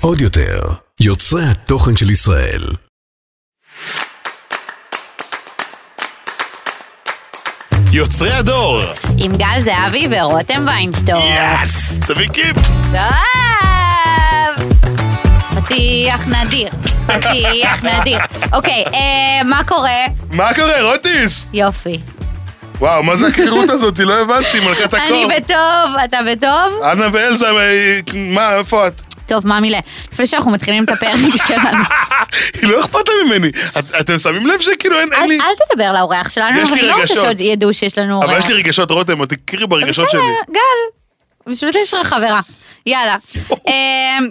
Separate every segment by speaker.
Speaker 1: עוד יותר, יוצרי התוכן של ישראל.
Speaker 2: יוצרי הדור!
Speaker 3: עם גל זהבי ורותם ויינשטור.
Speaker 2: יאס! תביא קיפ!
Speaker 3: טוב! פתיח נדיר. פתיח נדיר. אוקיי, אה, מה קורה?
Speaker 2: מה קורה, רוטיס?
Speaker 3: יופי.
Speaker 2: וואו, מה זה הקרירות הזאת? לא הבנתי, מלכת
Speaker 3: אני
Speaker 2: הקור.
Speaker 3: בטוב, אתה בטוב?
Speaker 2: אנה ואלזה, מה, איפה את?
Speaker 3: טוב, מה מילה? לפני שאנחנו מתחילים את הפרק שלנו.
Speaker 2: היא לא אכפת לה ממני. את- אתם שמים לב שכאילו אין אין
Speaker 3: אל
Speaker 2: לי...
Speaker 3: אל תדבר לאורח שלנו,
Speaker 2: יש
Speaker 3: אבל
Speaker 2: לי
Speaker 3: אני לא רוצה
Speaker 2: רגשות.
Speaker 3: שעוד ידעו שיש לנו אורח.
Speaker 2: אבל יש לי רגשות, רותם, את תכירי ברגשות
Speaker 3: אוקיי. בסדר,
Speaker 2: שלי.
Speaker 3: גל, בשביל זה יש לך חברה. יאללה. אמ,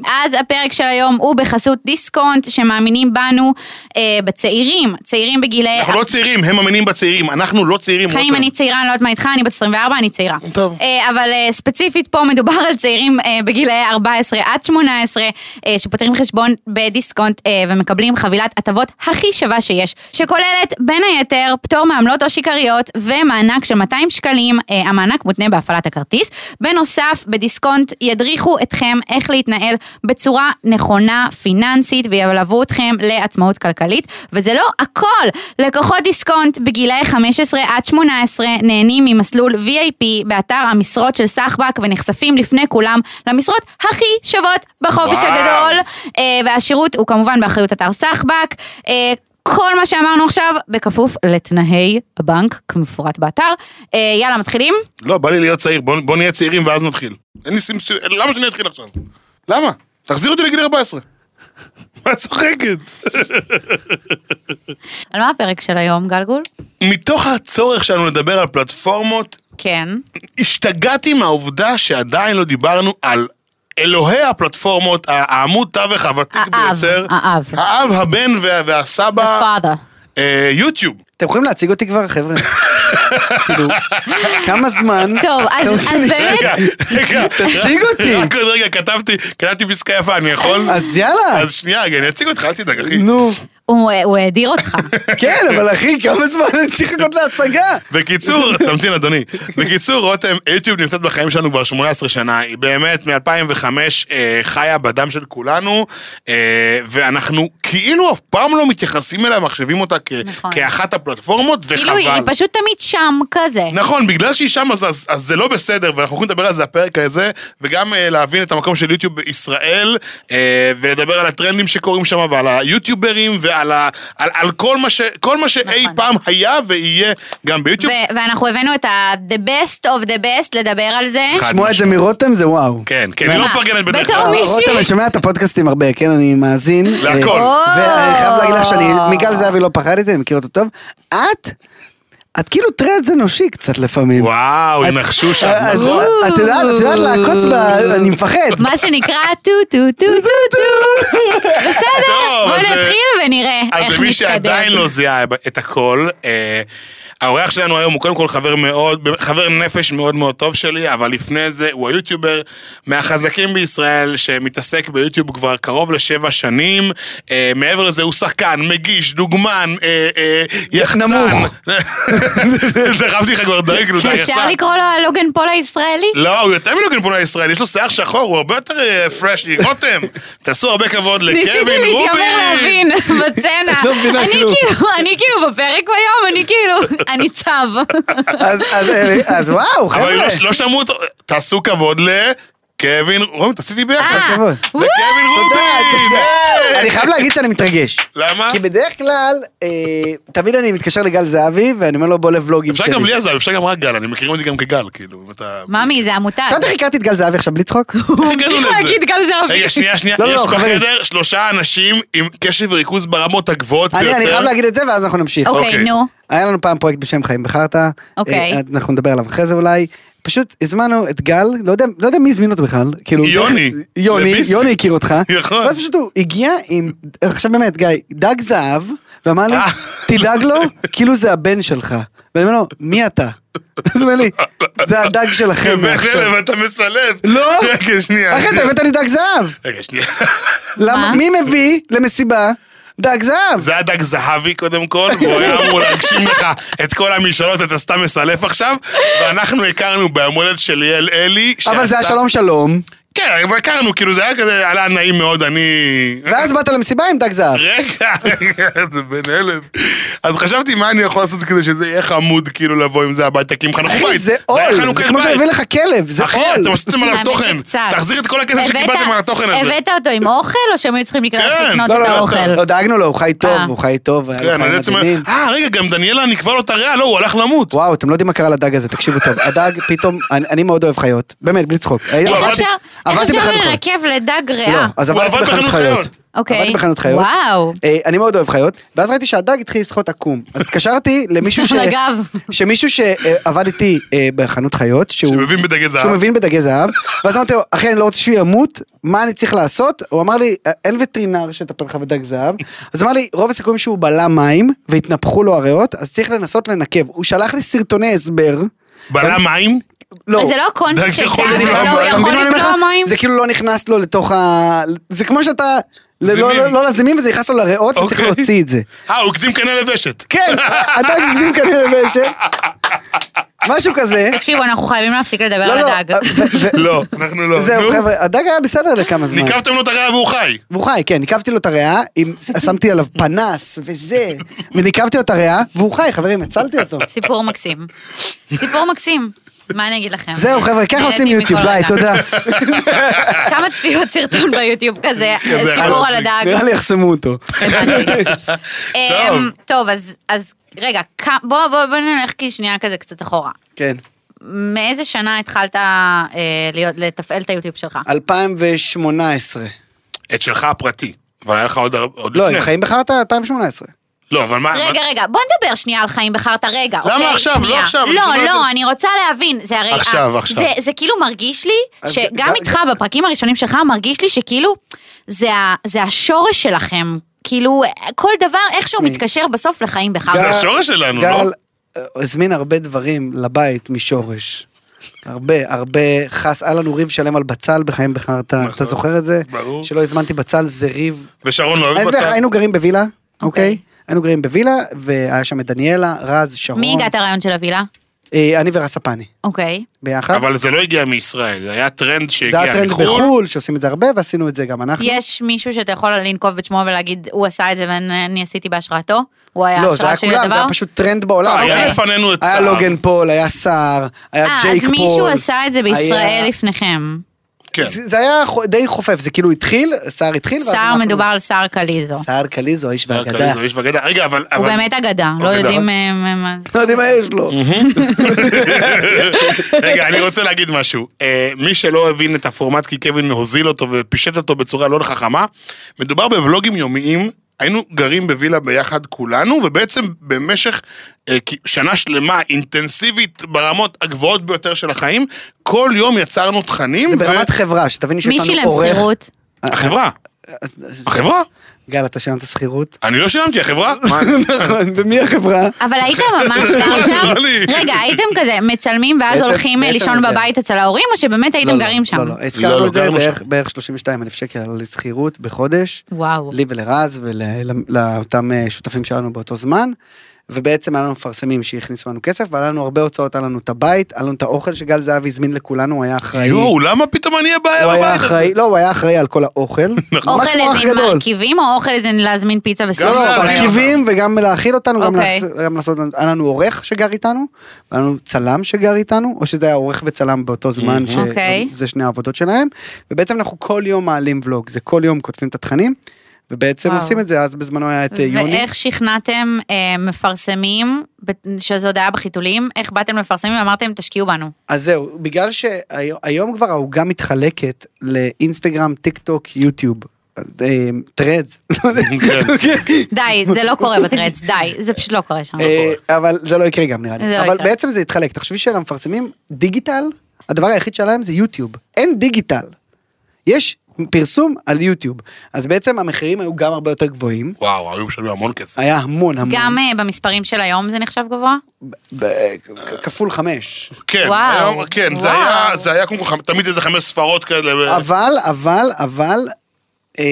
Speaker 3: אז הפרק של היום הוא בחסות דיסקונט, שמאמינים בנו, אה, בצעירים, צעירים בגילאי...
Speaker 2: אנחנו לא צעירים, הם מאמינים בצעירים, אנחנו לא צעירים.
Speaker 3: חיים,
Speaker 2: רותם.
Speaker 3: אני צעירה, אני לא יודעת מה איתך, אני בת 24, אני צעירה.
Speaker 2: טוב.
Speaker 3: אה, אבל אה, ספציפית פה מדובר על צעירים אה, בגילאי 14 עד 18, אה, שפותחים חשבון בדיסקונט אה, ומקבלים חבילת הטבות הכי שווה שיש, שכוללת בין היתר פטור מעמלות או שיכריות ומענק של 200 שקלים, אה, המענק מותנה בהפעלת הכרטיס. בנוסף, בדיסקונט ידריכו אתכם איך להתנהל בצורה נכונה, פיננסית, וילוו אתכם לעצמאות כלכלית. וזה לא הכל, לקוחות דיסקונט בגילאי 15 עד 18 נהנים ממסלול VIP באתר המשרות של סחבק ונחשפים לפני כולם למשרות הכי שוות בחופש
Speaker 2: וואו.
Speaker 3: הגדול. אה, והשירות הוא כמובן באחריות אתר סחבק. אה, כל מה שאמרנו עכשיו, בכפוף לתנאי הבנק, כמפורט באתר. אה, יאללה, מתחילים?
Speaker 2: לא, בא לי להיות צעיר, בוא בוא נהיה צעירים ואז נתחיל. אין לי סימסום, למה שאני אתחיל עכשיו? למה? תחזיר אותי לגיל 14. מה את צוחקת?
Speaker 3: על מה הפרק של היום, גלגול?
Speaker 2: מתוך הצורך שלנו לדבר על פלטפורמות
Speaker 3: כן.
Speaker 2: השתגעתי מהעובדה שעדיין לא דיברנו על אלוהי הפלטפורמות, ה- העמוד תווך הוותיק
Speaker 3: האב,
Speaker 2: ביותר.
Speaker 3: האב.
Speaker 2: האב, הבן וה- והסבא.
Speaker 3: פאדה.
Speaker 2: אה, יוטיוב.
Speaker 3: כן.
Speaker 4: אתם יכולים להציג אותי כבר, חבר'ה? כאילו, כמה זמן?
Speaker 3: טוב, אז-
Speaker 4: אתה רוצה
Speaker 3: אז
Speaker 4: לי-
Speaker 3: באמת-
Speaker 2: רגע, רגע.
Speaker 4: תציג אותי.
Speaker 2: רק עוד רגע, כתבתי, כתבתי פסקה יפה, אני יכול?
Speaker 4: אז יאללה.
Speaker 2: אז שנייה רגע, אני אציג אותך, אל תדאג, אחי.
Speaker 4: נו.
Speaker 3: הוא הוא האדיר אותך.
Speaker 4: כן, אבל אחי, כמה זמן אני צריך לחכות להצגה?
Speaker 2: בקיצור, תמתין אדוני, בקיצור רותם, יוטיוב נמצאת בחיים שלנו כבר 18 שנה, היא באמת מ-2005 אה, חיה בדם של כולנו, אה, ואנחנו כאילו אף פעם לא מתייחסים אליה, מחשבים אותה כ-
Speaker 3: נכון.
Speaker 2: כאחת הפלטפורמות,
Speaker 3: כאילו, היא
Speaker 2: וחבל.
Speaker 3: היא פשוט תמיד שם כזה.
Speaker 2: נכון, בגלל שהיא שם אז, אז, אז זה לא בסדר, ואנחנו הולכים לדבר על זה הפרק הזה, וגם אה, להבין את המקום של יוטיוב בישראל, אה, ולדבר על הטרנדים שקורים שם, ועל היוטיוברים, ועל ה, על, על כל מה, ש, כל מה שאי
Speaker 3: נכון.
Speaker 2: פעם היה ויהיה גם ביוטיוב.
Speaker 3: ו- ואנחנו הבאנו את ה-the best of the best לדבר על זה.
Speaker 2: חד
Speaker 4: לשמוע את זה מרותם זה וואו. אה,
Speaker 2: כן, כן, היא לא
Speaker 3: מה?
Speaker 2: מפרגנת בדרך
Speaker 3: בתור
Speaker 2: כלל.
Speaker 3: מי- מישהי.
Speaker 4: רותם, אני שומע את הפודקאסטים הרבה, כן? אני מאזין.
Speaker 2: להכל.
Speaker 4: אה, ואני חייב להגיד לך שאני,
Speaker 3: או.
Speaker 4: מגל זהבי לא פחדתי, אני מכיר אותו טוב. את, את כאילו טרנד אנושי קצת לפעמים.
Speaker 2: וואו, היא
Speaker 4: את-
Speaker 2: נחשו שם.
Speaker 4: אה, את-
Speaker 2: נכון?
Speaker 4: את יודעת, את יודעת לעקוץ, ב- אני מפחד.
Speaker 3: מה שנקרא טו טו טו טו טו. בסדר,
Speaker 2: טוב,
Speaker 3: בוא
Speaker 2: אז, אה,
Speaker 3: נתחיל ונראה איך
Speaker 2: אז
Speaker 3: נתקדם.
Speaker 2: למי שעדיין לא זיהה את הכל, אה, האורח שלנו היום הוא קודם כל חבר מאוד, חבר נפש מאוד מאוד טוב שלי, אבל לפני זה הוא היוטיובר מהחזקים בישראל שמתעסק ביוטיוב כבר קרוב לשבע שנים. אה, מעבר לזה הוא שחקן, מגיש, דוגמן, אה, אה, יחצן.
Speaker 4: נמוך.
Speaker 2: דחפתי לך כבר דרג, כאילו, אתה
Speaker 3: אפשר
Speaker 2: יחצן.
Speaker 3: לקרוא לו הלוגן פול הישראלי?
Speaker 2: לא, הוא יותר מלוגן פונה לישראל, יש לו שיער שחור, הוא הרבה יותר אה, פרש. רותם, תעשו הרבה כבוד לקווין רובין.
Speaker 3: ניסיתי להתיימר להבין בצנע.
Speaker 4: לא מבינה
Speaker 3: אני
Speaker 4: כלום.
Speaker 3: כאילו, אני כאילו בפרק ביום, אני כאילו, אני צב.
Speaker 4: אז- אז, אה, אז וואו,
Speaker 2: אבל
Speaker 4: חבר'ה.
Speaker 2: לא- לא שמעו אותו, תעשו כבוד לקווין רובין, תעשיתי
Speaker 3: אה,
Speaker 2: ביחד.
Speaker 4: כבוד.
Speaker 3: וואו.
Speaker 2: לקווין רובין! היי!
Speaker 4: אני חייב להגיד שאני מתרגש.
Speaker 2: למה?
Speaker 4: כי בדרך כלל, אה, תמיד אני מתקשר לגל זהבי, ואני אומר לו בוא לבלוגים
Speaker 2: אפשר
Speaker 4: שלי.
Speaker 2: גם בלי הזל, אפשר גם רק גל, אני מכירים אותי גם כגל, כאילו, אם אתה...
Speaker 3: ממי, זה המותג.
Speaker 4: אתה יודע איך הכרתי את גל זהבי עכשיו בלי צחוק?
Speaker 2: איך הגענו
Speaker 3: צריך
Speaker 2: לזה?
Speaker 3: להגיד גל זהבי.
Speaker 2: רגע, שנייה, שנייה,
Speaker 4: לא, לא,
Speaker 2: יש
Speaker 4: לא, חברים.
Speaker 2: בחדר שלושה אנשים עם קשב וריכוז ברמות הגבוהות
Speaker 4: אני
Speaker 2: ביותר.
Speaker 4: אני חייב להגיד את זה, ואז אנחנו נמשיך.
Speaker 3: אוקיי,
Speaker 2: אוקיי.
Speaker 3: נו.
Speaker 4: היה לנו פעם פרויקט בשם חיים בחרטא.
Speaker 3: אוקיי.
Speaker 4: אה, אנחנו נדבר עליו אחרי זה אולי. פשוט הזמנו את גל, לא יודע, לא יודע מי הזמין אותו בכלל. כאילו,
Speaker 2: יוני.
Speaker 4: יוני,
Speaker 2: לביסט.
Speaker 4: יוני הכיר אותך.
Speaker 2: נכון.
Speaker 4: ואז פשוט הוא הגיע עם, עכשיו באמת, גיא, דג זהב, ואמר לי,
Speaker 2: אה.
Speaker 4: תדאג לו, כאילו זה הבן שלך. ואני אומר לו, מי אתה? אז הוא אומר לי, זה הדג שלכם
Speaker 2: חבר
Speaker 4: עכשיו.
Speaker 2: לב, אתה מסלף.
Speaker 4: לא?
Speaker 2: רגע, כן, שנייה.
Speaker 4: אחי, אתה הבאת לי דג זהב.
Speaker 2: רגע, שנייה.
Speaker 4: למה?
Speaker 3: מה?
Speaker 4: מי מביא למסיבה דג זהב!
Speaker 2: זה היה דג זהבי קודם כל, והוא היה אמור להגשים לך את כל המשאלות, אתה סתם מסלף עכשיו, ואנחנו הכרנו ביום הולדת של ליאל אלי.
Speaker 4: אבל זה היה
Speaker 2: שעשתה-
Speaker 4: שלום שלום,
Speaker 2: כן, אבל הכרנו, כאילו זה היה כזה, עלה נעים מאוד, אני...
Speaker 4: ואז באת למסיבה עם דג זהב.
Speaker 2: רגע, רגע, זה בן הלם. אז חשבתי מה אני יכול לעשות כדי שזה יהיה חמוד כאילו לבוא עם זה הביתה, כי הם חנכו בית.
Speaker 4: אחי, זה
Speaker 2: היה
Speaker 4: עול,
Speaker 2: חנוכת
Speaker 4: זה כמו
Speaker 2: בית.
Speaker 4: שהביא לך כלב, זה
Speaker 2: אחי, אתם
Speaker 4: עול.
Speaker 2: עשיתם עליו
Speaker 3: האמת
Speaker 2: תוכן.
Speaker 3: שקצת.
Speaker 2: תחזיר את כל הכסף
Speaker 3: הבאת-
Speaker 2: שקיבלתם על התוכן הזה.
Speaker 3: הבאת אותו עם אוכל, או שהם היו צריכים לקנות
Speaker 2: כן.
Speaker 3: לקנות
Speaker 4: לא, לא,
Speaker 3: את
Speaker 4: לא,
Speaker 3: האוכל?
Speaker 4: לא דאגנו לו, הוא חי טוב,
Speaker 3: אה.
Speaker 4: הוא חי טוב, היה
Speaker 2: כן,
Speaker 4: לו
Speaker 2: אז
Speaker 4: חיים
Speaker 2: בעצם,
Speaker 4: מדהימים.
Speaker 2: אה, רגע, גם דניאלה נקבע לו את הריאה, לא, הוא הלך למות.
Speaker 4: וואו, אתם לא יודעים מה קרה לדג הזה, תקשיבו טוב. הדג פתאום, אני אני מאוד אוהב חיות, באמת, בלי צחוק.
Speaker 3: איך
Speaker 4: לא, עבדתי-
Speaker 3: אפשר- לא איך
Speaker 4: עבדתי
Speaker 3: אפשר
Speaker 4: בחנות חיות.
Speaker 3: לנקב לדג
Speaker 4: לא,
Speaker 3: ריאה?
Speaker 4: אז
Speaker 2: הוא
Speaker 4: עבדתי
Speaker 2: עבד
Speaker 4: בחנות
Speaker 2: בחנות
Speaker 4: חיות.
Speaker 2: חיות.
Speaker 3: אוקיי.
Speaker 4: עבדתי בחנות חיות.
Speaker 3: וואו.
Speaker 4: אה, אני מאוד אוהב חיות, ואז ראיתי שהדג התחיל לשחות עקום. אז התקשרתי למישהו ש...
Speaker 3: על הגב.
Speaker 4: שמישהו שעבד איתי אה, בחנות חיות, שהוא...
Speaker 2: שמבין בדגי זהב.
Speaker 4: שהוא מבין בדגי זהב, ואז אמרתי לו, אחי, אני לא רוצה שהוא ימות, מה אני צריך לעשות? הוא אמר לי, "אה, אין וטרינר שיטפל לך בדג זהב. אז אמר לי, רוב הסיכויים שהוא בלע מים, והתנפחו לו הריאות, אז צריך לנסות לנקב. הוא שלח לי סרטוני הסבר.
Speaker 2: בלע מים?
Speaker 4: לא.
Speaker 3: זה לא
Speaker 2: דג
Speaker 3: קונספט של
Speaker 2: יכול
Speaker 3: דג,
Speaker 2: לבלוע
Speaker 3: לא, הוא
Speaker 2: מים.
Speaker 4: אתה
Speaker 3: יכול
Speaker 4: מבין מה אני אומר
Speaker 3: לבלוע
Speaker 4: לך?
Speaker 3: מים?
Speaker 4: זה כאילו לא נכנס לו לתוך ה... זה כמו שאתה... לא-
Speaker 2: זימים.
Speaker 4: לא לא לזימים וזה נכנס לו לריאות וצריך
Speaker 2: אוקיי.
Speaker 4: להוציא את זה.
Speaker 2: אה, הוא הקדים קנה לוושת.
Speaker 4: כן, הדג הקדים כנראה באשת. משהו כזה.
Speaker 3: תקשיבו, אנחנו חייבים להפסיק לדבר
Speaker 4: לא,
Speaker 3: על
Speaker 4: לא.
Speaker 3: הדג.
Speaker 4: ו- ו-
Speaker 2: לא, אנחנו לא.
Speaker 4: זהו
Speaker 2: נו,
Speaker 4: חבר'ה, הדג היה בסדר לכמה זמן.
Speaker 2: ניקבתם לו את הריאה והוא חי.
Speaker 4: והוא חי, כן, ניקבתי לו את הריאה, עם- שמתי עליו פנס וזה, וניקבתי לו את הריאה, והוא חי, חברים, הצלתי אותו.
Speaker 3: סיפור מקסים. סיפור מקסים. מה אני אגיד לכם?
Speaker 4: זהו חבר'ה, ככה עושים
Speaker 3: נהניתי
Speaker 4: יוטיוב,
Speaker 3: מכל
Speaker 4: ביי,
Speaker 3: רגע.
Speaker 4: תודה.
Speaker 3: כמה צפיות סרטון ביוטיוב כזה,
Speaker 2: כזה,
Speaker 3: סיפור על
Speaker 2: חלאס.
Speaker 3: הדג.
Speaker 4: נראה לי יחסמו אותו.
Speaker 3: הבנתי.
Speaker 2: טוב.
Speaker 3: אמ, טוב, אז- אז רגע, כ- בוא בוא- בוא נלך כי שנייה כזה קצת אחורה.
Speaker 4: כן.
Speaker 3: מאיזה שנה התחלת אה, להיות- לתפעל את היוטיוב שלך?
Speaker 4: 2018.
Speaker 2: את שלך הפרטי. אבל היה לך עוד הר- עוד
Speaker 4: לא, הם
Speaker 2: לפני.
Speaker 4: חיים בחרטא 2018.
Speaker 2: לא, אבל מה...
Speaker 3: רגע, רגע, בוא נדבר שנייה על חיים בחרת רגע.
Speaker 2: למה
Speaker 3: אוקיי,
Speaker 2: עכשיו? לא
Speaker 3: שנייה.
Speaker 2: עכשיו, אני
Speaker 3: לא,
Speaker 2: שומע את
Speaker 3: לא,
Speaker 2: זה.
Speaker 3: אני רוצה להבין. זה הרי...
Speaker 2: עכשיו,
Speaker 3: אה,
Speaker 2: עכשיו.
Speaker 3: זה- זה כאילו מרגיש לי,
Speaker 4: אז
Speaker 3: שגם
Speaker 4: גם-
Speaker 3: איתך בפרקים הראשונים שלך, מרגיש לי שכאילו, זה ה- זה השורש שלכם. כאילו, כל דבר, איכשהו מתקשר בסוף לחיים בחרת.
Speaker 2: זה
Speaker 4: גל-
Speaker 2: השורש שלנו, לא?
Speaker 4: גל אה, הזמין הרבה דברים לבית משורש. הרבה, הרבה חס, היה לנו ריב שלם על בצל בחיים בחרטא, אתה זוכר את זה?
Speaker 2: נכון. ברור.
Speaker 4: שלא הזמנתי בצל, זה ריב
Speaker 2: ושרון לא
Speaker 4: אני
Speaker 2: אוהב
Speaker 4: אסביר לך,
Speaker 2: בצד.
Speaker 4: היינו גרים בווילה,
Speaker 3: אוקיי.
Speaker 4: אוקיי? היינו גרים בווילה, והיה שם את דניאלה, רז, שרון.
Speaker 3: מי הגעת הרעיון של הווילה?
Speaker 4: אה, אני ורס הפני,
Speaker 3: אוקיי.
Speaker 4: ביחד.
Speaker 2: אבל זה לא הגיע מישראל, זה היה טרנד
Speaker 4: אה? זה היה
Speaker 2: שהגיע
Speaker 4: טרנד
Speaker 2: מחו"ל.
Speaker 4: בחו"ל, שעושים את זה הרבה, ועשינו את זה גם אנחנו.
Speaker 3: יש מישהו שאתה יכול לנקוב בשמו ולהגיד, הוא עשה את זה ואני עשיתי בהשראתו? הוא היה
Speaker 4: לא, זה
Speaker 3: ההשראה
Speaker 4: היה
Speaker 3: שלי
Speaker 4: כולם, זה
Speaker 3: לדבר?
Speaker 4: היה פשוט טרנד בעולם.
Speaker 2: לא, היה
Speaker 4: אוקיי.
Speaker 2: לפנינו את
Speaker 4: היה
Speaker 2: סער.
Speaker 4: לוגן פול, היה סער, היה
Speaker 3: אה,
Speaker 4: ג'ייק
Speaker 3: אז
Speaker 4: פול.
Speaker 3: מישהו עשה את זה בישראל
Speaker 4: היה-
Speaker 3: לפניכם.
Speaker 2: כן.
Speaker 4: זה זה היה חו- די חופף, זה כאילו התחיל, סער התחיל. ואז
Speaker 3: סער
Speaker 4: אנחנו-
Speaker 3: מדובר על סער קליזו.
Speaker 4: סער קליזו, האיש
Speaker 2: זה היה
Speaker 4: והגדה.
Speaker 2: כזה, איש בגדה. רגע, אבל...
Speaker 3: הוא
Speaker 2: אבל-
Speaker 3: באמת אגדה, לא
Speaker 2: אוקיי,
Speaker 3: יודעים...
Speaker 2: נכון.
Speaker 3: אה, מה- מה-
Speaker 4: לא יודעים מה יש לו.
Speaker 2: רגע, אני רוצה להגיד משהו. אה, מי שלא הבין את הפורמט כי קווין הוזיל אותו ופישט אותו בצורה לא חכמה, מדובר בוולוגים יומיים. היינו גרים בווילה ביחד כולנו, ובעצם במשך אה, כ- שנה שלמה אינטנסיבית ברמות הגבוהות ביותר של החיים, כל יום יצרנו תכנים.
Speaker 4: זה
Speaker 2: ו-
Speaker 4: ברמת חברה, שתביני
Speaker 3: מי
Speaker 4: שאיתנו עורך.
Speaker 3: שילם שכירות?
Speaker 2: החברה. החברה?
Speaker 4: גל, אתה שילמת שכירות?
Speaker 2: אני לא שילמתי, החברה. מה?
Speaker 4: נכון, ומי החברה?
Speaker 3: אבל הייתם ממש גר שם?
Speaker 2: נראה לי.
Speaker 3: רגע, הייתם כזה מצלמים ואז
Speaker 4: לא, בעצם-
Speaker 3: הולכים אה,
Speaker 4: בעצם
Speaker 3: לישון
Speaker 4: זה-
Speaker 3: בבית אצל ההורים, או שבאמת הייתם גרים שם?
Speaker 4: לא, לא,
Speaker 2: לא,
Speaker 4: הזכרנו
Speaker 2: לא,
Speaker 4: את זה
Speaker 2: גרנו
Speaker 4: בערך-
Speaker 2: שם.
Speaker 4: בערך 32 אלף שקל על שכירות בחודש.
Speaker 3: וואו.
Speaker 4: לי ולרז ולאותם אה, שותפים שלנו באותו זמן. ובעצם היה לנו מפרסמים שהכניסו לנו כסף, והיה לנו הרבה הוצאות, היה לנו את הבית, היה לנו את האוכל שגל זהבי הזמין לכולנו, הוא היה אחראי. הוא
Speaker 2: יואו, למה פתאום אני הבעיה
Speaker 4: היה
Speaker 2: בבית? נכון.
Speaker 4: אחראי, לא, הוא היה אחראי על כל האוכל. ממש
Speaker 3: אוכל
Speaker 4: כמו אח
Speaker 3: איזה
Speaker 4: גדול.
Speaker 3: מרכיבים, או אוכל איזה להזמין פיצה אוקיי.
Speaker 4: לא,
Speaker 3: וסוף?
Speaker 2: זה
Speaker 4: לא,
Speaker 2: היה
Speaker 4: מרכיבים וגם להאכיל אותנו, גם
Speaker 3: אוקיי.
Speaker 4: לעצ- גם לעשות, היה לנו עורך שגר איתנו, היה לנו צלם שגר איתנו, או שזה היה עורך וצלם באותו זמן,
Speaker 3: אוקיי.
Speaker 4: שזה שני העבודות שלהם, ובעצם אנחנו כל יום מעלים ולוג, זה כל יום כותבים את התכנים, ובעצם
Speaker 3: וואו.
Speaker 4: עושים את זה, אז בזמנו היה את אה, יוני.
Speaker 3: ואיך שכנעתם אה, מפרסמים, ב- שזו הודעה בחיתולים, איך באתם מפרסמים ואמרתם, תשקיעו בנו.
Speaker 4: אז זהו, בגלל שהיום היום כבר העוגה מתחלקת לאינסטגרם, טיק טוק, יוטיוב, אה, טרדס,
Speaker 2: כן.
Speaker 4: כן.
Speaker 3: די, זה לא קורה בטרץ, די, זה פשוט לא קורה שם.
Speaker 4: אה, אבל זה לא יקרה גם נראה
Speaker 3: זה לא
Speaker 4: לי. אבל
Speaker 3: יקרה.
Speaker 4: בעצם זה התחלק. תחשבי שלמפרסמים, דיגיטל, הדבר היחיד שלהם זה יוטיוב. אין דיגיטל. יש פרסום על יוטיוב. אז בעצם המחירים היו גם הרבה יותר גבוהים.
Speaker 2: וואו, היו משלמים המון כסף.
Speaker 4: היה המון המון.
Speaker 3: גם אה, במספרים של היום זה נחשב גבוה?
Speaker 4: ב- כ- כפול חמש.
Speaker 2: כן,
Speaker 3: וואו,
Speaker 2: היום- כן, זה
Speaker 3: וואו.
Speaker 2: היה- זה היה כמו תמיד איזה חמש ספרות כאלה. ו-
Speaker 4: אבל, אבל, אבל, אה,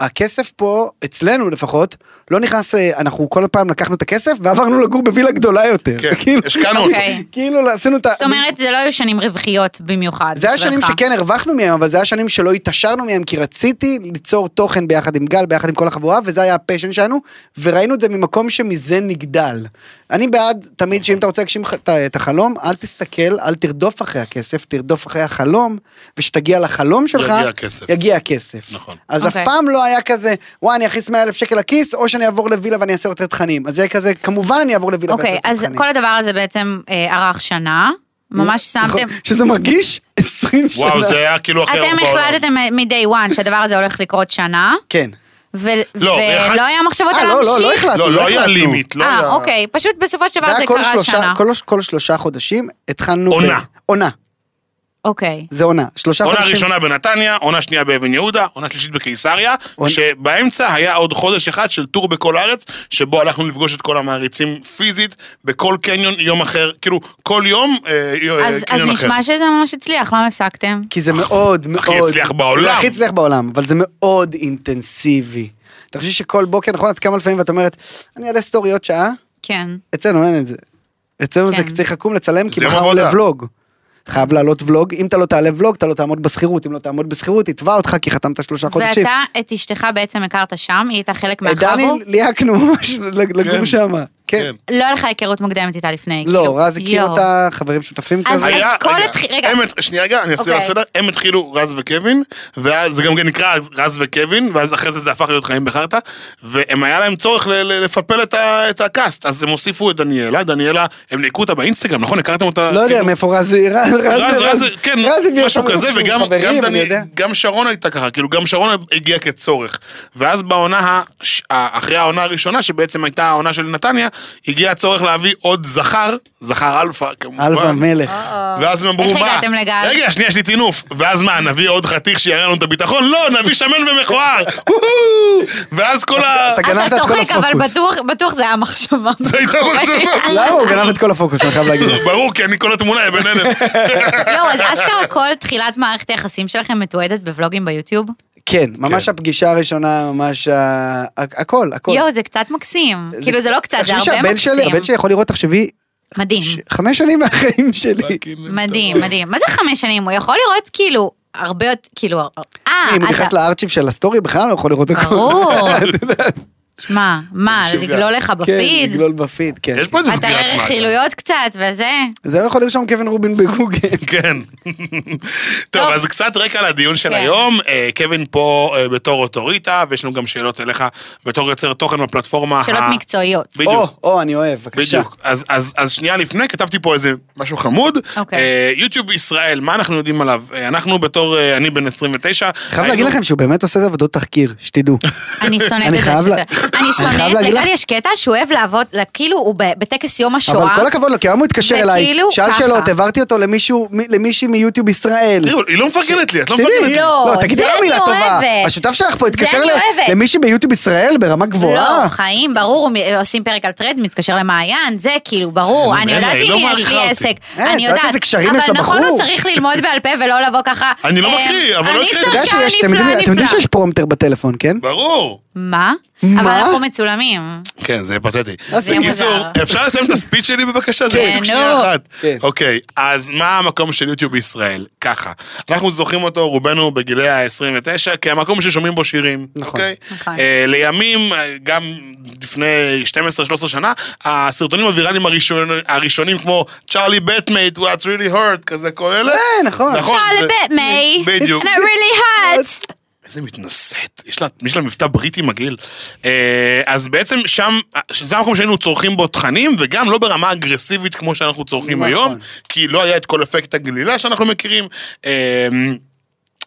Speaker 4: הכסף פה, אצלנו לפחות, לא נכנס, אה, אנחנו כל פעם לקחנו את הכסף ועברנו לגור בווילה גדולה יותר.
Speaker 2: כן,
Speaker 4: כאילו-
Speaker 2: השקענו אותו.
Speaker 3: אוקיי.
Speaker 4: כאילו עשינו את ה...
Speaker 3: זאת אומרת, זה לא היו שנים רווחיות במיוחד.
Speaker 4: זה היה שנים
Speaker 3: בשבילך.
Speaker 4: שכן הרווחנו מהם, אבל זה היה שנים שלא התעשרנו מהם, כי רציתי ליצור תוכן ביחד עם גל, ביחד עם כל החבורה, וזה היה הפשן שלנו, וראינו את זה ממקום שמזה נגדל. אני בעד תמיד שאם אתה רוצה להגשים ח- את ה- את החלום, אל תסתכל, אל תרדוף אחרי הכסף, תרדוף אחרי החלום, וכשתגיע לחלום שלך,
Speaker 2: יגיע הכסף.
Speaker 4: יגיע הכסף.
Speaker 2: נכון.
Speaker 4: אז אף
Speaker 3: אוקיי.
Speaker 4: פעם לא היה כזה, וואי, אני אכניס 100 אלף שקל לכיס, או שאני אעבור לווילה ואני אעשה יותר תכנים. אז זה היה כזה, כמובן אני אעבור לווילה ואעשה
Speaker 3: אוקיי,
Speaker 4: יותר
Speaker 3: אז
Speaker 4: תכנים.
Speaker 3: כל הדבר הזה בעצם אה, ארך שנה. ממש שמתם...
Speaker 4: נכון, שזה מרגיש 20 שנה.
Speaker 2: וואו, זה היה כאילו הכי
Speaker 3: אתם
Speaker 2: ארוך בעולם.
Speaker 3: החלטתם מ-day one שהדבר הזה הולך לקרות שנה,
Speaker 4: כן.
Speaker 3: ו-
Speaker 2: לא, אחד-
Speaker 3: ולא היה מחשבות
Speaker 4: אה,
Speaker 3: על
Speaker 4: לא, לא, לא
Speaker 3: להמשיך.
Speaker 4: החלטנו.
Speaker 2: לא, לא היה
Speaker 4: החלטנו.
Speaker 2: לימיט, לא היה...
Speaker 3: אה, אוקיי, פשוט בסופו של דבר
Speaker 4: זה
Speaker 3: זה
Speaker 4: היה כל
Speaker 3: קרה
Speaker 4: שלושה,
Speaker 3: שנה.
Speaker 4: כל, כל שלושה חודשים התחלנו...
Speaker 2: עונה.
Speaker 4: ב- עונה,
Speaker 3: אוקיי.
Speaker 4: זה עונה. שלושה
Speaker 2: עונה
Speaker 4: חודשים.
Speaker 2: ראשונה בנתניה, עונה שנייה באבן יהודה, עונה שלישית בקיסריה,
Speaker 4: עונה-
Speaker 2: שבאמצע היה עוד חודש אחד של טור בכל הארץ, שבו הלכנו לפגוש את כל המעריצים פיזית, בכל קניון יום אחר, כאילו, כל יום אה, אה,
Speaker 3: אז אז
Speaker 2: קניון אחר.
Speaker 3: נשמע שזה ממש הצליח, למה הפסקתם?
Speaker 4: כי זה מאוד מאוד...
Speaker 2: הכי הצליח בעולם.
Speaker 4: זה הכי הצליח בעולם, אבל זה מאוד אינטנסיבי. אתה חושב שכל בוקר, נכון, את קמה לפעמים ואת אומרת, אני אעלה סטורי עוד שעה?
Speaker 3: כן.
Speaker 4: אצלנו אין את זה. אצלנו זה
Speaker 3: כן.
Speaker 4: צריך לקום לצלם, כי
Speaker 2: זה יום
Speaker 4: מחר
Speaker 2: עבודה.
Speaker 4: עולה ולוג. חייב לעלות ולוג, אם אתה לא תעלה ולוג, אתה לא תעמוד בשכירות, אם לא תעמוד בשכירות, יתבע אותך כי חתמת שלושה חודשים.
Speaker 3: ואתה, את אשתך בעצם הכרת שם, היא הייתה חלק
Speaker 4: את אה, דני
Speaker 3: מהחבור?
Speaker 4: ליהקנו ממש לגור
Speaker 2: כן.
Speaker 4: שם. כן.
Speaker 2: כן.
Speaker 3: לא היה לך היכרות מוקדמת איתה לפני. כאילו,
Speaker 4: לא, רז הכיר
Speaker 3: יואו.
Speaker 4: אותה, חברים שותפים
Speaker 3: אז-
Speaker 4: כזה.
Speaker 3: אז
Speaker 2: היה-
Speaker 3: כל
Speaker 2: רגע,
Speaker 3: התחיל- רגע.
Speaker 2: הם הת- שנייה רגע, אני אעשה
Speaker 3: אוקיי.
Speaker 2: סדר. הם התחילו רז וקווין, ואז זה גם כן נקרא רז וקווין, ואז אחרי זה זה הפך להיות חיים בחרטא, והם היה להם צורך ל- ל- לפפל את ה- את הקאסט, אז הם הוסיפו את דניאלה, דניאלה, הם ניקו אותה באינסטגרם, נכון? הכרתם אותה?
Speaker 4: לא יודע
Speaker 2: כאילו-
Speaker 4: מאיפה רז, רז,
Speaker 2: רז, רז, כן,
Speaker 4: רז הביא
Speaker 2: משהו
Speaker 4: אותנו
Speaker 2: כזה,
Speaker 4: איכשהו,
Speaker 2: וגם
Speaker 4: חברים,
Speaker 2: גם
Speaker 4: אני
Speaker 2: דני-
Speaker 4: יודע.
Speaker 2: גם שרון הייתה ככה, כאילו גם שרון הגיע כצורך. ואז בעונה, ה- ש- ה- אחרי העונה הראשונה, שבעצם הייתה העונה של נתניה, הגיע הצורך להביא עוד זכר, זכר אלפא כמובן.
Speaker 4: אלווה מלך.
Speaker 2: ואז הם אמרו,
Speaker 3: איך
Speaker 2: מה?
Speaker 3: הגעתם לגל?"
Speaker 2: רגע, שנייה, יש לי טינוף. ואז מה, נביא עוד חתיך שיראה לנו את הביטחון? לא, נביא שמן ומכוער. וואו! ואז כל ה...
Speaker 4: אתה גנבת
Speaker 3: אתה
Speaker 4: את כל
Speaker 3: צוחק, אבל
Speaker 4: הפוקוס.
Speaker 3: בטוח, בטוח זה היה מחשבה.
Speaker 2: זה הייתה מחשבה.
Speaker 4: למה הוא גנב את כל הפוקוס, אני חייב להגיד.
Speaker 2: ברור, כי אני כל התמונה, יא בן אלף.
Speaker 3: יואו, אז אשכרה כל תחילת מערכת היחסים שלכם מתועדת בבלוגים ביוטיוב?
Speaker 4: כן, ממש
Speaker 2: כן.
Speaker 4: הפגישה הראשונה, ממש ה- הכ- הכל, הכל.
Speaker 3: יואו, זה קצת מקסים. כאילו, זה לא קצת, זה
Speaker 4: תחשבי
Speaker 3: הרבה
Speaker 4: שהבן
Speaker 3: מקסים. כן.
Speaker 4: שלי, הבן שלי יכול לראות, תחשבי,
Speaker 3: מדהים.
Speaker 4: ש- חמש שנים מהחיים שלי.
Speaker 3: מדהים, מדהים. מה זה חמש שנים? הוא יכול לראות כאילו הרבה יותר, כאילו... אה,
Speaker 4: אם הוא
Speaker 3: אתה-
Speaker 4: נכנס לארצ'יב של הסטורי, בכלל לא יכול לראות הכל.
Speaker 3: ברור. שמע, מה,
Speaker 2: תקשיב,
Speaker 3: לגלול לך
Speaker 4: כן,
Speaker 3: בפיד?
Speaker 4: לגלול בפיד, כן.
Speaker 2: יש פה איזה
Speaker 3: אתה
Speaker 2: סגירת
Speaker 3: רואה
Speaker 2: מעגל.
Speaker 3: רכילויות קצת וזה?
Speaker 4: זה הוא יכול לרשום קווין רובין בגוגל.
Speaker 2: כן. טוב,
Speaker 3: טוב.
Speaker 2: אז קצת רקע לדיון של
Speaker 3: כן.
Speaker 2: היום. אה, קווין פה אה, בתור אוטוריטה, ויש לנו גם שאלות אליך בתור יוצר תוכן בפלטפורמה.
Speaker 3: שאלות
Speaker 2: ה-
Speaker 3: מקצועיות.
Speaker 2: בדיוק.
Speaker 4: או, או, אני אוהב, בבקשה.
Speaker 2: בדיוק. אז, אז, אז שנייה לפני, כתבתי פה איזה משהו חמוד.
Speaker 3: אוקיי.
Speaker 2: אה, יוטיוב ישראל, מה אנחנו יודעים עליו? אה, אנחנו בתור, אה, אני בן 29.
Speaker 4: חייב
Speaker 2: היינו-
Speaker 4: להגיד לכם שהוא באמת עושה את עבודות תחקיר, שתדעו.
Speaker 3: אני שונאת את
Speaker 4: אני
Speaker 3: זה.
Speaker 4: חייב לה-
Speaker 3: שאתה-
Speaker 4: אני
Speaker 3: אני
Speaker 4: חייב
Speaker 3: שונאת,
Speaker 4: להגיד
Speaker 3: לגל
Speaker 4: לך-
Speaker 3: יש קטע שהוא אוהב לעבוד, כאילו הוא ב- בטקס יום השואה.
Speaker 4: אבל כל הכבוד לו, כי היום הוא התקשר
Speaker 3: זה
Speaker 4: אליי,
Speaker 3: כאילו
Speaker 4: שאל
Speaker 3: ככה.
Speaker 4: שאלות, העברתי אותו למישהו, מ- למישהי מיוטיוב ישראל.
Speaker 2: תראו, היא לא מפרגנת לי, את לא
Speaker 4: תראי,
Speaker 2: מפרגנת לי.
Speaker 3: לא,
Speaker 4: לא, תגידי
Speaker 3: זה
Speaker 4: לה
Speaker 3: אני
Speaker 4: מילה טובה.
Speaker 3: אוהבת.
Speaker 4: השותף שלך פה
Speaker 3: זה
Speaker 4: התקשר
Speaker 3: אני
Speaker 4: ל-
Speaker 3: אוהבת.
Speaker 4: למישהו ביוטיוב ישראל ברמה גבוהה.
Speaker 3: לא, חיים, ברור, הוא מ- עושים פרק על טרד, מתקשר למעיין, זה כאילו, ברור,
Speaker 2: אין,
Speaker 3: אני
Speaker 2: אין,
Speaker 3: יודעת
Speaker 2: היא
Speaker 3: אם
Speaker 2: לא
Speaker 3: יש
Speaker 2: מעריכה
Speaker 3: לי
Speaker 2: אותי.
Speaker 3: עסק,
Speaker 4: אה, את
Speaker 3: אני
Speaker 4: יודעת
Speaker 3: יודעת,
Speaker 4: איזה קשרים יש
Speaker 3: אבל נכון, הוא
Speaker 4: לבחור.
Speaker 3: צריך ללמוד בעל פה ולא לבוא ככה.
Speaker 2: אני לא
Speaker 3: אה,
Speaker 2: מקריא, אבל לא הקראתי.
Speaker 4: אתה יודע
Speaker 3: אני
Speaker 4: שיש,
Speaker 3: שחקן
Speaker 4: אתם יודעים- אתם
Speaker 3: נפלא
Speaker 4: יודעים
Speaker 3: נפלא.
Speaker 4: שיש פרומטר בטלפון, כן?
Speaker 2: ברור.
Speaker 3: מה?
Speaker 4: מה?
Speaker 3: אבל אנחנו מצולמים.
Speaker 2: כן, זה פתטי.
Speaker 4: זה מוזר.
Speaker 2: בקיצור, אפשר לסיים את הספיץ' שלי בבקשה? זה
Speaker 3: לא כן,
Speaker 2: בדיוק שנייה
Speaker 3: נו.
Speaker 2: אחת.
Speaker 4: כן.
Speaker 2: אוקיי, אז מה המקום של יוטיוב בישראל? ככה, אנחנו זוכרים אותו, רובנו בגילי ה-29, כמקום ששומעים בו שירים.
Speaker 4: נכון.
Speaker 2: אוקיי?
Speaker 3: נכון.
Speaker 2: אה, לימים, אה, גם לפני 12-13 שנה, הסרטונים הוויראליים הראשון- הראשונים, כמו צ'ארלי בטמייט, What's really hurt, כזה כל אלה.
Speaker 4: כן, נכון.
Speaker 2: נכון.
Speaker 3: שאל
Speaker 2: זה-
Speaker 3: בית מי,
Speaker 2: בדיוק.
Speaker 3: it's not really hot.
Speaker 2: איזה מתנשאת, יש לה, יש לה מבטא בריטי מגעיל. אה, אז בעצם שם, שזה המקום שהיינו צורכים בו תכנים, וגם לא ברמה אגרסיבית כמו שאנחנו צורכים
Speaker 4: נכון.
Speaker 2: היום, כי לא היה את כל אפקט הגלילה שאנחנו מכירים. אה,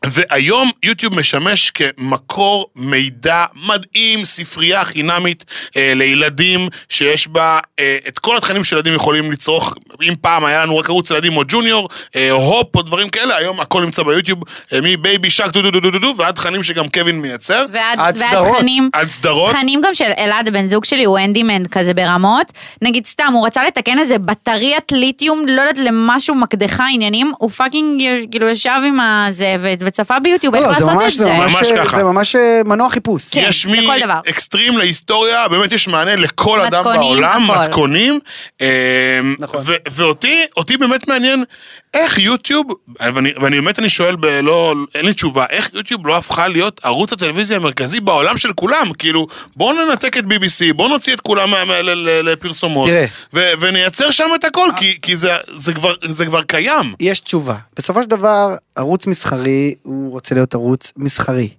Speaker 2: והיום יוטיוב משמש כמקור מידע מדהים, ספרייה חינמית אה, לילדים שיש בה אה, את כל התכנים שילדים יכולים לצרוך. אם פעם היה לנו רק ערוץ ילדים או ג'וניור, אה, או הופ או דברים כאלה, היום הכל נמצא ביוטיוב, אה, מבייבי שק דו דו דו דו דו דו ועד תכנים שגם קווין מייצר.
Speaker 3: ועד
Speaker 4: עד
Speaker 3: ועד
Speaker 4: סדרות.
Speaker 3: תכנים.
Speaker 2: עד סדרות.
Speaker 3: תכנים גם של אלעד, הבן זוג שלי, הוא אנדימן כזה ברמות. נגיד סתם, הוא רצה לתקן איזה בטריית ליתיום, לא יודעת למשהו, מקדחה עניינים, הוא פאקינג כאילו ישב עם הזה ו- וצפה ביוטיוב, איך
Speaker 4: לא, זה
Speaker 3: לעשות את
Speaker 4: ממש,
Speaker 3: זה.
Speaker 4: זה ממש,
Speaker 2: ממש ככה.
Speaker 4: זה ממש אה, מנוע חיפוש.
Speaker 3: כן,
Speaker 2: יש מי
Speaker 3: לכל דבר.
Speaker 2: אקסטרים להיסטוריה, באמת יש מענה לכל אדם
Speaker 3: מתכונים,
Speaker 2: בעולם,
Speaker 3: הכל.
Speaker 2: מתכונים. אמ,
Speaker 4: נכון.
Speaker 2: ו- ואותי, אותי באמת מעניין איך יוטיוב, ואני ואני באמת אני שואל, ב- לא, אין לי תשובה, איך יוטיוב לא הפכה להיות ערוץ הטלוויזיה המרכזי בעולם של כולם? כאילו, בואו ננתק את BBC, בואו נוציא את כולם מה- מה- ל- ל- לפרסומות,
Speaker 4: תראה.
Speaker 2: ו- ונייצר שם את הכל, כי- כי זה- זה כבר- זה כבר קיים.
Speaker 4: יש תשובה. בסופו של דבר, ערוץ מסחרי, הוא רוצה להיות ערוץ מסחרי.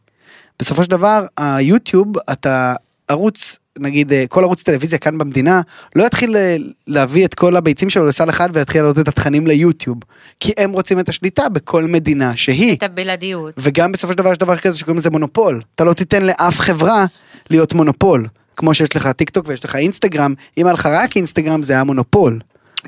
Speaker 4: בסופו של דבר, היוטיוב, אתה ערוץ, נגיד, אה, כל ערוץ טלוויזיה כאן במדינה, לא יתחיל אה, להביא את כל הביצים שלו לסל אחד ויתחיל להעלות את התכנים ליוטיוב. כי הם רוצים את השליטה בכל מדינה שהיא.
Speaker 3: את הבלעדיות.
Speaker 4: וגם בסופו של דבר יש דבר כזה שקוראים לזה מונופול. אתה לא תיתן לאף חברה להיות מונופול. כמו שיש לך טיק טוק ויש לך אינסטגרם, אם היה לך רק אינסטגרם זה היה מונופול.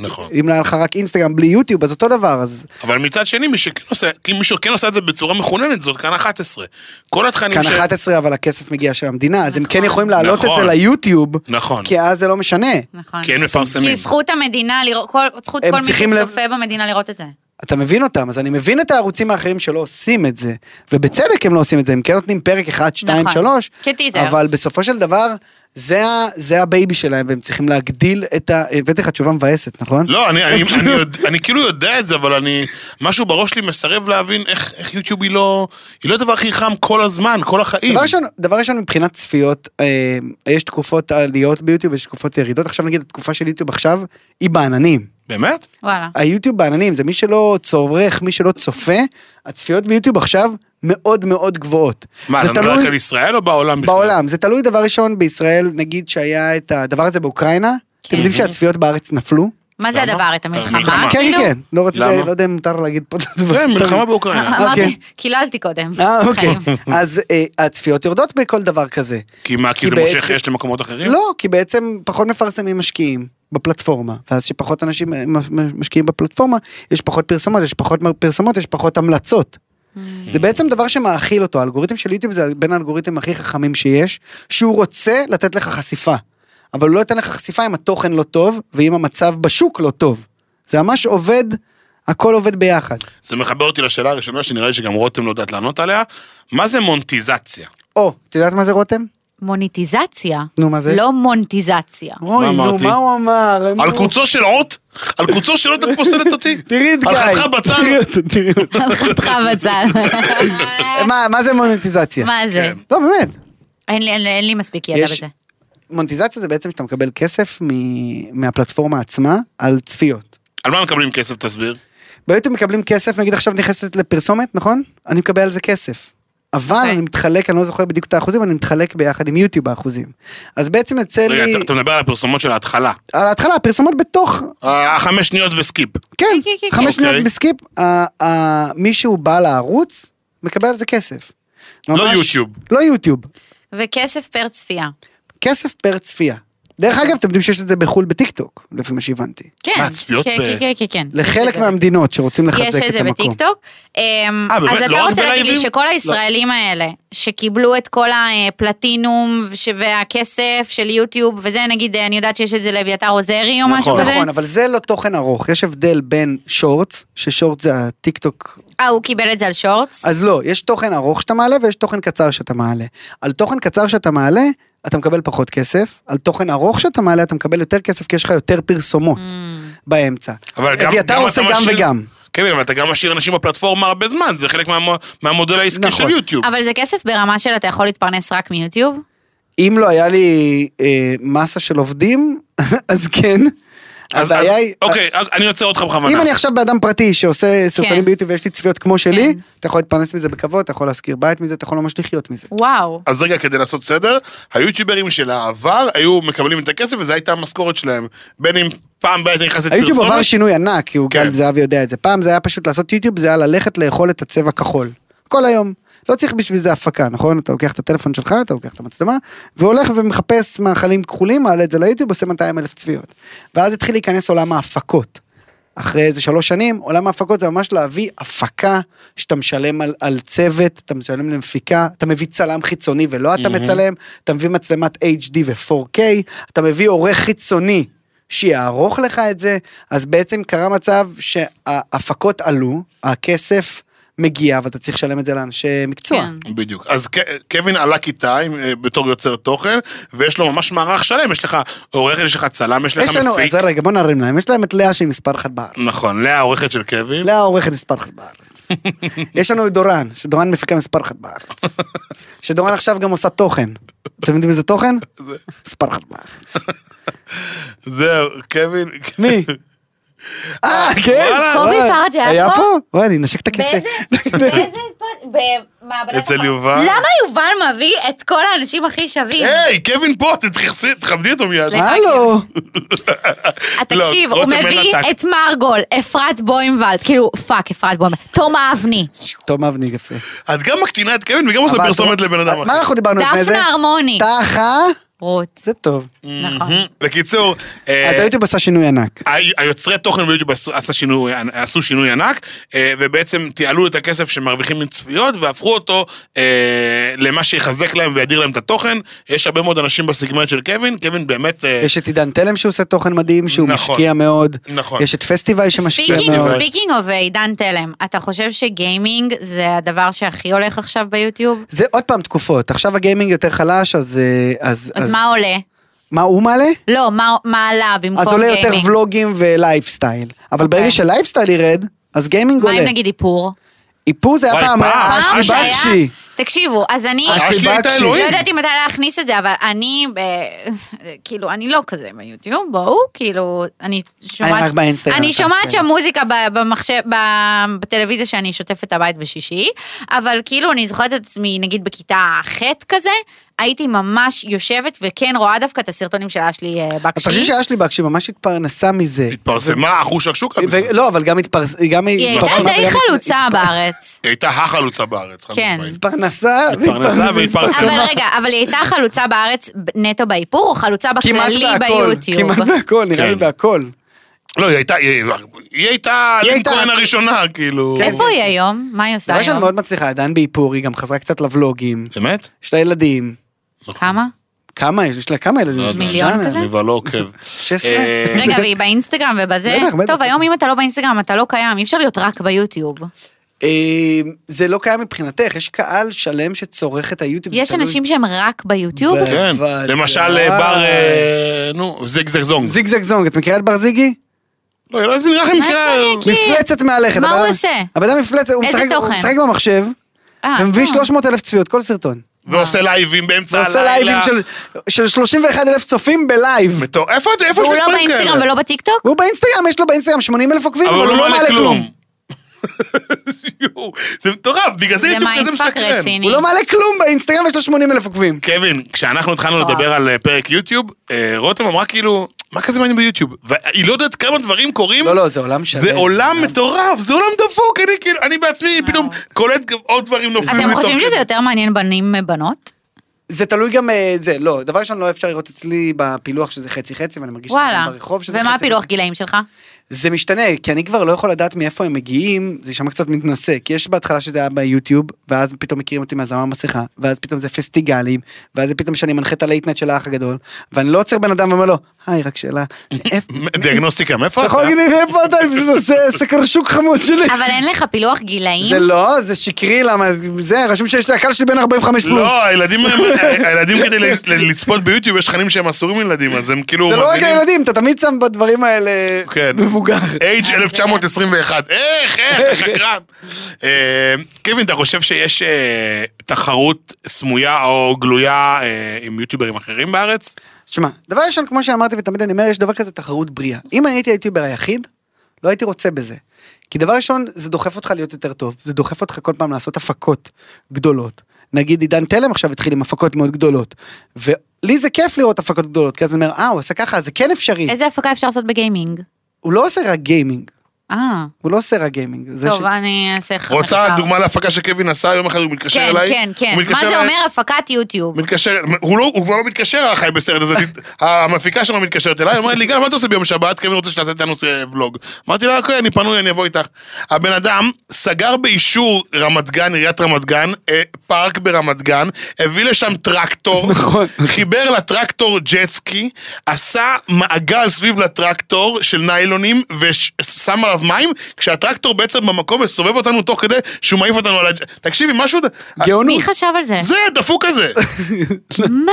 Speaker 2: נכון.
Speaker 4: אם לא היה לך רק אינסטגרם בלי יוטיוב אז אותו דבר, אז
Speaker 2: אבל מצד שני, מי שכן עושה, כי מי שכן עושה את זה בצורה מכוננת, זאת כאן 11. כל התכנים
Speaker 4: כאן
Speaker 2: ש...
Speaker 4: 11 אבל הכסף מגיע של המדינה, אז הם כן יכולים להעלות את
Speaker 2: נכון.
Speaker 4: זה ליוטיוב,
Speaker 2: נכון.
Speaker 4: כי אז זה לא משנה.
Speaker 3: נכון.
Speaker 2: כי אין מפרסמים.
Speaker 3: כי זכות המדינה לראות, כל- זכות
Speaker 4: הם
Speaker 3: כל מי
Speaker 4: צריכים לב-
Speaker 3: שצופה במדינה לראות את זה.
Speaker 4: אתה מבין אותם, אז אני מבין את הערוצים האחרים שלא עושים את זה, ובצדק הם לא עושים את זה, הם כן נותנים פרק 1, 2,
Speaker 3: נכון.
Speaker 4: 3,
Speaker 3: כטיזר.
Speaker 4: אבל בסופו של דבר, זה ה- זה הבייבי שלהם, והם צריכים להגדיל את ה... הבאתי לך תשובה מבאסת, נכון?
Speaker 2: לא, אני, אני, אני, יודע, אני כאילו יודע את זה, אבל אני... משהו בראש שלי מסרב להבין איך, איך יוטיוב היא לא... היא לא הדבר הכי חם כל הזמן, כל החיים.
Speaker 4: דבר ראשון, דבר ראשון מבחינת צפיות, אה, יש תקופות עליות ביוטיוב, יש תקופות ירידות, עכשיו נגיד התקופה של יוטיוב עכשיו, היא בעננים.
Speaker 2: באמת?
Speaker 3: וואלה.
Speaker 4: היוטיוב בעננים, זה מי שלא צורך, מי שלא צופה, הצפיות ביוטיוב עכשיו מאוד מאוד גבוהות.
Speaker 2: מה,
Speaker 4: זה
Speaker 2: אתה מדבר
Speaker 4: תלוי-
Speaker 2: רק על ישראל או בעולם בכלל?
Speaker 4: בעולם, זה תלוי דבר ראשון בישראל, נגיד שהיה את הדבר הזה באוקראינה, אתם יודעים שהצפיות בארץ נפלו?
Speaker 3: מה זה
Speaker 2: למה?
Speaker 3: הדבר? את המלחמה?
Speaker 2: המלחמה.
Speaker 4: כן,
Speaker 3: כאילו?
Speaker 4: כן, כן, לא רציתי,
Speaker 2: למה?
Speaker 4: לא יודע אם מותר להגיד פה את הדבר.
Speaker 2: כן, מלחמה באוקראינה.
Speaker 4: אוקיי.
Speaker 3: אמרתי, קיללתי קודם.
Speaker 4: אה, אוקיי.
Speaker 3: בחיים.
Speaker 4: אז אה, הצפיות יורדות בכל דבר כזה.
Speaker 2: כי מה, כי
Speaker 4: כי
Speaker 2: זה
Speaker 4: בעצם-
Speaker 2: מושך יש למקומות אחרים?
Speaker 4: לא, כי בעצם פחות מפרסמים משקיעים בפלטפורמה, ואז שפחות אנשים אה, מ- מ- משקיעים בפלטפורמה, יש פחות פרסומות, יש פחות פרסומות, יש פחות המלצות.
Speaker 2: Mm.
Speaker 4: זה בעצם דבר שמאכיל אותו, האלגוריתם של יוטיוב זה בין האלגוריתם הכי חכמים שיש, שהוא רוצה לתת לך חשיפה, אבל הוא לא ייתן לך חשיפה אם התוכן לא טוב, ואם המצב בשוק לא טוב. זה ממש עובד, הכל עובד ביחד.
Speaker 2: זה מחבר אותי לשאלה הראשונה, שנראה לי שגם רותם לא יודעת לענות עליה. מה זה מונטיזציה?
Speaker 4: או, את יודעת מה זה רותם?
Speaker 3: מוניטיזציה.
Speaker 4: נו, מה זה?
Speaker 3: לא מונטיזציה.
Speaker 4: אוי, נו,
Speaker 2: אמרתי?
Speaker 4: מה הוא אמר?
Speaker 2: על
Speaker 4: נו.
Speaker 2: קוצו של אות? על קוצו של אות את פוסלת אותי?
Speaker 4: תראי את גיא.
Speaker 2: על חתך בצד?
Speaker 4: תראי אותו, תראי אותו.
Speaker 3: חתך בצד.
Speaker 4: מה- מה זה מונטיזציה?
Speaker 3: מה זה?
Speaker 2: כן.
Speaker 4: לא, באמת.
Speaker 3: אין לי- אין לי- אין לי מספיק ידע
Speaker 4: יש-
Speaker 3: בזה.
Speaker 4: מונטיזציה זה בעצם שאתה מקבל כסף מ... מהפלטפורמה עצמה על צפיות.
Speaker 2: על מה מקבלים כסף, תסביר?
Speaker 4: ביוטיוב מקבלים כסף, נגיד עכשיו נכנסת לפרסומת, נכון? אני מקבל על זה כסף. אבל
Speaker 3: אוקיי.
Speaker 4: אני מתחלק, אני לא זוכר בדיוק את האחוזים, אני מתחלק ביחד עם יוטיוב האחוזים. אז בעצם יוצא לי,
Speaker 2: רגע, אתה- אתה מדבר על הפרסומות של ההתחלה.
Speaker 4: על ההתחלה, הפרסומות בתוך,
Speaker 2: אה, חמש שניות וסקיפ.
Speaker 4: כן,
Speaker 3: כן, כן, כן.
Speaker 4: חמש
Speaker 2: אוקיי.
Speaker 4: שניות בסקיפ, ה- ה- מי שהוא בעל הערוץ, מקבל על זה כסף. ממש-
Speaker 2: יוטיוב.
Speaker 4: לא יוטיוב,
Speaker 3: וכסף פר צפייה.
Speaker 4: כסף פר צפייה. דרך אגב, אתם יודעים שיש את זה בחו"ל בטיקטוק, לפי מה שהבנתי.
Speaker 3: כן.
Speaker 2: מה, צפיות
Speaker 3: כן,
Speaker 2: ב-
Speaker 3: כן, כן, כן, כן. יש את
Speaker 4: לחלק
Speaker 3: זה.
Speaker 4: מהמדינות שרוצים לחזק את
Speaker 3: יש
Speaker 4: המקום.
Speaker 3: את זה בטיקטוק. אמ,
Speaker 2: אה, באמת?
Speaker 3: אז
Speaker 2: לא
Speaker 3: אתה
Speaker 2: רק
Speaker 3: רוצה להגיד לי
Speaker 2: בלייבים?
Speaker 3: שכל הישראלים האלה, שקיבלו את כל הפלטינום וש- והכסף של יוטיוב, וזה נגיד, אני יודעת שיש את זה לאביתר עוזרי או
Speaker 2: נכון,
Speaker 3: משהו כזה.
Speaker 4: נכון, אבל זה לא תוכן ארוך, יש הבדל בין שורטס, ששורטס זה הטיקטוק,
Speaker 3: אה, הוא קיבל את זה על שורטס?
Speaker 4: אז לא, יש תוכן ארוך שאתה מעלה ויש תוכן קצר שאתה מעלה. על תוכן קצר שאתה מעלה, אתה מקבל פחות כסף, על תוכן ארוך שאתה מעלה אתה מקבל יותר כסף כי יש לך יותר פרסומות
Speaker 3: Mm.
Speaker 4: באמצע.
Speaker 2: אבל גם...
Speaker 4: אביתר
Speaker 2: גם
Speaker 4: עושה
Speaker 2: אתה
Speaker 4: גם
Speaker 2: משאיר-
Speaker 4: וגם.
Speaker 2: כן, אבל אתה גם משאיר אנשים בפלטפורמה הרבה זמן, זה חלק מהמו- מהמודל העסקי
Speaker 4: נכון.
Speaker 2: של יוטיוב.
Speaker 3: אבל זה כסף ברמה של אתה יכול להתפרנס רק מיוטיוב?
Speaker 4: אם לא היה לי אה, מסה של עובדים, אז כן.
Speaker 2: אז-
Speaker 4: הבעיה
Speaker 2: אז-
Speaker 4: היא...
Speaker 2: אוקיי, אני עוצר אותך בכוונה.
Speaker 4: אם אני עכשיו באדם פרטי שעושה
Speaker 3: כן.
Speaker 4: סרטונים ביוטיוב ויש לי צפיות כמו שלי,
Speaker 3: כן.
Speaker 4: אתה יכול להתפרנס מזה בכבוד, אתה יכול להשכיר בית מזה, אתה יכול ממש לחיות מזה.
Speaker 3: וואו.
Speaker 2: אז רגע, כדי לעשות סדר, היוטיוברים של העבר היו מקבלים את הכסף וזו הייתה המשכורת שלהם. בין אם פעם בעת נכנס
Speaker 4: היוטיוב עבר
Speaker 2: לפרסומת,
Speaker 4: שינוי ענק, כי הוא
Speaker 2: כן.
Speaker 4: גל זהבי יודע את זה. פעם זה היה פשוט לעשות יוטיוב, זה היה ללכת לאכול את הצבע כחול. כל היום. לא צריך בשביל זה הפקה, נכון? אתה לוקח את הטלפון שלך, אתה לוקח את המצלמה, והולך ומחפש מאכלים כחולים, מעלה את זה ליוטיוב, עושה 200 אלף צפיות. ואז התחיל להיכנס עולם ההפקות. אחרי איזה שלוש שנים, עולם ההפקות זה ממש להביא הפקה שאתה משלם על, על צוות, אתה משלם למפיקה, אתה מביא צלם חיצוני ולא אתה מצלם, אתה מביא מצלמת HD ו-4K, אתה מביא עורך חיצוני שיערוך לך את זה, אז בעצם קרה מצב שההפקות עלו, הכסף מגיע, ואתה צריך לשלם את זה לאנשי מקצוע.
Speaker 3: כן.
Speaker 2: בדיוק. אז ק- קווין עלה כיתה עם- אה, בתור יוצר תוכן, ויש לו ממש מערך שלם, יש לך עורך, יש לך צלם, יש לך
Speaker 4: יש לנו,
Speaker 2: מפיק.
Speaker 4: אז רגע, בוא נרים להם, יש להם את לאה שהיא מספר אחת בארץ.
Speaker 2: נכון, לאה העורכת של קווין.
Speaker 4: לאה העורכת מספר אחת בארץ. יש לנו את דורן, שדורן מפיקה מספר אחת בארץ. שדורן עכשיו גם עושה תוכן. אתם יודעים איזה תוכן? מספר אחת בארץ.
Speaker 2: זהו, קווין.
Speaker 4: מי? אה, כן.
Speaker 2: וואלה,
Speaker 4: וואי.
Speaker 3: קובי פרג' היה פה?
Speaker 4: פה? וואי, אני אנשק את הכיסא.
Speaker 3: באיזה... באיזה... פוד- במעבדת
Speaker 2: אצל
Speaker 3: החלל.
Speaker 2: יובל? אה,
Speaker 3: למה יובל מביא את כל האנשים הכי שווים?
Speaker 2: היי, קווין פה, תתייחסי, תכבדי אותו מיד.
Speaker 3: סליחה.
Speaker 4: הלו.
Speaker 3: אה, תקשיב,
Speaker 2: לא,
Speaker 3: הוא
Speaker 2: רותם
Speaker 3: מביא
Speaker 2: מלטק.
Speaker 3: את מרגול, אפרת בוימבלד, כאילו, פאק, אפרת בוימבלד, תום אבני,
Speaker 4: טוב, אבני יפה.
Speaker 2: את גם מקטינה את קווין וגם עושה
Speaker 4: אבל-
Speaker 2: פרסומת לבן אדם
Speaker 4: מה
Speaker 2: אחר.
Speaker 4: אנחנו דיברנו לפני זה?
Speaker 3: דפנה הרמוני,
Speaker 4: תחה.
Speaker 3: רות,
Speaker 4: זה טוב.
Speaker 2: אה.
Speaker 3: נכון.
Speaker 2: בקיצור, אה,
Speaker 4: אז היוטיוב עשה שינוי ענק.
Speaker 2: ה- היוצרי תוכן ביוטיוב עשו, עשה שינוי, עשו שינוי ענק, אה, ובעצם תיעלו את הכסף שמרוויחים מצפיות, והפכו אותו אה, למה שיחזק להם וידיר להם את התוכן. יש הרבה מאוד אנשים בסגמנט של קווין, קווין באמת... אה,
Speaker 4: יש את עידן תלם שעושה תוכן מדהים, שהוא
Speaker 2: נכון.
Speaker 4: משקיע מאוד.
Speaker 2: נכון.
Speaker 4: יש את פסטיבי שמשקיע
Speaker 3: ספיקינג,
Speaker 4: מאוד.
Speaker 3: ספיקינג אוף עידן תלם, אתה חושב שגיימינג זה הדבר שהכי הולך עכשיו ביוטיוב?
Speaker 4: זה עוד פעם תקופות, עכשיו הגיימינג יותר חלש, אז... אה, אז,
Speaker 3: אז מה עולה?
Speaker 4: מה הוא מעלה?
Speaker 3: לא, מה- מה עלה במקום
Speaker 4: אז
Speaker 3: גיימינג?
Speaker 4: עולה יותר ולוגים ולייפסטייל. אבל ברגע שלייפסטייל ירד, אז גיימינג
Speaker 3: אוקיי. מה
Speaker 4: עולה.
Speaker 3: אם נגיד איפור?
Speaker 4: איפור זה היה
Speaker 2: וואי,
Speaker 4: פעם,
Speaker 2: פעם,
Speaker 4: היה
Speaker 3: פעם
Speaker 4: אשלי
Speaker 3: שהיה-
Speaker 4: בקשי.
Speaker 3: תקשיבו, אז אני...
Speaker 4: אשלי
Speaker 2: אשלי הייתה
Speaker 4: בקשי.
Speaker 3: לא
Speaker 2: אלוהים.
Speaker 3: ידעתי מתי להכניס את זה, אבל אני, אה, כאילו, אני לא כזה ביוטיוב, בואו, כאילו, אני שומעת...
Speaker 4: רק באינסטגרם,
Speaker 3: אני
Speaker 4: אתה
Speaker 3: שומעת
Speaker 4: בסדר.
Speaker 3: שם מוזיקה ב- במחשב, ב- בטלוויזיה שאני שוטפת הבית בשישי, אבל כאילו, אני זוכרת את עצמי, נגיד בכיתה ח' כזה, הייתי ממש יושבת וכן רואה דווקא את הסרטונים של אשלי אה,
Speaker 4: אז תחשבי
Speaker 3: בקשי.
Speaker 4: שאשלי בקשי ממש התפרנסה מזה.
Speaker 2: התפרסמה אחוש שקשוקה, בכלל.
Speaker 4: ו- לא, אבל גם התפרנסה, גם
Speaker 3: היא הייתה
Speaker 4: התפרסמה
Speaker 3: די
Speaker 4: וגם-
Speaker 3: חלוצה בארץ.
Speaker 2: היא הייתה החלוצה בארץ, חד
Speaker 3: כן.
Speaker 2: משמעית.
Speaker 4: התפרנסה
Speaker 2: התפרנסה והתפרסמה.
Speaker 3: אבל רגע, אבל היא הייתה חלוצה בארץ נטו באיפור, או חלוצה
Speaker 4: כמעט
Speaker 3: בכללי
Speaker 4: בהכל,
Speaker 3: ביוטיוב?
Speaker 4: כמעט בהכל, נראה לי
Speaker 2: כן.
Speaker 4: בהכל.
Speaker 2: לא, היא הייתה, היא היא הייתה
Speaker 4: היא
Speaker 2: לין
Speaker 4: הייתה-
Speaker 2: כהן הראשונה, כאילו.
Speaker 3: איפה היא היום? מה היא עושה
Speaker 4: כן. דבר
Speaker 3: היום?
Speaker 4: שאני מאוד מצליחה, עדיין באיפור, היא גם חזרה קצת לבלוגים.
Speaker 2: באמת?
Speaker 4: יש לה ילדים.
Speaker 3: כמה?
Speaker 4: כמה יש? יש לה כמה ילדים?
Speaker 2: לא יודע.
Speaker 3: מיליון
Speaker 4: שנה.
Speaker 3: כזה?
Speaker 2: אני כבר לא עוקב.
Speaker 4: 16?
Speaker 2: אה,
Speaker 3: רגע, והיא באינסטגרם ובזה?
Speaker 4: בטח, בטח.
Speaker 3: טוב, היום אם אתה לא באינסטגרם, אתה לא קיים, אי אפשר להיות רק ביוטיוב.
Speaker 4: אה, זה לא קיים מבחינתך, יש קהל שלם שצורך את היוטיוב. זה
Speaker 3: יש
Speaker 4: תלוי-
Speaker 3: אנשים שהם רק ביוטיוב?
Speaker 4: ב-
Speaker 2: כן,
Speaker 4: אבל-
Speaker 2: למשל אה, בר, אה, נו, זיג זג זונג.
Speaker 4: זיג זג זונג, את מכירה את בר זיגי?
Speaker 2: לא, זה נראה לכם
Speaker 3: מה
Speaker 2: מקרה...
Speaker 3: זה נגיד? כי-
Speaker 4: מפלצת מהלכת.
Speaker 3: כן. מה
Speaker 4: הבן
Speaker 3: הוא
Speaker 4: אדם-
Speaker 3: עושה?
Speaker 4: הבן אדם מפלצת, הוא
Speaker 3: איזה
Speaker 4: משחק- הוא
Speaker 3: תוכן?
Speaker 4: משחק במחשב,
Speaker 3: אה,
Speaker 4: ומביא
Speaker 3: טוב.
Speaker 4: 300 אלף צפיות, כל סרטון.
Speaker 2: ועושה לייבים באמצע
Speaker 4: ועושה לייבים
Speaker 2: הלילה.
Speaker 4: של- של 31 אלף צופים בלייב.
Speaker 2: מטור- איפה את- איפה יש
Speaker 3: והוא לא
Speaker 2: מספרים
Speaker 3: באינסטגרם
Speaker 2: כאלה?
Speaker 3: ולא בטיקטוק?
Speaker 4: הוא באינסטגרם, יש לו באינסטגרם 80 אלף עוקבים,
Speaker 2: אבל הוא לא מעלה כלום. יואו, זה מטורף, בגלל זה
Speaker 3: זה
Speaker 2: יוטיוב כזה
Speaker 3: מיינדפאק
Speaker 2: מסקרן.
Speaker 3: רציני.
Speaker 4: הוא לא מעלה כלום באינסטגרם, יש לו 80 אלף עוקבים.
Speaker 2: קווין, כשאנחנו התחלנו
Speaker 3: וואו.
Speaker 2: לדבר על אה, פרק יוטיוב, אה, רותם אמרה כאילו, מה כזה מעניין ביוטיוב? והיא לא יודעת כמה דברים קורים.
Speaker 4: לא, לא, זה עולם שלם.
Speaker 2: זה עולם מטורף, זה עולם דפוק, אני כאילו, אני בעצמי פתאום קולט גם עוד דברים נופלים
Speaker 3: אה. אתם
Speaker 2: לי
Speaker 3: חושבים
Speaker 2: תוך
Speaker 3: שזה
Speaker 2: כדי.
Speaker 3: יותר מעניין בנים מבנות?
Speaker 4: זה תלוי גם, אה, זה, לא, דבר ראשון לא אפשר לראות אצלי בפילוח שזה חצי חצי, ואני מרגיש שזה
Speaker 3: וואלה.
Speaker 4: גם ברחוב שזה חצי
Speaker 3: ומה הפילוח גילאים שלך?
Speaker 4: זה משתנה, כי אני כבר לא יכול לדעת מאיפה הם מגיעים, זה יישמע קצת מתנשא, כי יש בהתחלה שזה היה ביוטיוב, ואז פתאום מכירים אותי מהזמר מסכה, ואז פתאום זה פסטיגלים, ואז זה פתאום שאני מנחה את הלייטנט של האח הגדול, ואני לא עוצר בן אדם ואומר לו, היי, רק שאלה, איפה,
Speaker 2: דיאגנוסטיקה, מאיפה
Speaker 4: אתה
Speaker 2: אתה?
Speaker 4: יכול להגיד לי, איפה אתה, זה סקר שוק חמוד שלי.
Speaker 3: אבל אין לך פילוח גילאים?
Speaker 4: זה לא, זה שקרי, למה, זה, רשום שיש לי הקהל שלי בין 45 פלוס.
Speaker 2: לא, הילדים, הם- הילדים כדי ל- ל- לצפות ביוטיוב, יש תכנים שהם אסורים לילדים, אז הם כאילו...
Speaker 4: זה לא רק
Speaker 2: מאזינים.
Speaker 4: הילדים, אתה תמיד שם בדברים האלה
Speaker 2: כן.
Speaker 4: מבוגר.
Speaker 2: אייג' 1921, איך, איך, אתה שקרן. אה, קווין, אתה חושב שיש אה, תחרות סמויה או גלויה אה, עם יוטיוברים אחרים בארץ?
Speaker 4: תשמע, דבר ראשון, כמו שאמרתי ותמיד אני אומר, יש דבר כזה תחרות בריאה. אם אני הייתי היוטיובר היחיד, לא הייתי רוצה בזה. כי דבר ראשון, זה דוחף אותך להיות יותר טוב, זה דוחף אותך כל פעם לעשות הפקות גדולות. נגיד עידן תלם עכשיו התחיל עם הפקות מאוד גדולות. ולי זה כיף לראות הפקות גדולות, כי אז אני אומר, אה, הוא עשה ככה, אז זה כן אפשרי.
Speaker 3: איזה הפקה אפשר לעשות בגיימינג?
Speaker 4: הוא לא עושה רק גיימינג,
Speaker 3: אה,
Speaker 4: הוא לא עושה רק גיימינג. זה ש-
Speaker 3: טוב, אני אעשה לך
Speaker 2: רוצה
Speaker 3: מחקר.
Speaker 2: דוגמה להפקה שקווין עשה יום אחד, הוא מתקשר
Speaker 3: כן,
Speaker 2: אליי?
Speaker 3: כן, כן.
Speaker 2: הוא מתקשר
Speaker 3: מה זה
Speaker 2: אליי-
Speaker 3: אומר הפקת יוטיוב?
Speaker 2: הוא מתקשר, הוא, לא, הוא כבר לא מתקשר החי בסרט הזה, המפיקה שלו מתקשרת אליי, אומרת לי, גל, מה אתה עושה ביום שבת? קווין רוצה שתעשה איתנו אה, ולוג. אמרתי לה, אוקיי, אני פנוי, אני אבוא איתך. הבן אדם סגר באישור רמת גן, עיריית רמת גן, אה, פארק ברמת גן, הביא לשם טרקטור,
Speaker 4: נכון.
Speaker 2: חיבר לטרקטור ג'טסקי, עשה מעגל סביב לטרקטור של ניילונים, ושם עליו עליו מים, כשהטרקטור בעצם במקום מסובב אותנו תוך כדי שהוא מעיף אותנו על הג'... תקשיבי, משהו...
Speaker 4: גאונות.
Speaker 3: מי חשב על זה?
Speaker 2: זה, הדפוק הזה.
Speaker 3: מה?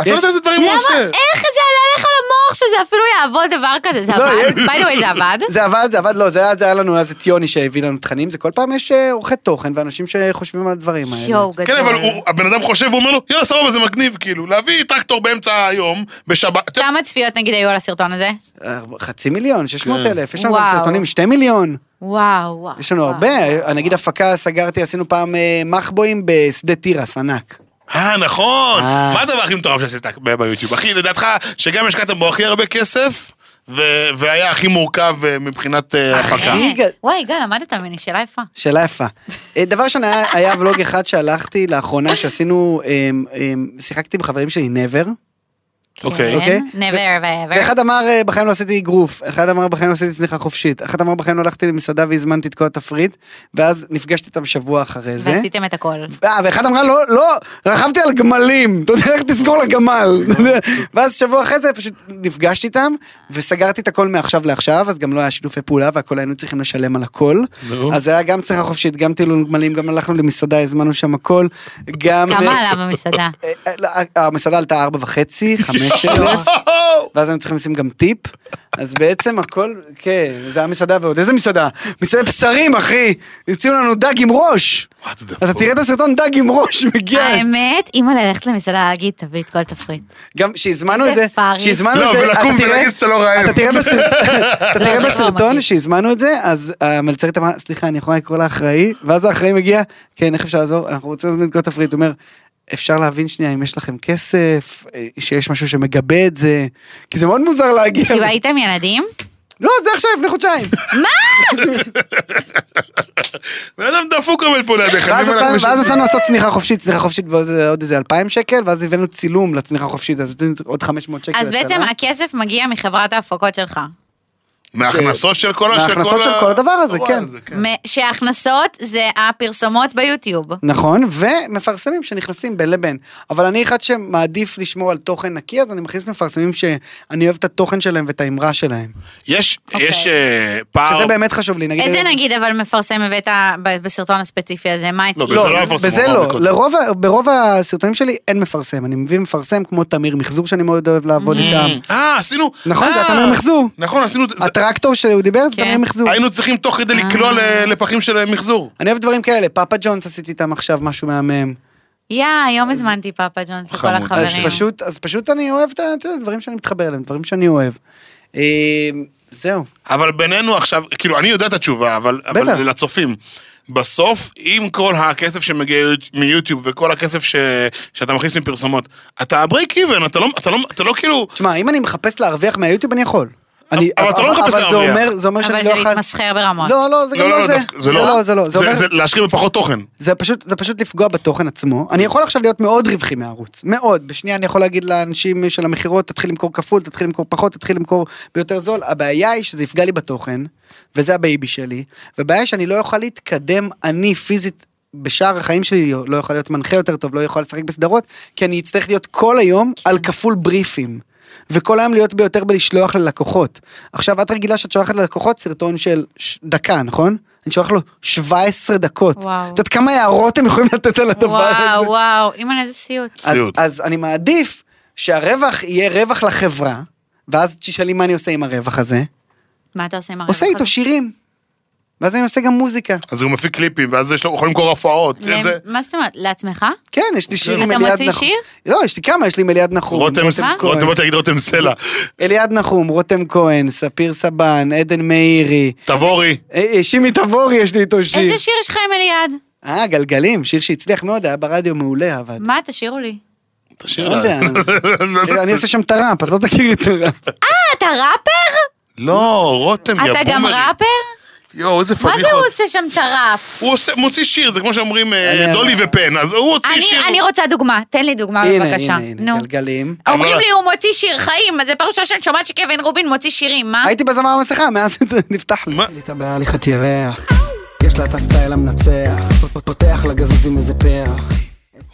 Speaker 2: את לא יודעת איזה דברים הוא
Speaker 3: למה?
Speaker 2: עושה.
Speaker 3: איך זה עלה לך למוח שזה אפילו יעבוד דבר כזה? זה
Speaker 4: לא,
Speaker 3: עבד?
Speaker 4: יש-
Speaker 3: ביי דווי, זה עבד?
Speaker 4: זה עבד, זה עבד, לא, זה היה זה היה לנו אז את יוני שהביא לנו תכנים, זה כל פעם יש אה, עורכי תוכן ואנשים שחושבים על הדברים האלה.
Speaker 3: שואו גדול.
Speaker 2: כן, אבל הוא- הבן אדם חושב, הוא אומר לו, יאללה, סבבה, זה מגניב, כאילו, להביא טרקטור באמצע היום, בשבת...
Speaker 3: כמה צפיות נגיד היו על הסרטון הזה?
Speaker 4: אה, חצי מיליון, 600
Speaker 2: כן.
Speaker 4: אלף, יש לנו גם
Speaker 3: וואו.
Speaker 4: סרטונים, שתי מיליון,
Speaker 3: וואו, וואו.
Speaker 4: יש לנו
Speaker 3: וואו.
Speaker 4: הרבה, נגיד הפקה סגרתי, עשינו פעם אה, מחבואים בשדה תירס, ענק.
Speaker 2: אה, נכון.
Speaker 4: אה.
Speaker 2: מה הדבר הכי מטורף שעשית ב- ביוטיוב? אחי, לדעתך, שגם השקעת בו הכי הרבה כסף, ו- והיה הכי מורכב אה, מבחינת אה, הפקה.
Speaker 4: הכי ג-
Speaker 3: כן. וואי, יגאל, למדת ממני, שאלה יפה.
Speaker 4: שאלה יפה. אה, דבר ראשון, היה, היה ולוג אחד שהלכתי לאחרונה, שעשינו, אמ, אמ, שיחקתי עם חברים שלי נבר,
Speaker 2: אוקיי.
Speaker 4: אוקיי.
Speaker 3: כן, never ever.
Speaker 4: ואחד אמר, אה, בחיים לא עשיתי אגרוף, אחד אמר, בחיים לא עשיתי צניחה חופשית, אחד אמר, בחיים לא הלכתי למסעדה והזמנתי את כל התפריט, ואז נפגשתי איתם שבוע אחרי זה.
Speaker 3: ועשיתם את הכל.
Speaker 4: אה, ואחד אמרה, לא, לא, רכבתי על גמלים, אתה יודע, איך תסגור לגמל. אתה יודע. ואז שבוע אחרי זה פשוט נפגשתי איתם, וסגרתי את הכל מעכשיו לעכשיו, אז גם לא היה שיתופי פעולה, והכל היינו צריכים לשלם על הכל.
Speaker 2: נו.
Speaker 4: אז היה גם צריכה חופשית, גם טיילון גמלים, גם הלכנו למסעדה, הזמנו שם הכל, גם...
Speaker 3: כמה עלה במסעדה?
Speaker 4: אה, אה, לא, אה, המסעדה עלתה ארבע וחצי, חמש
Speaker 3: לא.
Speaker 4: אלף, ואז היינו צריכים לשים גם טיפ, אז בעצם הכל, כן, זה היה מסעדה ועוד איזה מסעדה? מסעדת בשרים, אחי! הציעו לנו דג עם ראש!
Speaker 2: מה אתה דפוק?
Speaker 4: אתה תראה את הסרטון דג עם ראש מגיע.
Speaker 3: אה, האמת, אימא ללכת למסעדה להגיד, תביא את כל התפריט.
Speaker 4: גם שהזמנו
Speaker 3: איזה
Speaker 4: את זה,
Speaker 3: פאריס.
Speaker 4: שהזמנו
Speaker 2: לא,
Speaker 4: את זה, אתה
Speaker 2: ולקום
Speaker 4: תראה-
Speaker 2: ולהגיד שאתה לא רעב.
Speaker 4: אתה תראה בסרט- אתה
Speaker 3: לא,
Speaker 4: תראה
Speaker 3: זה כבר
Speaker 4: בסרטון
Speaker 3: מגעיל.
Speaker 4: שהזמנו את זה, אז המלצרית אמרה, סליחה, אני יכולה לקרוא לאחראי, ואז האחראי מגיע, כן, איך אפשר לעזור? אנחנו רוצים להזמין את כל התפריט, הוא אומר, אפשר להבין שנייה אם יש לכם כסף, אה, שיש משהו שמגבה את זה, כי זה מאוד מוזר להגיע.
Speaker 3: כאילו הייתם ילדים?
Speaker 4: לא, זה עכשיו לפני חודשיים.
Speaker 2: בן אדם דפוק עומד פה לידיך.
Speaker 4: ואז
Speaker 2: אם אנחנו
Speaker 4: עשינו-
Speaker 2: יושבים-
Speaker 4: ואז עשינו לעשות צניחה חופשית, צניחה חופשית ועוד עוד איזה 2,000 שקל, ואז הבאנו צילום לצניחה חופשית, אז עשינו עוד 500 שקל.
Speaker 3: אז בעצם
Speaker 4: לצלם.
Speaker 3: הכסף מגיע מחברת ההפקות שלך.
Speaker 2: מההכנסות של כל ה-
Speaker 4: מההכנסות של
Speaker 2: ה-
Speaker 4: כל הדבר הזה,
Speaker 2: וואי,
Speaker 4: כן.
Speaker 2: זה
Speaker 3: מ- שההכנסות זה הפרסומות ביוטיוב.
Speaker 4: נכון, ומפרסמים שנכנסים בין לבין. אבל אני אחד שמעדיף לשמור על תוכן נקי, אז אני מכניס מפרסמים שאני אוהב את התוכן שלהם ואת האמרה שלהם.
Speaker 2: יש,
Speaker 3: אוקיי.
Speaker 2: יש אה, פער...
Speaker 4: שזה באמת חשוב לי, נגיד...
Speaker 3: איזה נגיד אבל מפרסם הבאת ב- בסרטון הספציפי הזה? מה הייתי?
Speaker 2: לא,
Speaker 4: לא,
Speaker 2: זה לא המפרסם,
Speaker 4: בזה
Speaker 2: הוא
Speaker 4: לא,
Speaker 2: הבדיקות.
Speaker 4: לרוב, ה- ברוב הסרטונים שלי אין מפרסם, אני מביא מפרסם כמו תמיר מחזור שאני מאוד אוהב לעבוד איתם.
Speaker 2: אה, עשינו...
Speaker 4: נכון, זה
Speaker 2: אה,
Speaker 4: התמר מחזור.
Speaker 2: נכון, עשינו... זה-
Speaker 4: הטרקטור שהוא דיבר זה
Speaker 3: כן.
Speaker 4: תמיר מחזור. אה.
Speaker 2: היינו צריכים תוך כדי לקלוע ל- לפחים של מחזור.
Speaker 4: אני אוהב דברים כאלה, פאפה ג'ונס עשיתי איתם עכשיו משהו מהמם.
Speaker 3: יא, היום הזמנתי פאפה ג'ונס לכל
Speaker 2: חמוד.
Speaker 4: אז
Speaker 3: החברים.
Speaker 4: פשוט, אז פשוט אני אוהב את ה- את הדברים שאני מתחבר אליהם, דברים שאני אוהב. אה, זהו.
Speaker 2: אבל בינינו עכשיו, כאילו, אני יודע את התשובה, אבל,
Speaker 4: בטח.
Speaker 2: אבל לצופים. בסוף, עם כל הכסף שמגיע מיוטיוב וכל הכסף ש... שאתה מכניס מפרסומות, אתה הברייק איבן, אתה לא, אתה, לא, אתה לא כאילו...
Speaker 4: תשמע, אם אני מחפש להרוויח מהיוטיוב, אני יכול. אני,
Speaker 2: אבל אתה לא מחפש
Speaker 4: אבל זה
Speaker 2: להרוויח.
Speaker 4: אומר- זה אומר
Speaker 3: אבל
Speaker 4: שאני
Speaker 3: זה
Speaker 4: לא יכול...
Speaker 3: להתמסחר ברמות.
Speaker 4: לא, לא, זה גם לא זה.
Speaker 2: דווקא-
Speaker 4: זה לא, זה לא. זה אומר-
Speaker 2: זה להשחיר בפחות תוכן.
Speaker 4: זה פשוט, זה פשוט לפגוע בתוכן עצמו. אני יכול עכשיו להיות מאוד רווחי מהערוץ, מאוד. בשנייה אני יכול להגיד לאנשים של המכירות, תתחיל למכור כפול, תתחיל למכור פחות, תתחיל למכור ביותר זול. הבעיה היא שזה יפגע לי בתוכן, וזה הבייבי שלי. והבעיה היא שאני לא אוכל להתקדם, אני פיזית, בשאר החיים שלי, לא יכול להיות מנחה יותר טוב, לא יכול לשחק בסדרות, כי אני אצטרך להיות כל היום על כפול בריפים. וכל היום להיות ביותר בלשלוח ללקוחות. עכשיו, את רגילה שאת שולחת ללקוחות סרטון של ש- דקה, נכון? אני שולח לו 17 דקות.
Speaker 3: וואו.
Speaker 4: את יודעת כמה הערות הם יכולים לתת על הדבר
Speaker 3: וואו,
Speaker 4: הזה?
Speaker 3: וואו, אימא איזה סיוט.
Speaker 4: אז,
Speaker 2: סיוט.
Speaker 4: אז אני מעדיף שהרווח יהיה רווח לחברה, ואז תשאלי מה אני עושה עם הרווח הזה.
Speaker 3: אה, מה אתה עושה עם הרווח?
Speaker 4: עושה איתו
Speaker 3: הזה?
Speaker 4: שירים. ואז אני עושה גם מוזיקה.
Speaker 2: אז הוא מפיק קליפים, ואז יש לו, הוא יכול למכור הופעות.
Speaker 3: למ-
Speaker 2: איזה...
Speaker 3: מה זאת אומרת? לעצמך?
Speaker 4: כן, יש לי שיר עם
Speaker 3: אתה
Speaker 4: אליעד נחום.
Speaker 3: מוציא שיר?
Speaker 4: לא, יש לי כמה, יש לי עם אליעד נחום.
Speaker 2: אוקיי. רותם,
Speaker 4: כהן.
Speaker 2: רותם, בוא תגיד רותם סלע.
Speaker 4: אליעד נחום, רותם כהן, ספיר סבן, עדן מאירי.
Speaker 2: תבורי.
Speaker 4: אה, אה, שימי תבורי יש לי איתו שיר.
Speaker 3: איזה שיר יש לך עם אליעד?
Speaker 4: אה, גלגלים, שיר שהצליח מאוד, היה ברדיו מעולה, עבד.
Speaker 3: מה, תשאירו לי.
Speaker 2: תשאיר
Speaker 4: לא יודע.
Speaker 2: לה.
Speaker 4: תראה, אה, אני עושה שם את הראפ, את לא תכירי את הראפ.
Speaker 3: אה, אתה ראפר?
Speaker 2: לא, רותם, יא
Speaker 3: אתה גם
Speaker 2: בומרי.
Speaker 3: ראפר?
Speaker 2: יואו, איזה
Speaker 3: מה זה
Speaker 2: פדיחות.
Speaker 3: הוא עושה שם את הראפ?
Speaker 2: הוא עושה, מוציא שיר, זה כמו שאומרים אה,
Speaker 4: אני-
Speaker 2: דולי ופן, אז הוא הוציא
Speaker 3: אני-
Speaker 2: שיר.
Speaker 3: אני רוצה דוגמה, תן לי דוגמה
Speaker 4: הנה,
Speaker 3: אה, בבקשה.
Speaker 4: הנה, הנה,
Speaker 3: נו.
Speaker 4: גלגלים.
Speaker 3: אומרים
Speaker 2: אבל-
Speaker 3: לי הוא מוציא שיר חיים, אז זה פעם ראשונה שאני שומעת שקווין רובין מוציא שירים, מה?
Speaker 4: הייתי בזמר המסכה, מאז נפתח לי.
Speaker 2: מה?
Speaker 5: החליטה בהליכת ירח, יש לה את הסטייל המנצח, פ- פותח לגזוזים איזה פרח.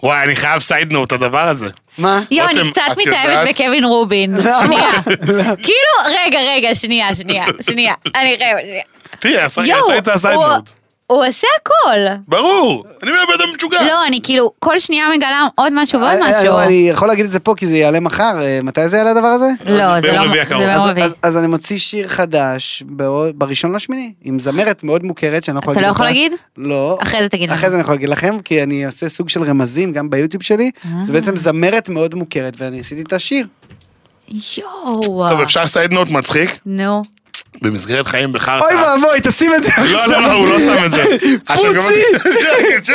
Speaker 2: וואי, אני חייב סיידנוט, הדבר הזה.
Speaker 4: מה?
Speaker 3: יו,
Speaker 2: רותם,
Speaker 3: לא, אני קצת
Speaker 2: את יודעת?
Speaker 3: מתאהבת בקווין
Speaker 4: לא.
Speaker 3: רובין. שנייה. כאילו, רגע, רגע, שנייה, שנייה, שנייה. אני רגע, שנייה.
Speaker 2: תראי, הס-
Speaker 3: יואו,
Speaker 2: אתה היית
Speaker 3: הוא-
Speaker 2: הסיידנוד.
Speaker 3: הוא עושה הכל.
Speaker 2: ברור, אני מאבד אדם משוגע.
Speaker 3: לא, אני כאילו, כל שנייה מגלה עוד משהו ועוד
Speaker 4: אה, אה,
Speaker 3: משהו.
Speaker 4: אני יכול להגיד את זה פה כי זה יעלה מחר, אה, מתי זה יעלה הדבר הזה?
Speaker 3: לא, זה
Speaker 2: ביום
Speaker 3: לא,
Speaker 2: רביעי
Speaker 3: זה
Speaker 2: הקרוב.
Speaker 3: ביום
Speaker 4: אז-
Speaker 3: רביעי.
Speaker 4: אז- אז אני מוציא שיר חדש בעוד- בראשון לשמיני, עם זמרת מאוד מוכרת שאני לא יכול
Speaker 3: אתה
Speaker 4: להגיד
Speaker 3: לא
Speaker 4: אותה.
Speaker 3: יכול להגיד?
Speaker 4: לא.
Speaker 3: אחרי זה תגיד
Speaker 4: אחרי
Speaker 3: לנו.
Speaker 4: זה אני יכול להגיד לכם, כי אני עושה סוג של רמזים גם ביוטיוב שלי.
Speaker 3: אה.
Speaker 4: זה בעצם זמרת מאוד מוכרת, ואני עשיתי את השיר.
Speaker 3: יואו.
Speaker 2: טוב, אפשר סיידנוט מצחיק?
Speaker 3: נו.
Speaker 2: במסגרת חיים בחרטא.
Speaker 4: אוי ואבוי, תשים את זה
Speaker 2: לא,
Speaker 4: עכשיו.
Speaker 2: לא, לא, הוא לא שם את זה. עכשיו גם-
Speaker 4: פוצי!
Speaker 2: שקט,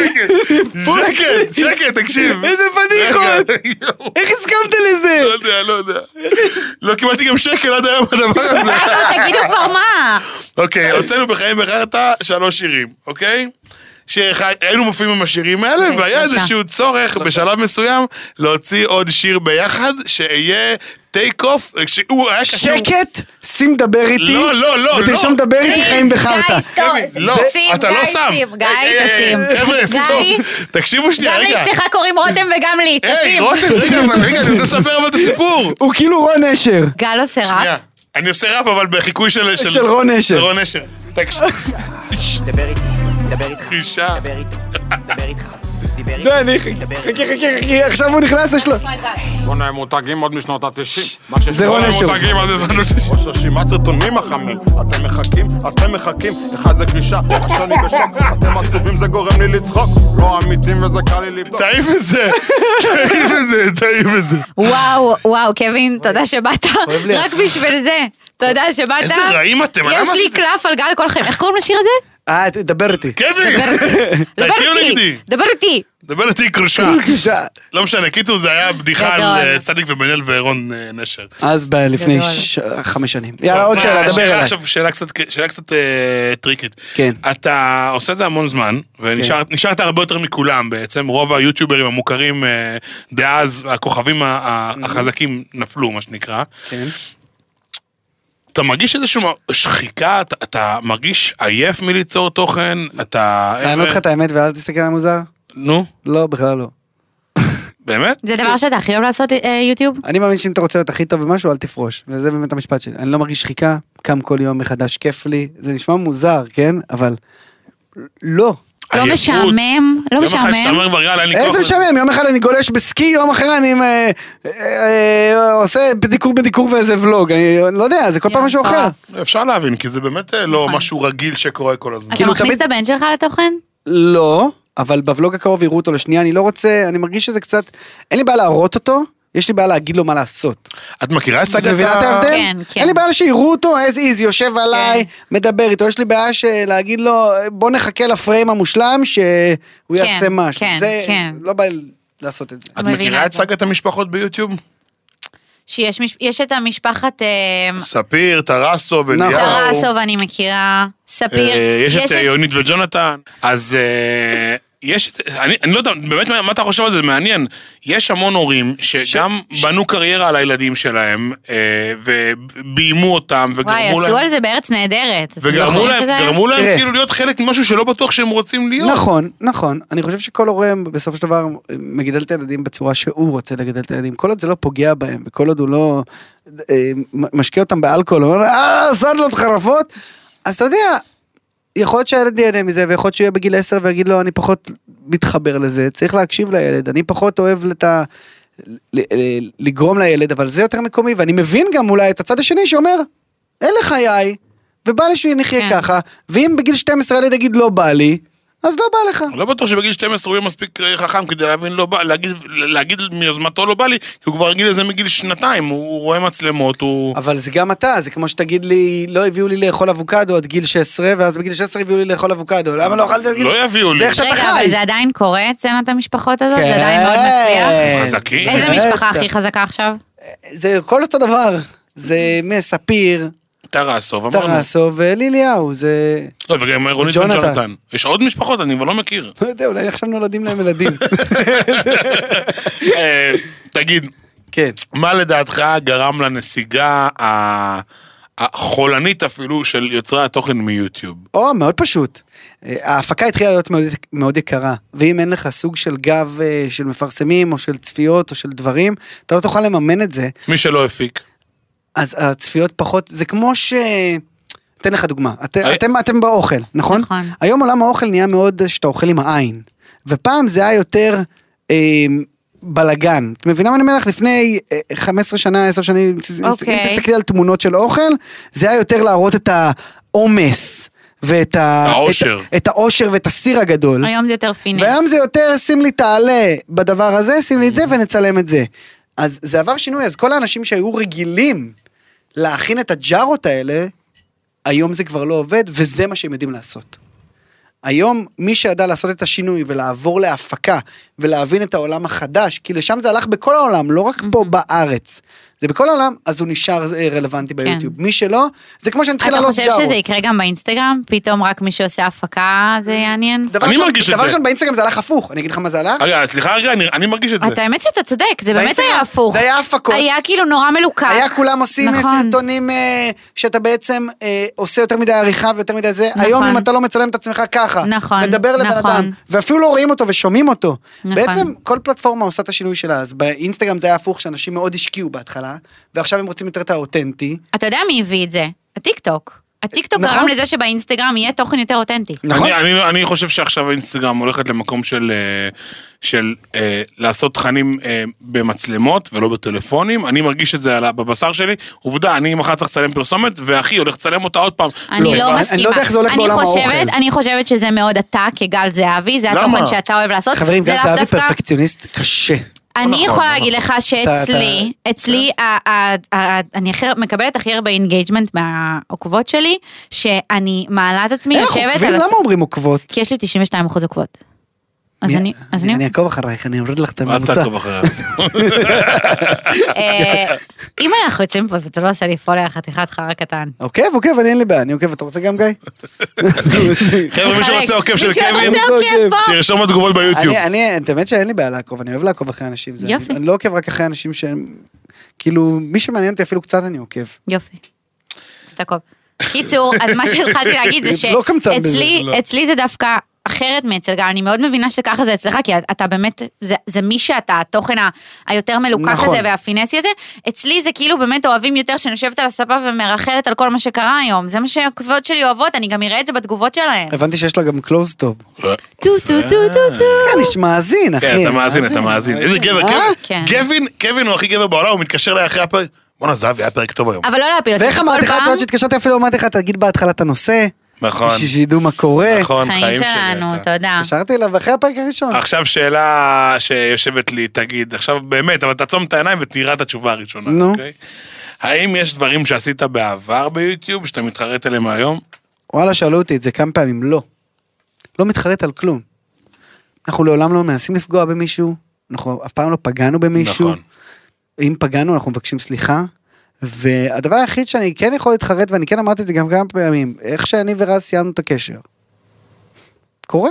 Speaker 2: שקט, שקט, שקט, תקשיב.
Speaker 4: איזה פדיחות! איך הסכמת לזה?
Speaker 2: לא יודע, לא יודע. לא קיבלתי גם שקל עד היום בדבר הזה.
Speaker 3: תגידו כבר מה.
Speaker 2: אוקיי, הוצאנו בחיים בחרטא שלוש שירים, אוקיי? שיר אחד, היינו מופיעים עם השירים האלה,
Speaker 3: אוקיי,
Speaker 2: והיה
Speaker 3: שלושה.
Speaker 2: איזשהו צורך בשלב מסוים להוציא עוד שיר ביחד, שיהיה טייק אוף, שהוא היה קשור...
Speaker 4: שקט, שים דבר איתי.
Speaker 2: לא, לא, לא, לא.
Speaker 4: ותרשום דבר איתי חיים בחרטא.
Speaker 2: לא, אתה לא שם.
Speaker 3: גיא,
Speaker 2: היי, היי, היי,
Speaker 3: תשים.
Speaker 2: חבר'ה,
Speaker 3: גיא,
Speaker 2: סטופ. תקשיבו שנייה,
Speaker 3: גם
Speaker 2: רגע.
Speaker 3: לאשתך קוראים רותם וגם לי,
Speaker 2: היי,
Speaker 3: תשים.
Speaker 2: רותם, רגע, אבל רגע, אני רוצה לספר אבל את הסיפור.
Speaker 4: הוא כאילו רון אשר.
Speaker 3: גל עושה
Speaker 2: שנייה,
Speaker 3: ראפ.
Speaker 2: אני עושה ראפ, אבל בחיקוי של...
Speaker 4: של רון אשר.
Speaker 2: של רון אשר. תקשיב,
Speaker 6: דבר איתי, דבר איתך,
Speaker 2: אישה.
Speaker 6: דבר איתו, דבר איתך, דבר איתו,
Speaker 4: זה אני, חכה,
Speaker 6: דבר איתו.
Speaker 4: חכה, חכה, חכה, עכשיו הוא נכנס, יש לו...
Speaker 7: בואנה הם מותגים עוד משנות ה-90.
Speaker 4: זה רון אשר.
Speaker 2: מותגים על זה.
Speaker 7: ראש רשימת סרטונים החמים. אתם מחכים, אתם מחכים, אחד זה קלישה, השני בשוק. אתם עצובים זה גורם לי לצחוק. לא אמיתים וזה קל לי לבדוק.
Speaker 2: תעיף את זה, תעיף את זה, תעיף את זה.
Speaker 3: וואו, וואו, קווין, תודה שבאת. רק בשביל זה. תודה שבאת.
Speaker 2: איזה רעים אתם, למה
Speaker 3: יש לי
Speaker 2: עשיתם?
Speaker 3: קלף על גל כלכם. איך קוראים לשיר הזה?
Speaker 4: אה, דבר איתי.
Speaker 2: קווין,
Speaker 3: דבר איתי. דבר
Speaker 2: תגיעו
Speaker 3: איתי.
Speaker 2: נגדי.
Speaker 3: דבר איתי.
Speaker 2: דבר איתי קרושה.
Speaker 4: בבקשה.
Speaker 2: לא משנה, קיצור זה היה בדיחה על
Speaker 3: גדול.
Speaker 2: אה, סטניק ובן-אל ורון אה, נשר.
Speaker 4: אז ב- לפני
Speaker 3: גדול.
Speaker 4: ש- חמש שנים. יאללה, עוד
Speaker 2: מה,
Speaker 4: שאלה, דבר אליי.
Speaker 2: עכשיו שאלה קצת- שאלה קצת אה, טריקית.
Speaker 4: כן.
Speaker 2: אתה עושה את זה המון זמן, ונשארת הרבה יותר מכולם בעצם, רוב היוטיוברים המוכרים אה, דאז, הכוכבים ה- ה- החזקים נפלו, מה שנקרא.
Speaker 4: כן.
Speaker 2: אתה מרגיש איזושהי שחיקה? אתה- אתה מרגיש עייף מליצור תוכן? אתה...
Speaker 4: לענות לך את האמת ואז תסתכל על מוזר?
Speaker 2: נו,
Speaker 4: לא, בכלל לא.
Speaker 2: באמת?
Speaker 3: זה דבר שאתה הכי אוהב לעשות אה, יוטיוב?
Speaker 4: אני מאמין שאם אתה רוצה להיות הכי טוב במשהו, אל תפרוש. וזה באמת המשפט שלי. אני לא מרגיש שחיקה, קם כל יום מחדש, כיף לי. זה נשמע מוזר, כן? אבל... לא.
Speaker 3: לא
Speaker 2: עייפות.
Speaker 3: משעמם? לא
Speaker 2: יום אחד שאתה
Speaker 3: משעמם?
Speaker 2: אומר כבר יאללה, אין לי כוח.
Speaker 4: איזה משעמם, יום אחד אני גולש בסקי, יום אחר אני אה, אה, אה, עושה בדיקור בדיקור ואיזה ולוג. אני לא יודע, זה כל פעם
Speaker 3: יא,
Speaker 4: משהו אחר.
Speaker 3: מטורף.
Speaker 2: אפשר להבין, כי זה באמת אה,
Speaker 3: נכון.
Speaker 2: לא משהו רגיל שקורה כל הזמן.
Speaker 3: אתה
Speaker 4: כאילו,
Speaker 3: מכניס את
Speaker 4: תמיד-
Speaker 3: הבן שלך לתוכן?
Speaker 4: לא, אבל בוולוג הקרוב יראו אותו לשנייה, אני לא רוצה, אני מרגיש שזה קצת, אין לי בעיה להראות אותו, יש לי בעיה להגיד לו מה לעשות.
Speaker 2: את מכירה את סאגת
Speaker 4: את מבינה את
Speaker 2: ה-
Speaker 4: ההבדל?
Speaker 3: כן, כן.
Speaker 4: אין לי בעיה שיראו אותו as is, יושב עליי,
Speaker 3: כן.
Speaker 4: מדבר איתו, יש לי בעיה שלהגיד לו, בוא נחכה לפריים המושלם, שהוא
Speaker 3: כן,
Speaker 4: יעשה משהו.
Speaker 3: כן,
Speaker 4: זה,
Speaker 3: כן.
Speaker 4: לא בא לי לעשות את זה.
Speaker 2: את
Speaker 3: מבינה
Speaker 2: מכירה
Speaker 3: את
Speaker 2: את
Speaker 3: זה.
Speaker 2: סאגת המשפחות ביוטיוב?
Speaker 3: שיש מש- יש את המשפחת... אה,
Speaker 2: ספיר, טרסו וליאור.
Speaker 3: טרסוב אני מכירה, נכון. ספיר.
Speaker 2: אה, יש את אה, יונית וג'ונתן. אז אה, יש את... אני אני לא יודע, באמת מה- מה אתה חושב על זה? זה מעניין. יש המון הורים שגם בנו קריירה על הילדים שלהם, אה, וביימו אותם,
Speaker 3: וואי,
Speaker 2: וגרמו
Speaker 3: עשו
Speaker 2: להם...
Speaker 3: על זה בארץ נהדרת. אתם
Speaker 2: וגרמו
Speaker 3: זוכרים
Speaker 2: להם,
Speaker 3: שזה היה?
Speaker 2: גרמו להם
Speaker 4: תראה.
Speaker 2: כאילו להיות חלק ממשהו שלא בטוח שהם רוצים להיות.
Speaker 4: נכון, נכון. אני חושב שכל הורה בסופו של דבר מגדל את הילדים בצורה שהוא רוצה לגדל את הילדים. כל עוד זה לא פוגע בהם, וכל עוד הוא לא אה, מ- משקה אותם באלכוהול, אומר, אה, סדלות חרפות, אז אתה יודע, יכול להיות שהילד ייהנה מזה, ויכול להיות שהוא יהיה בגיל 10 ויגיד לו, אני פחות מתחבר לזה, צריך להקשיב לילד, אני פחות אוהב את ה... ל- ל- לגרום לילד, אבל זה יותר מקומי, ואני מבין גם אולי את הצד השני שאומר, אלה חיי, ובא לי שנחיה
Speaker 3: כן.
Speaker 4: ככה, ואם בגיל 12 ילד יגיד לא בא לי, אז לא בא לך.
Speaker 2: לא בטוח שבגיל 12 הוא יהיה מספיק אה, חכם כדי להבין לא בא, להגיד, להגיד מיוזמתו לא בא לי, כי הוא כבר רגיל לזה מגיל שנתיים, הוא, הוא רואה מצלמות, הוא...
Speaker 4: אבל זה גם אתה, זה כמו שתגיד לי, לא הביאו לי לאכול אבוקדו עד גיל 16, ואז בגיל 16 הביאו לי לאכול אבוקדו, למה לא אכלתי עד גיל...
Speaker 2: לא יביאו לי.
Speaker 4: זה איך שאתה
Speaker 3: רגע, אבל
Speaker 4: חי.
Speaker 3: זה עדיין קורה אצלנו את המשפחות הזאת? זה עדיין מאוד מצליח?
Speaker 4: כן.
Speaker 2: חזקים.
Speaker 3: איזה
Speaker 4: כן.
Speaker 3: משפחה הכי חזקה עכשיו?
Speaker 4: זה הכל אותו דבר. זה מספיר,
Speaker 2: טרסוב, אמרנו.
Speaker 4: טרסו וליליהו, זה...
Speaker 2: לא, וגם רונית בן
Speaker 4: ג'ונתן.
Speaker 2: ג'ונתן. יש עוד משפחות, אני כבר לא מכיר.
Speaker 4: לא יודע, אולי עכשיו נולדים להם ילדים.
Speaker 2: אה, תגיד,
Speaker 4: כן.
Speaker 2: מה לדעתך גרם לנסיגה ה- החולנית אפילו של יוצרי התוכן מיוטיוב?
Speaker 4: או, מאוד פשוט. אה, ההפקה התחילה להיות מאוד, מאוד יקרה, ואם אין לך סוג של גב אה, של מפרסמים, או של צפיות, או של דברים, אתה לא תוכל לממן את זה,
Speaker 2: מי שלא הפיק.
Speaker 4: אז הצפיות פחות, זה כמו ש... אתן לך דוגמה. את,
Speaker 2: היי.
Speaker 4: אתם, אתם באוכל, נכון?
Speaker 3: נכון.
Speaker 4: היום עולם האוכל נהיה מאוד שאתה אוכל עם העין. ופעם זה היה יותר אה, בלגן. את מבינה מה אני אומר לך? לפני אה, 15 שנה, 10 שנים,
Speaker 3: אוקיי.
Speaker 4: אם תסתכלי על תמונות של אוכל, זה היה יותר להראות את העומס. ואת ה...
Speaker 2: העושר.
Speaker 4: את, את העושר ואת הסיר הגדול.
Speaker 3: היום זה יותר פינס.
Speaker 4: והיום זה יותר, שים לי תעלה בדבר הזה, שים לי את זה
Speaker 3: Mm-hmm.
Speaker 4: ונצלם את זה. אז זה עבר שינוי, אז כל האנשים שהיו רגילים להכין את הג'ארות האלה, היום זה כבר לא עובד, וזה מה שהם יודעים לעשות. היום, מי שידע לעשות את השינוי ולעבור להפקה ולהבין את העולם החדש, כי לשם זה הלך בכל העולם, לא רק
Speaker 3: Mm-hmm.
Speaker 4: פה בארץ. זה בכל העולם, אז הוא נשאר אה, רלוונטי ביוטיוב. מי שלא, זה כמו שנתחיל
Speaker 3: כן. אתה לא
Speaker 4: לעלות
Speaker 3: חושב
Speaker 4: ג'ארות.
Speaker 3: שזה יקרה גם באינסטגרם? פתאום רק מי שעושה הפקה זה יעניין?
Speaker 4: דבר
Speaker 2: אני
Speaker 4: ראשון-
Speaker 2: מרגיש את
Speaker 4: דבר
Speaker 2: זה.
Speaker 4: ראשון, באינסטגרם זה הלך הפוך, אני אגיד לך מה זה הלך.
Speaker 2: רגע, סליחה רגע, אני- אני מרגיש את
Speaker 3: אתה
Speaker 2: זה.
Speaker 3: האמת שאתה צודק, זה באמת
Speaker 4: באינסטגרם
Speaker 3: היה הפוך.
Speaker 4: זה היה הפקות.
Speaker 3: היה כאילו נורא מלוקק.
Speaker 4: היה כולם עושים
Speaker 3: נכון.
Speaker 4: סרטונים אה, שאתה בעצם אה, עושה יותר מדי עריכה ויותר מדי זה.
Speaker 3: נכון.
Speaker 4: היום אם אתה לא מצלם את עצמך ככה,
Speaker 3: נכון,
Speaker 4: מדבר לבן
Speaker 3: נכון.
Speaker 4: אדם, ואפילו לא רואים אותו ושומעים אותו.
Speaker 3: נכון.
Speaker 4: בעצם כל פלטפורמה עושה את השינוי שלה, אז באינסטגרם זה היה הפוך, שאנשים מאוד השקיעו בהתחלה, ועכשיו הם רוצים יותר את האותנטי.
Speaker 3: אתה יודע מי הביא את זה? הטיקטוק. הטיקטוק
Speaker 4: נכון.
Speaker 3: גרם לזה שבאינסטגרם יהיה תוכן יותר אותנטי.
Speaker 4: נכון.
Speaker 2: אני- אני- אני חושב שעכשיו אינסטגרם הולכת למקום של, אה, של אה, לעשות תכנים אה, במצלמות ולא בטלפונים. אני מרגיש את זה על ה- בבשר שלי. עובדה, אני מחר צריך לצלם פרסומת, ואחי הולך לצלם אותה עוד פעם.
Speaker 3: אני
Speaker 4: אני-
Speaker 3: לא
Speaker 4: אני
Speaker 3: מסכימה.
Speaker 4: לא יודע איך זה הולך
Speaker 3: אני
Speaker 4: בעולם
Speaker 3: חושבת-
Speaker 4: האוכל.
Speaker 3: אני חושבת שזה מאוד אתה כגל זהבי, זה
Speaker 2: למה?
Speaker 3: התוכן שאתה אוהב לעשות.
Speaker 4: חברים,
Speaker 3: זה
Speaker 4: גל
Speaker 3: לאו
Speaker 4: זהבי
Speaker 3: דווקא-
Speaker 4: פרפקציוניסט קשה.
Speaker 3: אני
Speaker 2: נכון,
Speaker 3: יכולה
Speaker 2: לא
Speaker 3: להגיד לך
Speaker 4: אתה- כן.
Speaker 3: שאצלי, אצלי, ה- ה- ה- אני הכי- מקבלת הכי הרבה אינגייג'מנט מהעוקבות שלי, שאני מעלה את עצמי,
Speaker 4: אין לך
Speaker 3: יושבת
Speaker 4: עוקבים?
Speaker 3: על... הס-
Speaker 4: למה אומרים עוקבות?
Speaker 3: כי יש לי 92 אחוז עוקבות. אז
Speaker 4: מי-
Speaker 3: אני, אז אני,
Speaker 4: אני אעקוב אחרייך, אני אוריד לך את
Speaker 2: אל
Speaker 4: הממוצע.
Speaker 2: תעקוב אחריה.
Speaker 3: אה, אם אנחנו יוצאים פה וזה לא עושה לי פולר חתיכת חרא קטן.
Speaker 4: עוקב, עוקב, אני אוקיי, אין לי בעיה, אני עוקב, אתה רוצה גם גיא?
Speaker 2: חבר'ה, מי
Speaker 3: לחלק.
Speaker 2: שרוצה עוקב של
Speaker 3: מי שרוצה
Speaker 2: קווין,
Speaker 3: עוקב פה.
Speaker 2: שירשום בתגובות ביוטיוב.
Speaker 4: אני, אני, את האמת שאין לי בעיה לעקוב, אני אוהב לעקוב אחרי אנשים. זה,
Speaker 3: יופי.
Speaker 4: אני, אני לא עוקב רק אחרי אנשים שהם, כאילו, מי שמעניין אותי אפילו קצת אני עוקב.
Speaker 3: יופי. אז תעקוב. קיצור, אז מה שהתחלתי להגיד זה
Speaker 4: לא קמצן בזה,
Speaker 3: שאצלי
Speaker 2: לא.
Speaker 3: אצלי זה דווקא אחרת מאצל גל, אני מאוד מבינה שככה זה אצלך, כי אתה באמת, זה- זה מי שאתה, התוכן ה- היותר מלוקק
Speaker 4: נכון.
Speaker 3: הזה והפיננסי הזה. אצלי זה כאילו באמת אוהבים יותר שאני יושבת על הספה ומרחלת על כל מה שקרה היום. זה מה שהעקבות שלי אוהבות, אני גם אראה את זה בתגובות שלהן.
Speaker 4: הבנתי שיש לה גם קלוז טוב.
Speaker 3: טו טו טו טו טו.
Speaker 4: כן, יש מאזין, אחי.
Speaker 2: כן, אתה מאזין, אתה מאזין. איזה גבר,
Speaker 4: אה?
Speaker 3: כן.
Speaker 2: קווין. קווין, קווין הוא הכי גבר בעולם, הוא מתקשר אליי אחרי הפרק. בואנה, זהבי, היה פרק טוב היום.
Speaker 3: אבל לא להפיל אותי.
Speaker 4: ואיך
Speaker 3: כל
Speaker 4: אמרתי לך, את
Speaker 3: פעם-
Speaker 4: יודעת שהתקשרתי אפילו, אמרתי לך, תגיד בהתחלה את הנושא.
Speaker 2: נכון.
Speaker 4: בשביל שידעו מה קורה.
Speaker 2: נכון,
Speaker 3: חיים
Speaker 2: חיים
Speaker 3: שלנו,
Speaker 2: שלי. אתה.
Speaker 3: תודה.
Speaker 4: התקשרתי אליו אחרי הפרק הראשון.
Speaker 2: עכשיו שאלה שיושבת לי, תגיד, עכשיו באמת, אבל תעצום את העיניים ותראה את התשובה הראשונה,
Speaker 4: נו.
Speaker 2: אוקיי? האם יש דברים שעשית בעבר ביוטיוב שאתה מתחרט עליהם היום?
Speaker 4: וואלה, שאלו אותי את זה כמה פעמים, לא. לא מתחרט על כלום. אנחנו לעולם לא מנסים לפגוע במישהו, אנחנו אף פעם לא פגענו במישהו.
Speaker 2: נכון.
Speaker 4: אם פגענו אנחנו מבקשים סליחה. והדבר היחיד שאני כן יכול להתחרט ואני כן אמרתי את זה גם כמה פעמים איך שאני ורז סיימנו את הקשר. קורה.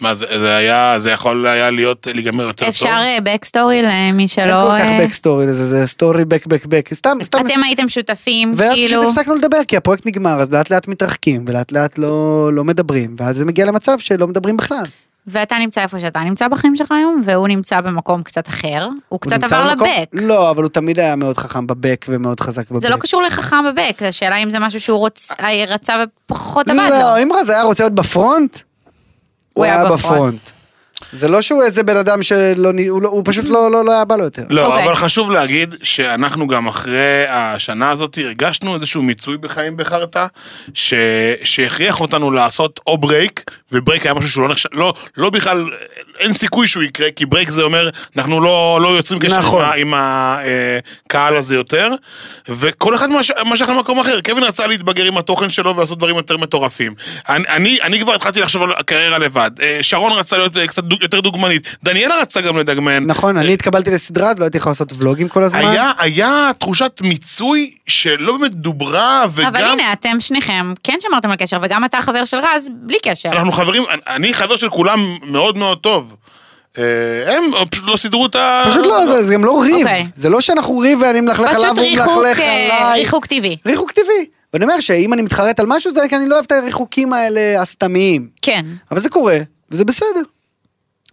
Speaker 2: מה, זה זה היה, זה יכול היה להיות, להיגמר יותר טוב?
Speaker 3: אפשר בקסטורי למי שלא...
Speaker 4: אין כל כך
Speaker 3: אה,
Speaker 4: בק סטורי לזה זה סטורי בק בק בק סתם סתם.
Speaker 3: אתם הייתם שותפים,
Speaker 4: ואז פשוט
Speaker 3: כאילו...
Speaker 4: הפסקנו לדבר כי הפרויקט נגמר אז לאט לאט מתרחקים ולאט לאט לא לא מדברים ואז זה מגיע למצב שלא מדברים בכלל.
Speaker 3: ואתה נמצא איפה שאתה נמצא בחיים שלך היום, והוא נמצא במקום קצת אחר. הוא
Speaker 4: הוא
Speaker 3: קצת
Speaker 4: נמצא
Speaker 3: עבר
Speaker 4: במקום-
Speaker 3: לבק.
Speaker 4: לא אבל הוא תמיד היה מאוד חכם בבק ומאוד חזק בבק.
Speaker 3: זה לא קשור לחכם בבק, זו שאלה אם זה משהו שהוא רוצ- אה, רצה ופחות עבד
Speaker 4: לא,
Speaker 3: לו.
Speaker 4: אם רז היה רוצה להיות בפרונט, הוא היה בפרונט. זה לא שהוא איזה בן אדם שלא, נ- הוא לא- הוא פשוט לא לא- לא היה בא לו יותר.
Speaker 2: לא,
Speaker 3: אוקיי.
Speaker 2: אבל חשוב להגיד שאנחנו גם אחרי השנה הזאת הרגשנו איזשהו מיצוי בחיים בחרטא, ש- שהכריח אותנו לעשות או ברייק, וברייק היה משהו שהוא לא נחשב, לא, לא בכלל, אין סיכוי שהוא יקרה, כי ברייק זה אומר, אנחנו לא, לא יוצרים קשר
Speaker 4: נכון.
Speaker 2: עם ה- עם הקהל הזה יותר, וכל אחד מש- משך למקום אחר, קווין רצה להתבגר עם התוכן שלו ולעשות דברים יותר מטורפים. אני, אני, אני כבר התחלתי לחשוב על קריירה לבד, אה, שרון רצה להיות אה, קצת דוג- יותר דוגמנית, דניאלה רצה גם לדגמן.
Speaker 4: נכון, אני התקבלתי לסדרה, אז לא הייתי יכול לעשות ולוגים כל הזמן.
Speaker 2: היה, היה תחושת מיצוי שלא באמת דוברה, וגם...
Speaker 3: אבל הנה, אתם שניכם כן שמרתם על קשר, וגם אתה חבר של רז, בלי קשר.
Speaker 2: אנחנו חברים, אני חבר של כולם מאוד מאוד טוב. אה, הם פשוט לא סידרו את ה...
Speaker 4: פשוט לא, זה- זה גם לא ריב.
Speaker 3: אוקיי.
Speaker 4: זה לא שאנחנו ריב ואני מלכלך עליו,
Speaker 3: פשוט
Speaker 4: הוא
Speaker 3: ריחוק,
Speaker 4: מלכלך
Speaker 3: אה,
Speaker 4: עליי.
Speaker 3: ריחוק טבעי.
Speaker 4: ריחוק טבעי. ואני אומר שאם אני מתחרט על משהו, זה כי אני לא אוהב את הריחוקים האלה הסתמיים.
Speaker 3: כן.
Speaker 4: אבל זה קורה, וזה בסדר.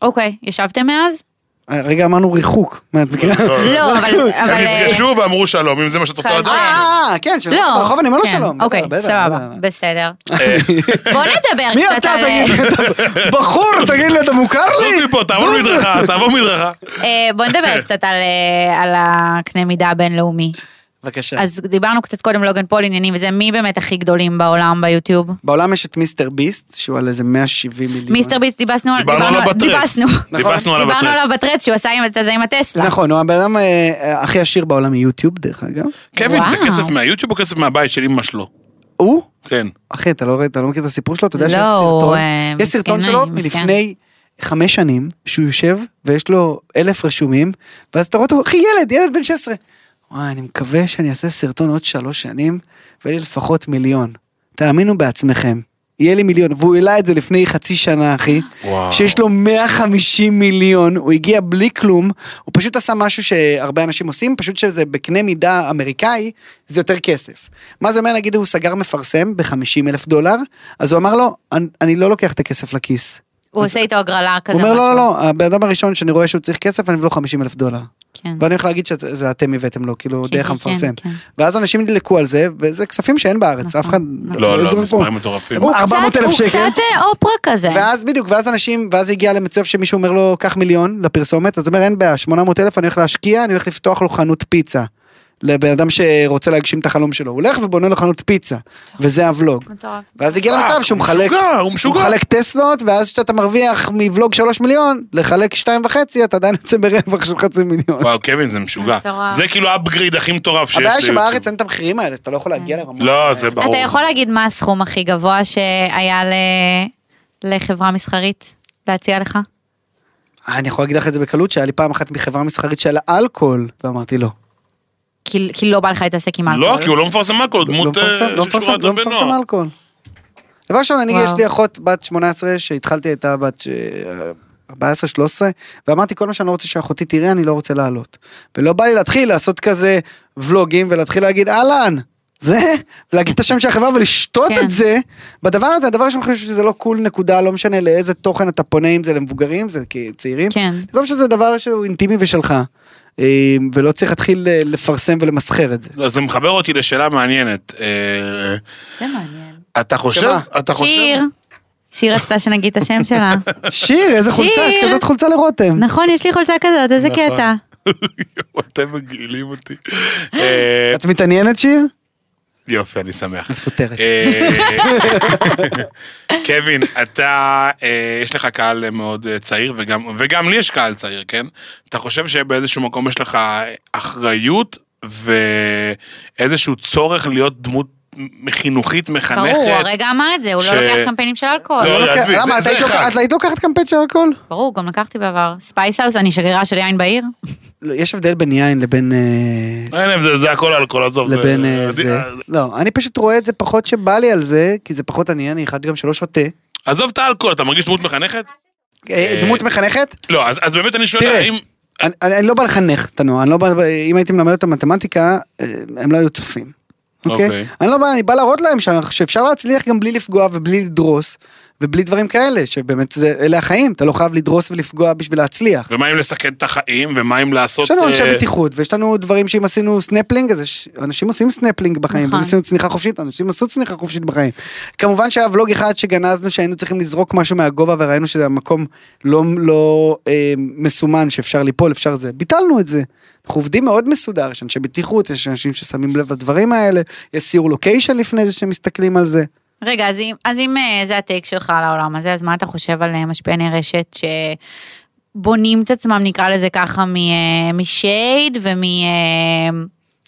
Speaker 3: אוקיי, ישבתם מאז?
Speaker 4: הרגע אמרנו ריחוק מהמקרה.
Speaker 3: לא, אבל... אבל,
Speaker 2: הם
Speaker 3: אה,
Speaker 2: נפגשו ואמרו שלום, אם זה מה שאת רוצה
Speaker 3: חזר.
Speaker 2: לדעת.
Speaker 4: אה, כן, שלום
Speaker 3: לא.
Speaker 4: ברחוב אני אומר לו
Speaker 3: כן,
Speaker 4: שלום.
Speaker 3: אוקיי,
Speaker 4: בטח, בטח,
Speaker 3: סבבה,
Speaker 4: בטח.
Speaker 3: בסדר.
Speaker 2: אה.
Speaker 3: בוא נדבר
Speaker 4: מי
Speaker 3: קצת
Speaker 4: אתה
Speaker 3: על...
Speaker 4: תגיד לי? אתה בחור, תגיד לי, אתה מוכר לי?
Speaker 2: זוז מפה, תעבור
Speaker 4: זוז.
Speaker 2: מדרכה, תעבור מדרכה.
Speaker 3: אה, בוא נדבר קצת על, אה, על הקנה מידה הבינלאומי.
Speaker 4: בבקשה.
Speaker 3: אז דיברנו קצת קודם לוגן פול עניינים וזה, מי באמת הכי גדולים בעולם ביוטיוב?
Speaker 4: בעולם יש את מיסטר ביסט, שהוא על איזה 170 מיליון.
Speaker 3: מיסטר ביסט, דיבסנו על...
Speaker 2: דיברנו עליו בטרץ.
Speaker 3: דיבסנו.
Speaker 2: דיברנו עליו
Speaker 3: דיברנו עליו
Speaker 2: בטרץ.
Speaker 3: בטרץ שהוא עשה עם את הזה עם הטסלה.
Speaker 4: נכון, הוא הבן אדם אה, אה, הכי עשיר בעולם מיוטיוב, דרך אגב.
Speaker 2: קווין, זה
Speaker 3: וואו.
Speaker 2: כסף מהיוטיוב או כסף מהבית של אמא שלו?
Speaker 4: הוא?
Speaker 2: כן.
Speaker 4: אחי, אתה לא רואה- אתה לא מכיר את הסיפור שלו? אתה יודע
Speaker 3: לא,
Speaker 4: שיש
Speaker 3: הוא,
Speaker 4: סרטון.
Speaker 3: אה,
Speaker 4: יש סרטון
Speaker 3: מסכן,
Speaker 4: שלו
Speaker 3: אני מסכן.
Speaker 4: מלפני חמש שנים, שהוא יושב ויש לו אלף רשומים, ואז אתה רואה אותו, אחי, ילד, ילד בן 16. וואי, אני מקווה שאני אעשה סרטון עוד שלוש שנים, ויהיה לי לפחות מיליון. תאמינו בעצמכם. יהיה לי מיליון, והוא העלה את זה לפני חצי שנה, אחי.
Speaker 2: וואו.
Speaker 4: שיש לו 150 מיליון, הוא הגיע בלי כלום, הוא פשוט עשה משהו שהרבה אנשים עושים, פשוט שזה בקנה מידה אמריקאי, זה יותר כסף. מה זה אומר, נגיד הוא סגר מפרסם ב-50 אלף דולר, אז הוא אמר לו, "אני- אני לא לוקח את הכסף לכיס.
Speaker 3: הוא עושה איתו הגרלה כזה.
Speaker 4: הוא אומר, לא,
Speaker 3: משהו.
Speaker 4: לא, לא, הבן אדם הראשון שאני רואה שהוא צריך כסף, אני מביא לו 50 אלף דולר.
Speaker 3: כן.
Speaker 4: ואני הולך להגיד שזה אתם הבאתם לו, כאילו,
Speaker 3: כן,
Speaker 4: דרך
Speaker 3: כן,
Speaker 4: המפרסם.
Speaker 3: כן, נכון, כן.
Speaker 4: ואז אנשים נדלקו על זה, וזה כספים שאין בארץ, אף אחד...
Speaker 2: לא, לא,
Speaker 4: זורק פה.
Speaker 2: מספרים מטורפים.
Speaker 3: הוא
Speaker 4: 400,000
Speaker 3: קצת-
Speaker 4: שקל.
Speaker 3: הוא קצת אה, אופרה כזה.
Speaker 4: ואז בדיוק, ואז אנשים, ואז הגיע למצב שמישהו אומר לו, קח מיליון לפרסומת, אז הוא אומר, אין בעיה, 800 אלף, אני הולך להשקיע, אני הולך לפתוח לו חנות פיצה. לבן אדם שרוצה להגשים את החלום שלו, הוא הולך ובונה לו חנות פיצה, וזה הוולוג.
Speaker 3: מטורף.
Speaker 4: ואז הגיע למצב שהוא מחלק,
Speaker 2: משוגע, הוא
Speaker 4: הוא
Speaker 2: משוגע.
Speaker 4: מחלק טסלות, ואז כשאתה מרוויח מבלוג 3 מיליון, לחלק 2.5, אתה עדיין יוצא ברווח של חצי מיליון.
Speaker 2: וואו, קווין, זה משוגע.
Speaker 3: מטורף.
Speaker 2: זה כאילו האפגריד הכי מטורף שיש לי.
Speaker 4: הבעיה שבארץ אין את המחירים האלה, אז אתה לא יכול להגיע לרמות.
Speaker 2: לא, זה ברור.
Speaker 3: אתה יכול להגיד מה הסכום הכי גבוה שהיה ל- לחברה מסחרית להציע לך?
Speaker 4: אה, אני יכול להגיד לך את זה בקלות, שהיה לי פעם אחת מחברה מסחרית של אלכוהול, ואמרתי לא.
Speaker 3: כי כי לא בא לך להתעסק עם אלכוהול.
Speaker 2: לא, כי הוא לא מפרסם אלכוהול,
Speaker 4: לא
Speaker 2: דמות
Speaker 4: מפרסם,
Speaker 2: אה,
Speaker 4: לא
Speaker 2: שקשורה
Speaker 4: מפרסם, לא
Speaker 2: לבני נוער.
Speaker 4: מפרסם אלכוהול. דבר ראשון, אני,
Speaker 3: וואו.
Speaker 4: יש לי אחות בת 18 שהתחלתי הייתה בת 14-13, ואמרתי כל מה שאני לא רוצה שאחותי תראה, אני לא רוצה לעלות. ולא בא לי להתחיל לעשות כזה ולוגים ולהתחיל להגיד אהלן. זה, ולהגיד את השם של החברה ולשתות
Speaker 3: כן.
Speaker 4: את זה, בדבר הזה, הדבר ראשון, אני חושב שזה לא קול נקודה, לא משנה לאיזה תוכן אתה פונה, אם זה למבוגרים, זה כצעירים.
Speaker 3: כן.
Speaker 4: אני חושב שזה דבר שהוא אינטימי ושלך, אה, ולא צריך להתחיל אה, לפרסם ולמסחר את זה.
Speaker 2: לא, זה מחבר אותי לשאלה מעניינת. אה,
Speaker 3: זה מעניין.
Speaker 2: אתה חושב,
Speaker 4: שמה?
Speaker 2: אתה חושב,
Speaker 3: שיר. שיר רצתה שנגיד את השם שלה.
Speaker 4: שיר, איזה חולצה, יש
Speaker 3: שיר.
Speaker 4: כזאת חולצה לרותם.
Speaker 3: נכון, יש לי חולצה כזאת, איזה
Speaker 2: נכון.
Speaker 3: קטע.
Speaker 2: יואו, אתם מגעילים אותי. אה,
Speaker 4: את מתעניינת שיר?
Speaker 2: יופי, אני שמח.
Speaker 4: מפוטרת.
Speaker 2: אה, קווין, אתה, אה, יש לך קהל מאוד אה, צעיר, וגם, וגם לי יש קהל צעיר, כן? אתה חושב שבאיזשהו מקום יש לך אחריות ואיזשהו צורך להיות דמות חינוכית, מחנכת?
Speaker 3: ברור, הוא הרגע אמר את זה, הוא
Speaker 2: ש-
Speaker 3: לא לוקח קמפיינים של אלכוהול.
Speaker 2: לא,
Speaker 3: הוא לוקח-
Speaker 2: עזבי,
Speaker 4: אוקיי, למה,
Speaker 2: זה-
Speaker 4: את
Speaker 2: זה
Speaker 4: היית לוקח-
Speaker 2: אחד.
Speaker 4: את היית לוקחת קמפיין של אלכוהול?
Speaker 3: ברור, גם לקחתי בעבר. ספייס האוס, אני שגרירה של יין בעיר.
Speaker 4: לא, יש הבדל בין יין לבין... אה,
Speaker 2: אין הבדל, זה הכל אלכוהול, עזוב. זה-
Speaker 4: לבין אה, זה. לא, אני פשוט רואה את זה פחות שבא לי על זה, כי זה פחות עניין, אני אחד גם שלא שותה.
Speaker 2: עזוב את האלכוהול, אתה מרגיש דמות מחנכת?
Speaker 4: אה, דמות מחנכת?
Speaker 2: לא, אז אז באמת אני שואל,
Speaker 4: תראה.
Speaker 2: האם...
Speaker 4: אני- אני אני לא בא לחנך את הנוער, אני לא בא- אם הייתי מלמד אותם מתמטיקה, אה, הם לא היו צופים.
Speaker 2: אוקיי.
Speaker 4: אוקיי? אני לא בא, אני בא להראות להם שאנחנו- שאפשר להצליח גם בלי לפגוע ובלי לדרוס, ובלי דברים כאלה, שבאמת זה- אלה החיים, אתה לא חייב לדרוס ולפגוע בשביל להצליח.
Speaker 2: ומה אם לסכן את החיים, ומה אם לעשות...
Speaker 4: יש לנו אנשי
Speaker 2: אה,
Speaker 4: בטיחות ויש לנו דברים שאם עשינו סנפלינג אז יש- אנשים עושים סנפלינג בחיים
Speaker 3: נכון.
Speaker 4: ואם עשינו צניחה חופשית אנשים עשו צניחה חופשית בחיים. כמובן שהיה ולוג אחד שגנזנו שהיינו צריכים לזרוק משהו מהגובה וראינו שזה המקום לא לא אה, מסומן שאפשר ליפול אפשר זה ביטלנו את זה. אנחנו עובדים מאוד מסודר יש אנשי בטיחות יש אנשים ששמים לב לדברים האלה יש סיור לוקיישן לפני זה שמסתכלים על זה.
Speaker 3: רגע, אז אם, אז אם אה, זה הטייק שלך על העולם הזה, אז מה אתה חושב על אה, משפיעני רשת שבונים את עצמם, נקרא לזה ככה, מ, אה, משייד ומ... אה,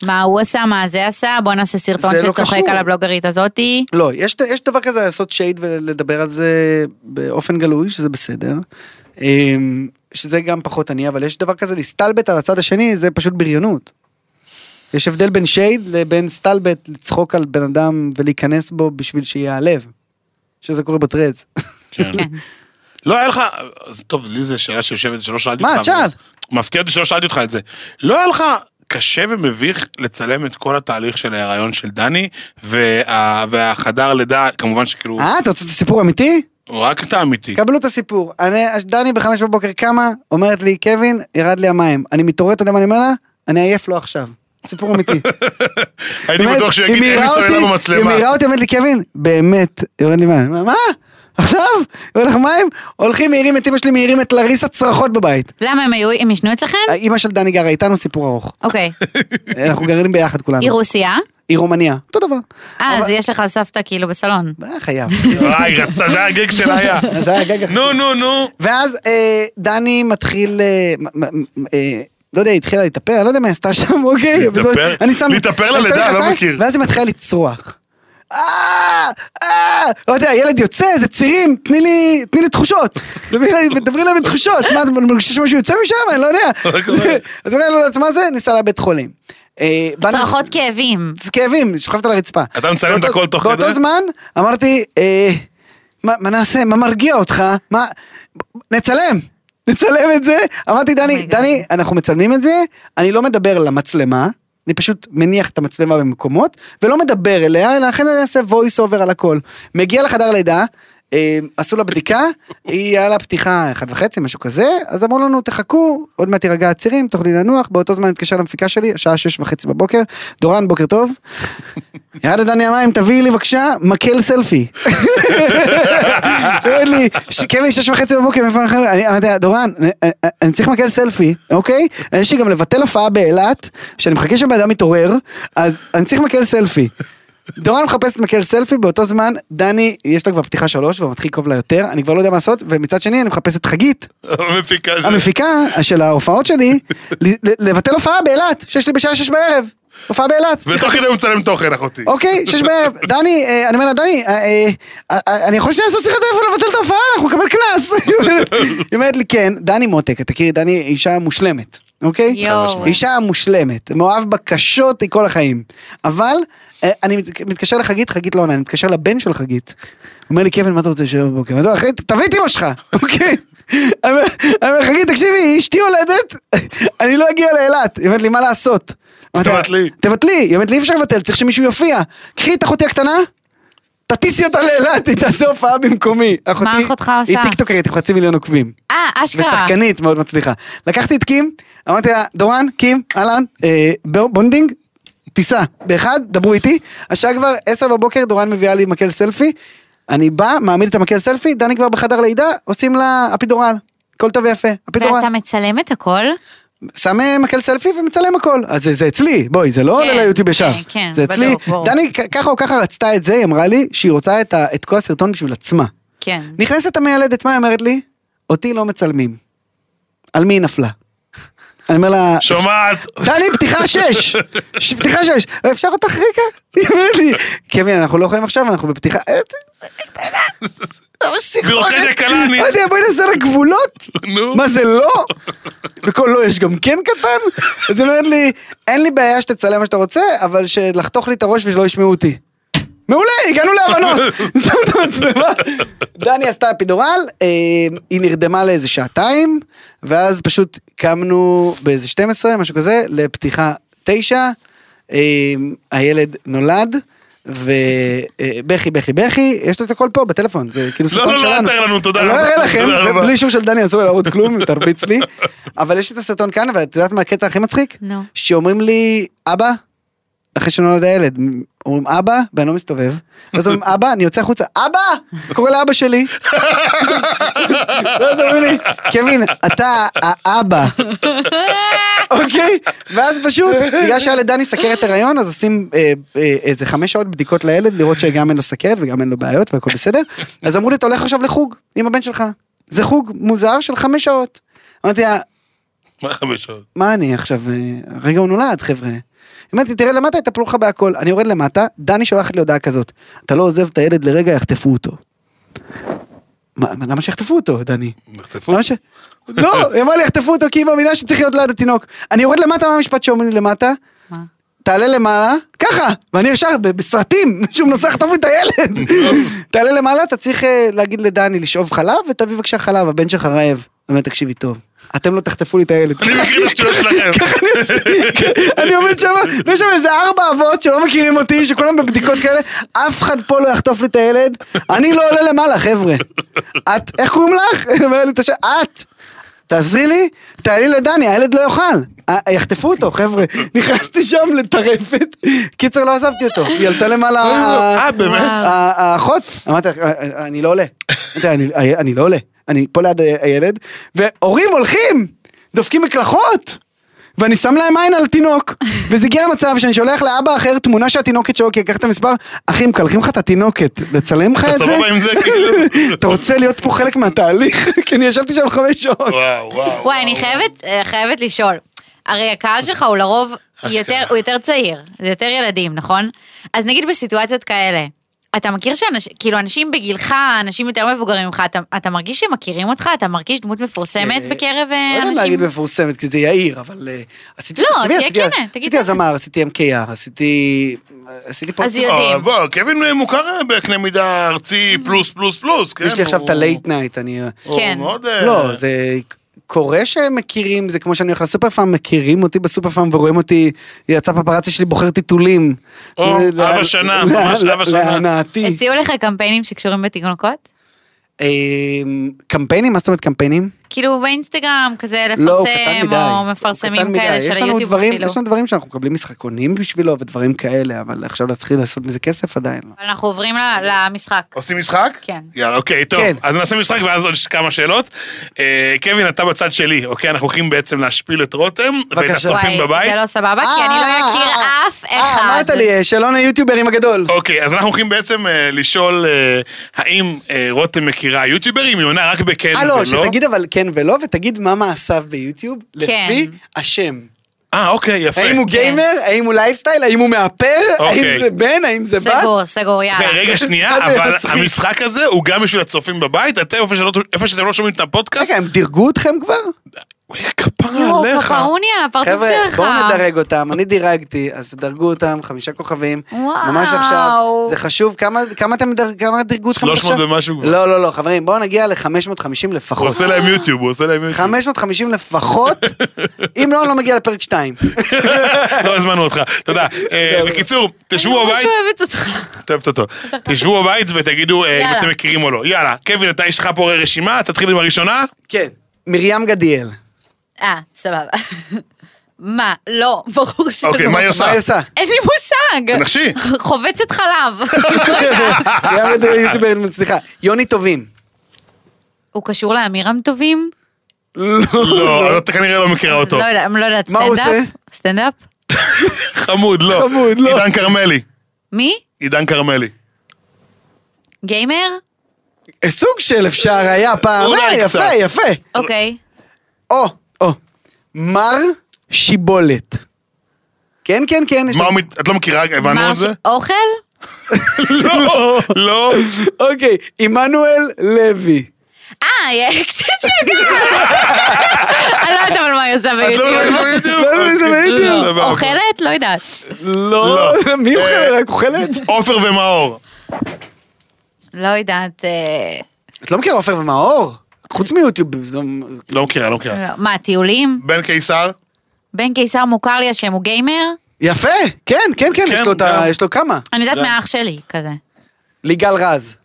Speaker 3: מה הוא עשה, מה זה עשה, בוא נעשה סרטון
Speaker 4: זה לא
Speaker 3: שצוחק
Speaker 4: קשור.
Speaker 3: על הבלוגרית הזאתי.
Speaker 4: לא, יש, יש דבר כזה לעשות שייד ולדבר על זה באופן גלוי, שזה בסדר. אמ, שזה גם פחות אני, אבל יש דבר כזה להסתלבט על הצד השני, זה פשוט בריונות. יש הבדל בין שייד לבין סתלבט, לצחוק על בן אדם ולהיכנס בו בשביל שיעלב. שזה קורה בטרץ.
Speaker 2: כן. לא היה לך, אז טוב, לי זו שאלה שיושבת שלא שאלתי
Speaker 4: מה,
Speaker 2: אותך.
Speaker 4: תשאל.
Speaker 2: אבל מפתיע אותי שלא שאלתי אותך את זה. לא היה לך קשה ומביך לצלם את כל התהליך של ההיריון של דני, וה- והחדר לידה, כמובן שכאילו...
Speaker 4: אה, אתה אה, רוצה את הסיפור האמיתי?
Speaker 2: רק אתה אמיתי.
Speaker 4: קבלו את הסיפור. אני, דני בחמש בבוקר קמה, אומרת לי, קווין, ירד לי המים. אני מתעורר, אתה יודע מה אני אומר לה? אני עייף לו עכשיו. סיפור אמיתי.
Speaker 2: הייתי
Speaker 4: באמת,
Speaker 2: בטוח שהוא יגיד,
Speaker 4: היא
Speaker 2: אין לי
Speaker 4: מעירה
Speaker 2: סוללה
Speaker 4: אותי-
Speaker 2: במצלמה.
Speaker 4: היא מעירה אותי, אומרת לי, קווין, באמת, יורד לי מים. אני אומר, מה? עכשיו? יורד לך מים? הולכים, מעירים את אמא שלי, מעירים את לריסה צרחות בבית.
Speaker 3: למה הם היו, הם ישנו אצלכם?
Speaker 4: אמא של דני גרה איתנו, סיפור ארוך.
Speaker 3: אוקיי.
Speaker 4: אנחנו גרים ביחד כולנו.
Speaker 3: היא רוסייה?
Speaker 4: היא רומניה, אותו דבר.
Speaker 3: אה, אז יש לך סבתא כאילו בסלון.
Speaker 4: אה, חייב.
Speaker 2: אה, היא רצתה, זה הגיג שלה היה.
Speaker 4: זה היה גג.
Speaker 2: נו, נו, נו.
Speaker 4: ואז אה, דני מתחיל, אה, מ- מ- מ- אה, לא יודע, היא התחילה להתאפר, אני לא יודע מה היא עשתה שם, אוקיי?
Speaker 2: להתאפר?
Speaker 4: וזאת- אני שם-
Speaker 2: להתאפר
Speaker 4: אני שם
Speaker 2: ללידה, לא
Speaker 4: מכנסיים,
Speaker 2: מכיר.
Speaker 4: ואז היא מתחילה לצרוח. אה, אה, לא יודע, ילד יוצא, זה צירים, תני לי, תני לי תחושות. מדברים אליהם בתחושות, מה, את מרגישה שמשהו יוצא משם? אני לא יודע.
Speaker 2: מה קורה?
Speaker 4: אז אני לא יודעת מה זה, ניסע לבית חולים. אה, באנו-
Speaker 3: צרחות כאבים.
Speaker 4: זה כאבים, שוכבת על הרצפה.
Speaker 2: אתה מצלם את
Speaker 4: באותו-
Speaker 2: הכל תוך כדי?
Speaker 4: באותו זמן אמרתי, אה, מה מה נעשה, מה מרגיע אותך? מה... נצלם, נצלם את זה. אמרתי, דני,
Speaker 3: God.
Speaker 4: דני, אנחנו מצלמים את זה, אני לא מדבר למצלמה. אני פשוט מניח את המצלמה במקומות, ולא מדבר אליה, אלא לכן אני אעשה voice over על הכל. מגיע לחדר לידה, אה, עשו לה בדיקה, היא היה לה פתיחה אחת וחצי, משהו כזה, אז אמרו לנו, תחכו, עוד מעט תירגע הצירים, תוכלי לנוח, באותו זמן התקשר למפיקה שלי, השעה שש וחצי בבוקר, דורן, בוקר טוב. יאללה דני המים, תביאי לי בבקשה מקל סלפי. הוא אומר לי, "ש- קווין, שש וחצי בבוקר, מאיפה אני חייב? אני אמרתי, לה, דורן, אני- אני- אני צריך מקל סלפי, אוקיי? יש לי גם לבטל הופעה באילת, שאני מחכה שהבן אדם יתעורר, אז אני צריך מקל סלפי. דורן מחפשת מקל סלפי, באותו זמן, דני, יש לה כבר פתיחה שלוש, והוא מתחיל לקרוב לה יותר, אני כבר לא יודע מה לעשות, ומצד שני, אני מחפש את חגית,
Speaker 2: המפיקה של...
Speaker 4: המפיקה של ההופעות שלי, ל- ל- לבטל הופעה באילת, שיש לי בשעה שש בערב. הופעה באילת.
Speaker 2: ותוך כדי הוא מצלם תוכן, אחותי.
Speaker 4: אוקיי, שש בערב. דני, אה, אני אומר לה, דני, אה, אה, אה, אני יכול שנייה לעשות שיחת טלפון לבטל את ההופעה, אנחנו נקבל קנס. היא אומרת- היא אומרת לי, כן, דני מותק, תכירי, דני היא אישה מושלמת, אוקיי?
Speaker 3: יואו.
Speaker 4: אישה מושלמת, מאוהב בקשות היא כל החיים. אבל אה, אני מת- מתקשר לחגית, חגית לא עונה, אני מתקשר לבן של חגית. הוא אומר לי, קווין, מה אתה רוצה לשבת בבוקר? אני אומר, "אחי, תביא את אמא שלך, אוקיי? אני אומר, אני אומר, חגית, תקשיבי, אשתי יולדת, אני לא אגיע לאילת. היא אומרת לי, מה לעשות? אמרתי לה,
Speaker 2: תבטלי.
Speaker 4: תבטלי. היא אומרת לי, אי אפשר לבטל, צריך שמישהו יופיע. קחי את אחותי הקטנה, תטיסי אותה לאילת, היא תעשה הופעה במקומי.
Speaker 3: מה אחותך עושה?
Speaker 4: היא טיקטוקרית, היא חצי מיליון עוקבים.
Speaker 3: אה, אשכרה.
Speaker 4: ושחקנית מאוד מצליחה. לקחתי את קים, אמרתי לה, דורן, קים, אהלן, אה, ב- בונדינג, טיסה. באחד, דברו איתי. השעה כבר עשר בבוקר, דורן מביאה לי מקל סלפי. אני בא, מעמיד את המקל סלפי, דני כבר בחדר לידה, עושים לה אפידורל. הכל טוב ויפה, אפידורל.
Speaker 3: ואתה מצלם את הכל?
Speaker 4: שם אה, מקל סלפי ומצלם הכל. אז זה, זה אצלי, בואי, זה לא עולה
Speaker 3: כן,
Speaker 4: ליוטיוב ישר.
Speaker 3: כן, כן,
Speaker 4: זה אצלי.
Speaker 3: בדיוק, ברור.
Speaker 4: דני כ- ככה או ככה רצתה את זה, היא אמרה לי שהיא רוצה את, ה, את כל הסרטון בשביל עצמה.
Speaker 3: כן.
Speaker 4: נכנסת המיילדת, מה היא אומרת לי? אותי לא מצלמים. על מי היא נפלה? אני אומר לה...
Speaker 2: שומעת?
Speaker 4: דני, פתיחה שש! ש- פתיחה שש! אפשר אותך רגע? היא אומרת לי, קווין, אנחנו לא יכולים עכשיו, אנחנו בפתיחה... אה, זה בקטנה. זה ממש סיכונת.
Speaker 2: בירוקרטיה קלה, אני-
Speaker 4: לא יודע, בואי נעשה לה גבולות.
Speaker 2: נו.
Speaker 4: מה זה לא? בכל לא יש גם כן קטן? אז היא אומרת לי, אין לי בעיה שתצלם מה שאתה רוצה, אבל שלחתוך לי את הראש ושלא ישמעו אותי. מעולה, הגענו להבנות. שם את המצלמה. דני עשתה אפידורל, אה, היא נרדמה לאיזה שעתיים, ואז פשוט קמנו באיזה 12, משהו כזה, לפתיחה 9, אה, הילד נולד. ובכי בכי בכי, יש לו את הכל פה בטלפון, זה כאילו
Speaker 2: לא,
Speaker 4: סרטון
Speaker 2: לא,
Speaker 4: שלנו.
Speaker 2: לא, אתר לנו, תודה
Speaker 4: אני לא
Speaker 2: רבה.
Speaker 4: אראה לכם,
Speaker 2: תודה
Speaker 4: זה
Speaker 2: רבה.
Speaker 4: בלי אישור של דני אסור להראות כלום, אם תרביץ לי. אבל יש את הסרטון כאן, ואת יודעת מה הקטע הכי מצחיק?
Speaker 3: נו.
Speaker 4: שאומרים לי, אבא, אחרי שנולד הילד, אומרים אבא, ואני לא מסתובב. ואז אומרים אבא, אני יוצא החוצה, אבא! קורא לאבא שלי. ואז אומרים לא, לי, קווין, אתה האבא. אוקיי? ואז פשוט, בגלל שהיה לדני סכרת הריון, אז עושים אה, אה, איזה חמש שעות בדיקות לילד, לראות שגם אין לו סכרת וגם אין לו בעיות והכל בסדר. אז אמרו לי, אתה הולך עכשיו לחוג עם הבן שלך. זה חוג מוזר של חמש שעות. אמרתי לה,
Speaker 2: מה חמש שעות?
Speaker 4: מה אני עכשיו, אה, הרגע הוא נולד, חבר'ה. אמרתי, תראה למטה, יטפלו לך בהכל. אני יורד למטה, דני שולחת לי הודעה כזאת, אתה לא עוזב את הילד לרגע, יחטפו אותו. מה, למה שיחטפו אותו, דני?
Speaker 2: נחטפו?
Speaker 4: למה ש... לא, היא אמרה לי, יחטפו אותו, כי היא מאמינה שצריך להיות ליד התינוק. אני יורד למטה, מה המשפט שאומרים לי למטה?
Speaker 3: מה?
Speaker 4: תעלה למעלה, ככה, ואני ישר ב- בסרטים, שהוא מנסה לחטוף לי את הילד. תעלה למעלה, אתה צריך אה, להגיד לדני לשאוב חלב, ותביא בבקשה חלב, הבן שלך רעב. אומר, תקשיבי טוב, אתם לא תחטפו לי את הילד.
Speaker 2: אני מכיר את השטויות שלכם.
Speaker 4: אני עומד שם, ויש שם איזה ארבע אבות שלא מכירים אותי, שכולם בבדיקות כאלה, אף אחד פה לא יחטוף לי את הילד, אני לא עולה למעלה, חבר'ה. את, איך קוראים לך? אומר לי את השם, את. תעזרי לי, תעלי לדני, הילד לא יאכל. אה, יחטפו אותו, חבר'ה. נכנסתי שם לטרפת. קיצר, לא עזבתי אותו. היא עלתה למעלה...
Speaker 2: אה, באמת?
Speaker 4: ה- האחות, אמרתי, "אה, אה, אני לא עולה. אמרתי, "אני- אה, אני לא עולה. אני פה ליד ה- הילד, והורים הולכים, דופקים מקלחות. ואני שם להם עין על התינוק, וזה הגיע למצב שאני שולח לאבא אחר תמונה שהתינוקת שלו, כי לקח את המספר, אחי, מקלחים לך את התינוקת, לצלם לך
Speaker 2: אתה
Speaker 4: את זה?
Speaker 2: סבבה עם זה, כאילו?
Speaker 4: אתה רוצה להיות פה חלק מהתהליך? כי אני ישבתי שם חמש
Speaker 3: אה,
Speaker 4: שעות. לא
Speaker 2: וואו, וואו.
Speaker 3: וואי, אני חייבת, אה, חייבת לשאול. הרי הקהל שלך הוא לרוב יותר, הוא יותר צעיר, זה יותר ילדים, נכון? אז נגיד בסיטואציות כאלה, אתה מכיר שאנשים, כאילו אנשים בגילך, אנשים יותר מבוגרים ממך, אתה, אתה מרגיש שמכירים אותך? אתה מרגיש דמות מפורסמת בקרב אה,
Speaker 4: לא יודע
Speaker 3: אנשים?
Speaker 4: להגיד מפורסמת, כי זה יאיר, אבל אה, עשיתי...
Speaker 3: לא,
Speaker 4: תחשבי,
Speaker 3: תהיה
Speaker 4: עשיתי-
Speaker 3: כנה, תגיד
Speaker 4: עשיתי
Speaker 3: ככה.
Speaker 4: הזמר, עשיתי MKR, עשיתי... עשיתי פה...
Speaker 3: אז
Speaker 2: אה,
Speaker 3: יודעים.
Speaker 2: בוא, קווין מוכר אה, בקנה מידה ארצי פלוס פלוס פלוס, כן?
Speaker 4: יש לי עכשיו את
Speaker 2: הוא-
Speaker 4: הלייט נייט, אני...
Speaker 2: הוא
Speaker 3: כן.
Speaker 2: מאוד, אה,
Speaker 4: לא, זה... קורה שהם מכירים, זה כמו שאני הולך לסופר פארם, מכירים אותי בסופר פארם ורואים אותי, יצא פפרצי שלי בוחר טיטולים.
Speaker 2: או,
Speaker 4: ל-
Speaker 2: אבא
Speaker 4: ל-
Speaker 2: שנה,
Speaker 4: ל-
Speaker 2: ממש
Speaker 4: ל-
Speaker 2: אבא שנה.
Speaker 4: להנאתי.
Speaker 3: כן. הציעו לך קמפיינים שקשורים בתינוקות?
Speaker 4: אמ, קמפיינים? מה זאת אומרת קמפיינים?
Speaker 3: כאילו באינסטגרם, כזה
Speaker 4: לא, הוא קטן
Speaker 3: לפרסם,
Speaker 4: מדי.
Speaker 3: או
Speaker 4: הוא קטן
Speaker 3: מפרסמים
Speaker 4: מדי.
Speaker 3: כאלה
Speaker 4: יש
Speaker 3: של
Speaker 4: לנו
Speaker 3: היוטיוב
Speaker 4: דברים-
Speaker 3: אפילו.
Speaker 4: יש לנו דברים שאנחנו מקבלים משחקונים בשבילו ודברים כאלה, אבל עכשיו להתחיל לעשות מזה כסף עדיין לא.
Speaker 3: אבל אנחנו עוברים ל- למשחק.
Speaker 2: עושים משחק?
Speaker 3: כן.
Speaker 2: יאללה, אוקיי, טוב.
Speaker 4: כן.
Speaker 2: אז נעשה משחק ואז עוד כמה שאלות. אה, קווין, אתה בצד שלי, אוקיי? אנחנו הולכים בעצם להשפיל את רותם ואת
Speaker 4: בבקשה.
Speaker 2: הצופים
Speaker 3: וואי,
Speaker 2: בבית.
Speaker 3: זה לא סבבה, כי אני
Speaker 4: אה,
Speaker 3: לא אכיר
Speaker 4: אה,
Speaker 3: אף
Speaker 4: אה,
Speaker 3: אחד.
Speaker 4: אמרת לי, אה, שלום היוטיוברים הגדול.
Speaker 2: אוקיי, אז אנחנו הולכים בעצם אה, לשאול אה, האם אה, רותם מכירה יוטיוברים, היא עונה רק בכן
Speaker 4: אה
Speaker 2: ולא.
Speaker 4: לא, שתגיד אבל כן ולא, ותגיד מה מעשיו ביוטיוב,
Speaker 3: כן.
Speaker 4: לפי השם.
Speaker 2: אה, אוקיי, יפה.
Speaker 4: האם הוא גיימר, האם הוא לייפסטייל, האם הוא מאפר, האם
Speaker 2: אוקיי.
Speaker 4: זה בן, האם זה בת.
Speaker 3: סגור, סגור, יאללה.
Speaker 2: אוקיי, רגע, שנייה,
Speaker 4: מה זה
Speaker 2: אבל
Speaker 4: מצחיק?
Speaker 2: המשחק הזה הוא גם בשביל הצופים בבית, אתם איפה שלא- איפה שאתם לא שומעים את הפודקאסט,
Speaker 4: רגע, הם דירגו אתכם כבר?
Speaker 2: אוי, כפרה
Speaker 3: יואו,
Speaker 2: עליך.
Speaker 3: קפרוני על הפרצוף
Speaker 4: חבר'ה,
Speaker 3: שלך.
Speaker 4: בואו נדרג אותם, אני דירגתי, אז דרגו אותם, חמישה כוכבים.
Speaker 3: וואו.
Speaker 4: ממש עכשיו, זה חשוב, כמה, כמה אתם דר- כמה דירגו אתכם
Speaker 2: 300
Speaker 4: עכשיו?
Speaker 2: ומשהו כבר.
Speaker 4: לא, לא, לא, חברים, בואו נגיע ל-550
Speaker 2: הוא
Speaker 4: לפחות.
Speaker 2: עושה להם יוטיוב, הוא עושה להם יוטיוב.
Speaker 4: 550 לפחות, אם לא, אני לא מגיע לפרק 2.
Speaker 2: לא הזמנו אותך, תודה. אה, בקיצור, תשבו
Speaker 3: אני
Speaker 2: בבית,
Speaker 3: ממש אוהבת אותך.
Speaker 2: אתה אוהבת אותו. תשבו בבית ותגידו אה, אם
Speaker 3: יאללה.
Speaker 2: אתם מכירים או לא. יאללה, קווין, אתה יש לך פה רשימה, תתחיל עם הראשונה.
Speaker 4: כן. מרים גדיאל.
Speaker 3: אה, סבבה. מה, לא, ברור שלא.
Speaker 2: אוקיי, מה היא עושה?
Speaker 4: מה היא עושה?
Speaker 3: אין לי מושג.
Speaker 2: תנחשי.
Speaker 3: חובצת חלב.
Speaker 4: מרים גדיאל יוטיוברית מצליחה. יוני טובים.
Speaker 3: הוא קשור לאמירם טובים?
Speaker 2: לא, אתה כנראה לא מכירה אותו.
Speaker 3: לא יודעת, לא יודעת,
Speaker 4: מה הוא
Speaker 3: סטנדאפ?
Speaker 4: עושה?
Speaker 3: סטנדאפ?
Speaker 2: חמוד, לא.
Speaker 4: חמוד, לא.
Speaker 2: עידן כרמלי.
Speaker 3: מי?
Speaker 2: עידן כרמלי.
Speaker 3: גיימר?
Speaker 4: אה, סוג של אפשר היה פעם.
Speaker 2: אולי
Speaker 4: אה,
Speaker 2: קצת.
Speaker 4: יפה, יפה.
Speaker 3: אוקיי.
Speaker 4: או, או. מר שיבולת. כן, כן, כן. יש
Speaker 2: מה
Speaker 4: לו-
Speaker 2: הוא מת... את לא מכירה, הבנו
Speaker 3: מה
Speaker 2: את זה?
Speaker 3: ש- אוכל?
Speaker 2: לא, לא.
Speaker 4: אוקיי, עמנואל לוי.
Speaker 3: אה, אקסיט של גל. אני לא יודעת אבל מה היא עושה
Speaker 2: את לא
Speaker 3: ביוטיוב.
Speaker 2: יודעת איזה בדיוק?
Speaker 4: לא יודעת איזה בדיוק.
Speaker 2: סבבה, אוקיי.
Speaker 3: אוכלת? לא יודעת.
Speaker 4: לא,
Speaker 2: לא.
Speaker 4: מי אוכלת?
Speaker 2: אה,
Speaker 4: רק אוכלת?
Speaker 2: עופר ומאור.
Speaker 3: לא יודעת. אה,
Speaker 4: את לא מכירה עופר ומאור? חוץ מיוטיוב. זה לא-
Speaker 2: לא מכירה, לא מכירה.
Speaker 3: לא, מה, טיולים?
Speaker 2: בן קיסר?
Speaker 3: בן קיסר מוכר לי השם, הוא גיימר?
Speaker 4: יפה, כן, כן, כן, יש לו את ה-
Speaker 2: גם.
Speaker 4: יש לו כמה.
Speaker 3: אני
Speaker 2: לא.
Speaker 3: יודעת מהאח שלי, כזה.
Speaker 4: ליגל רז.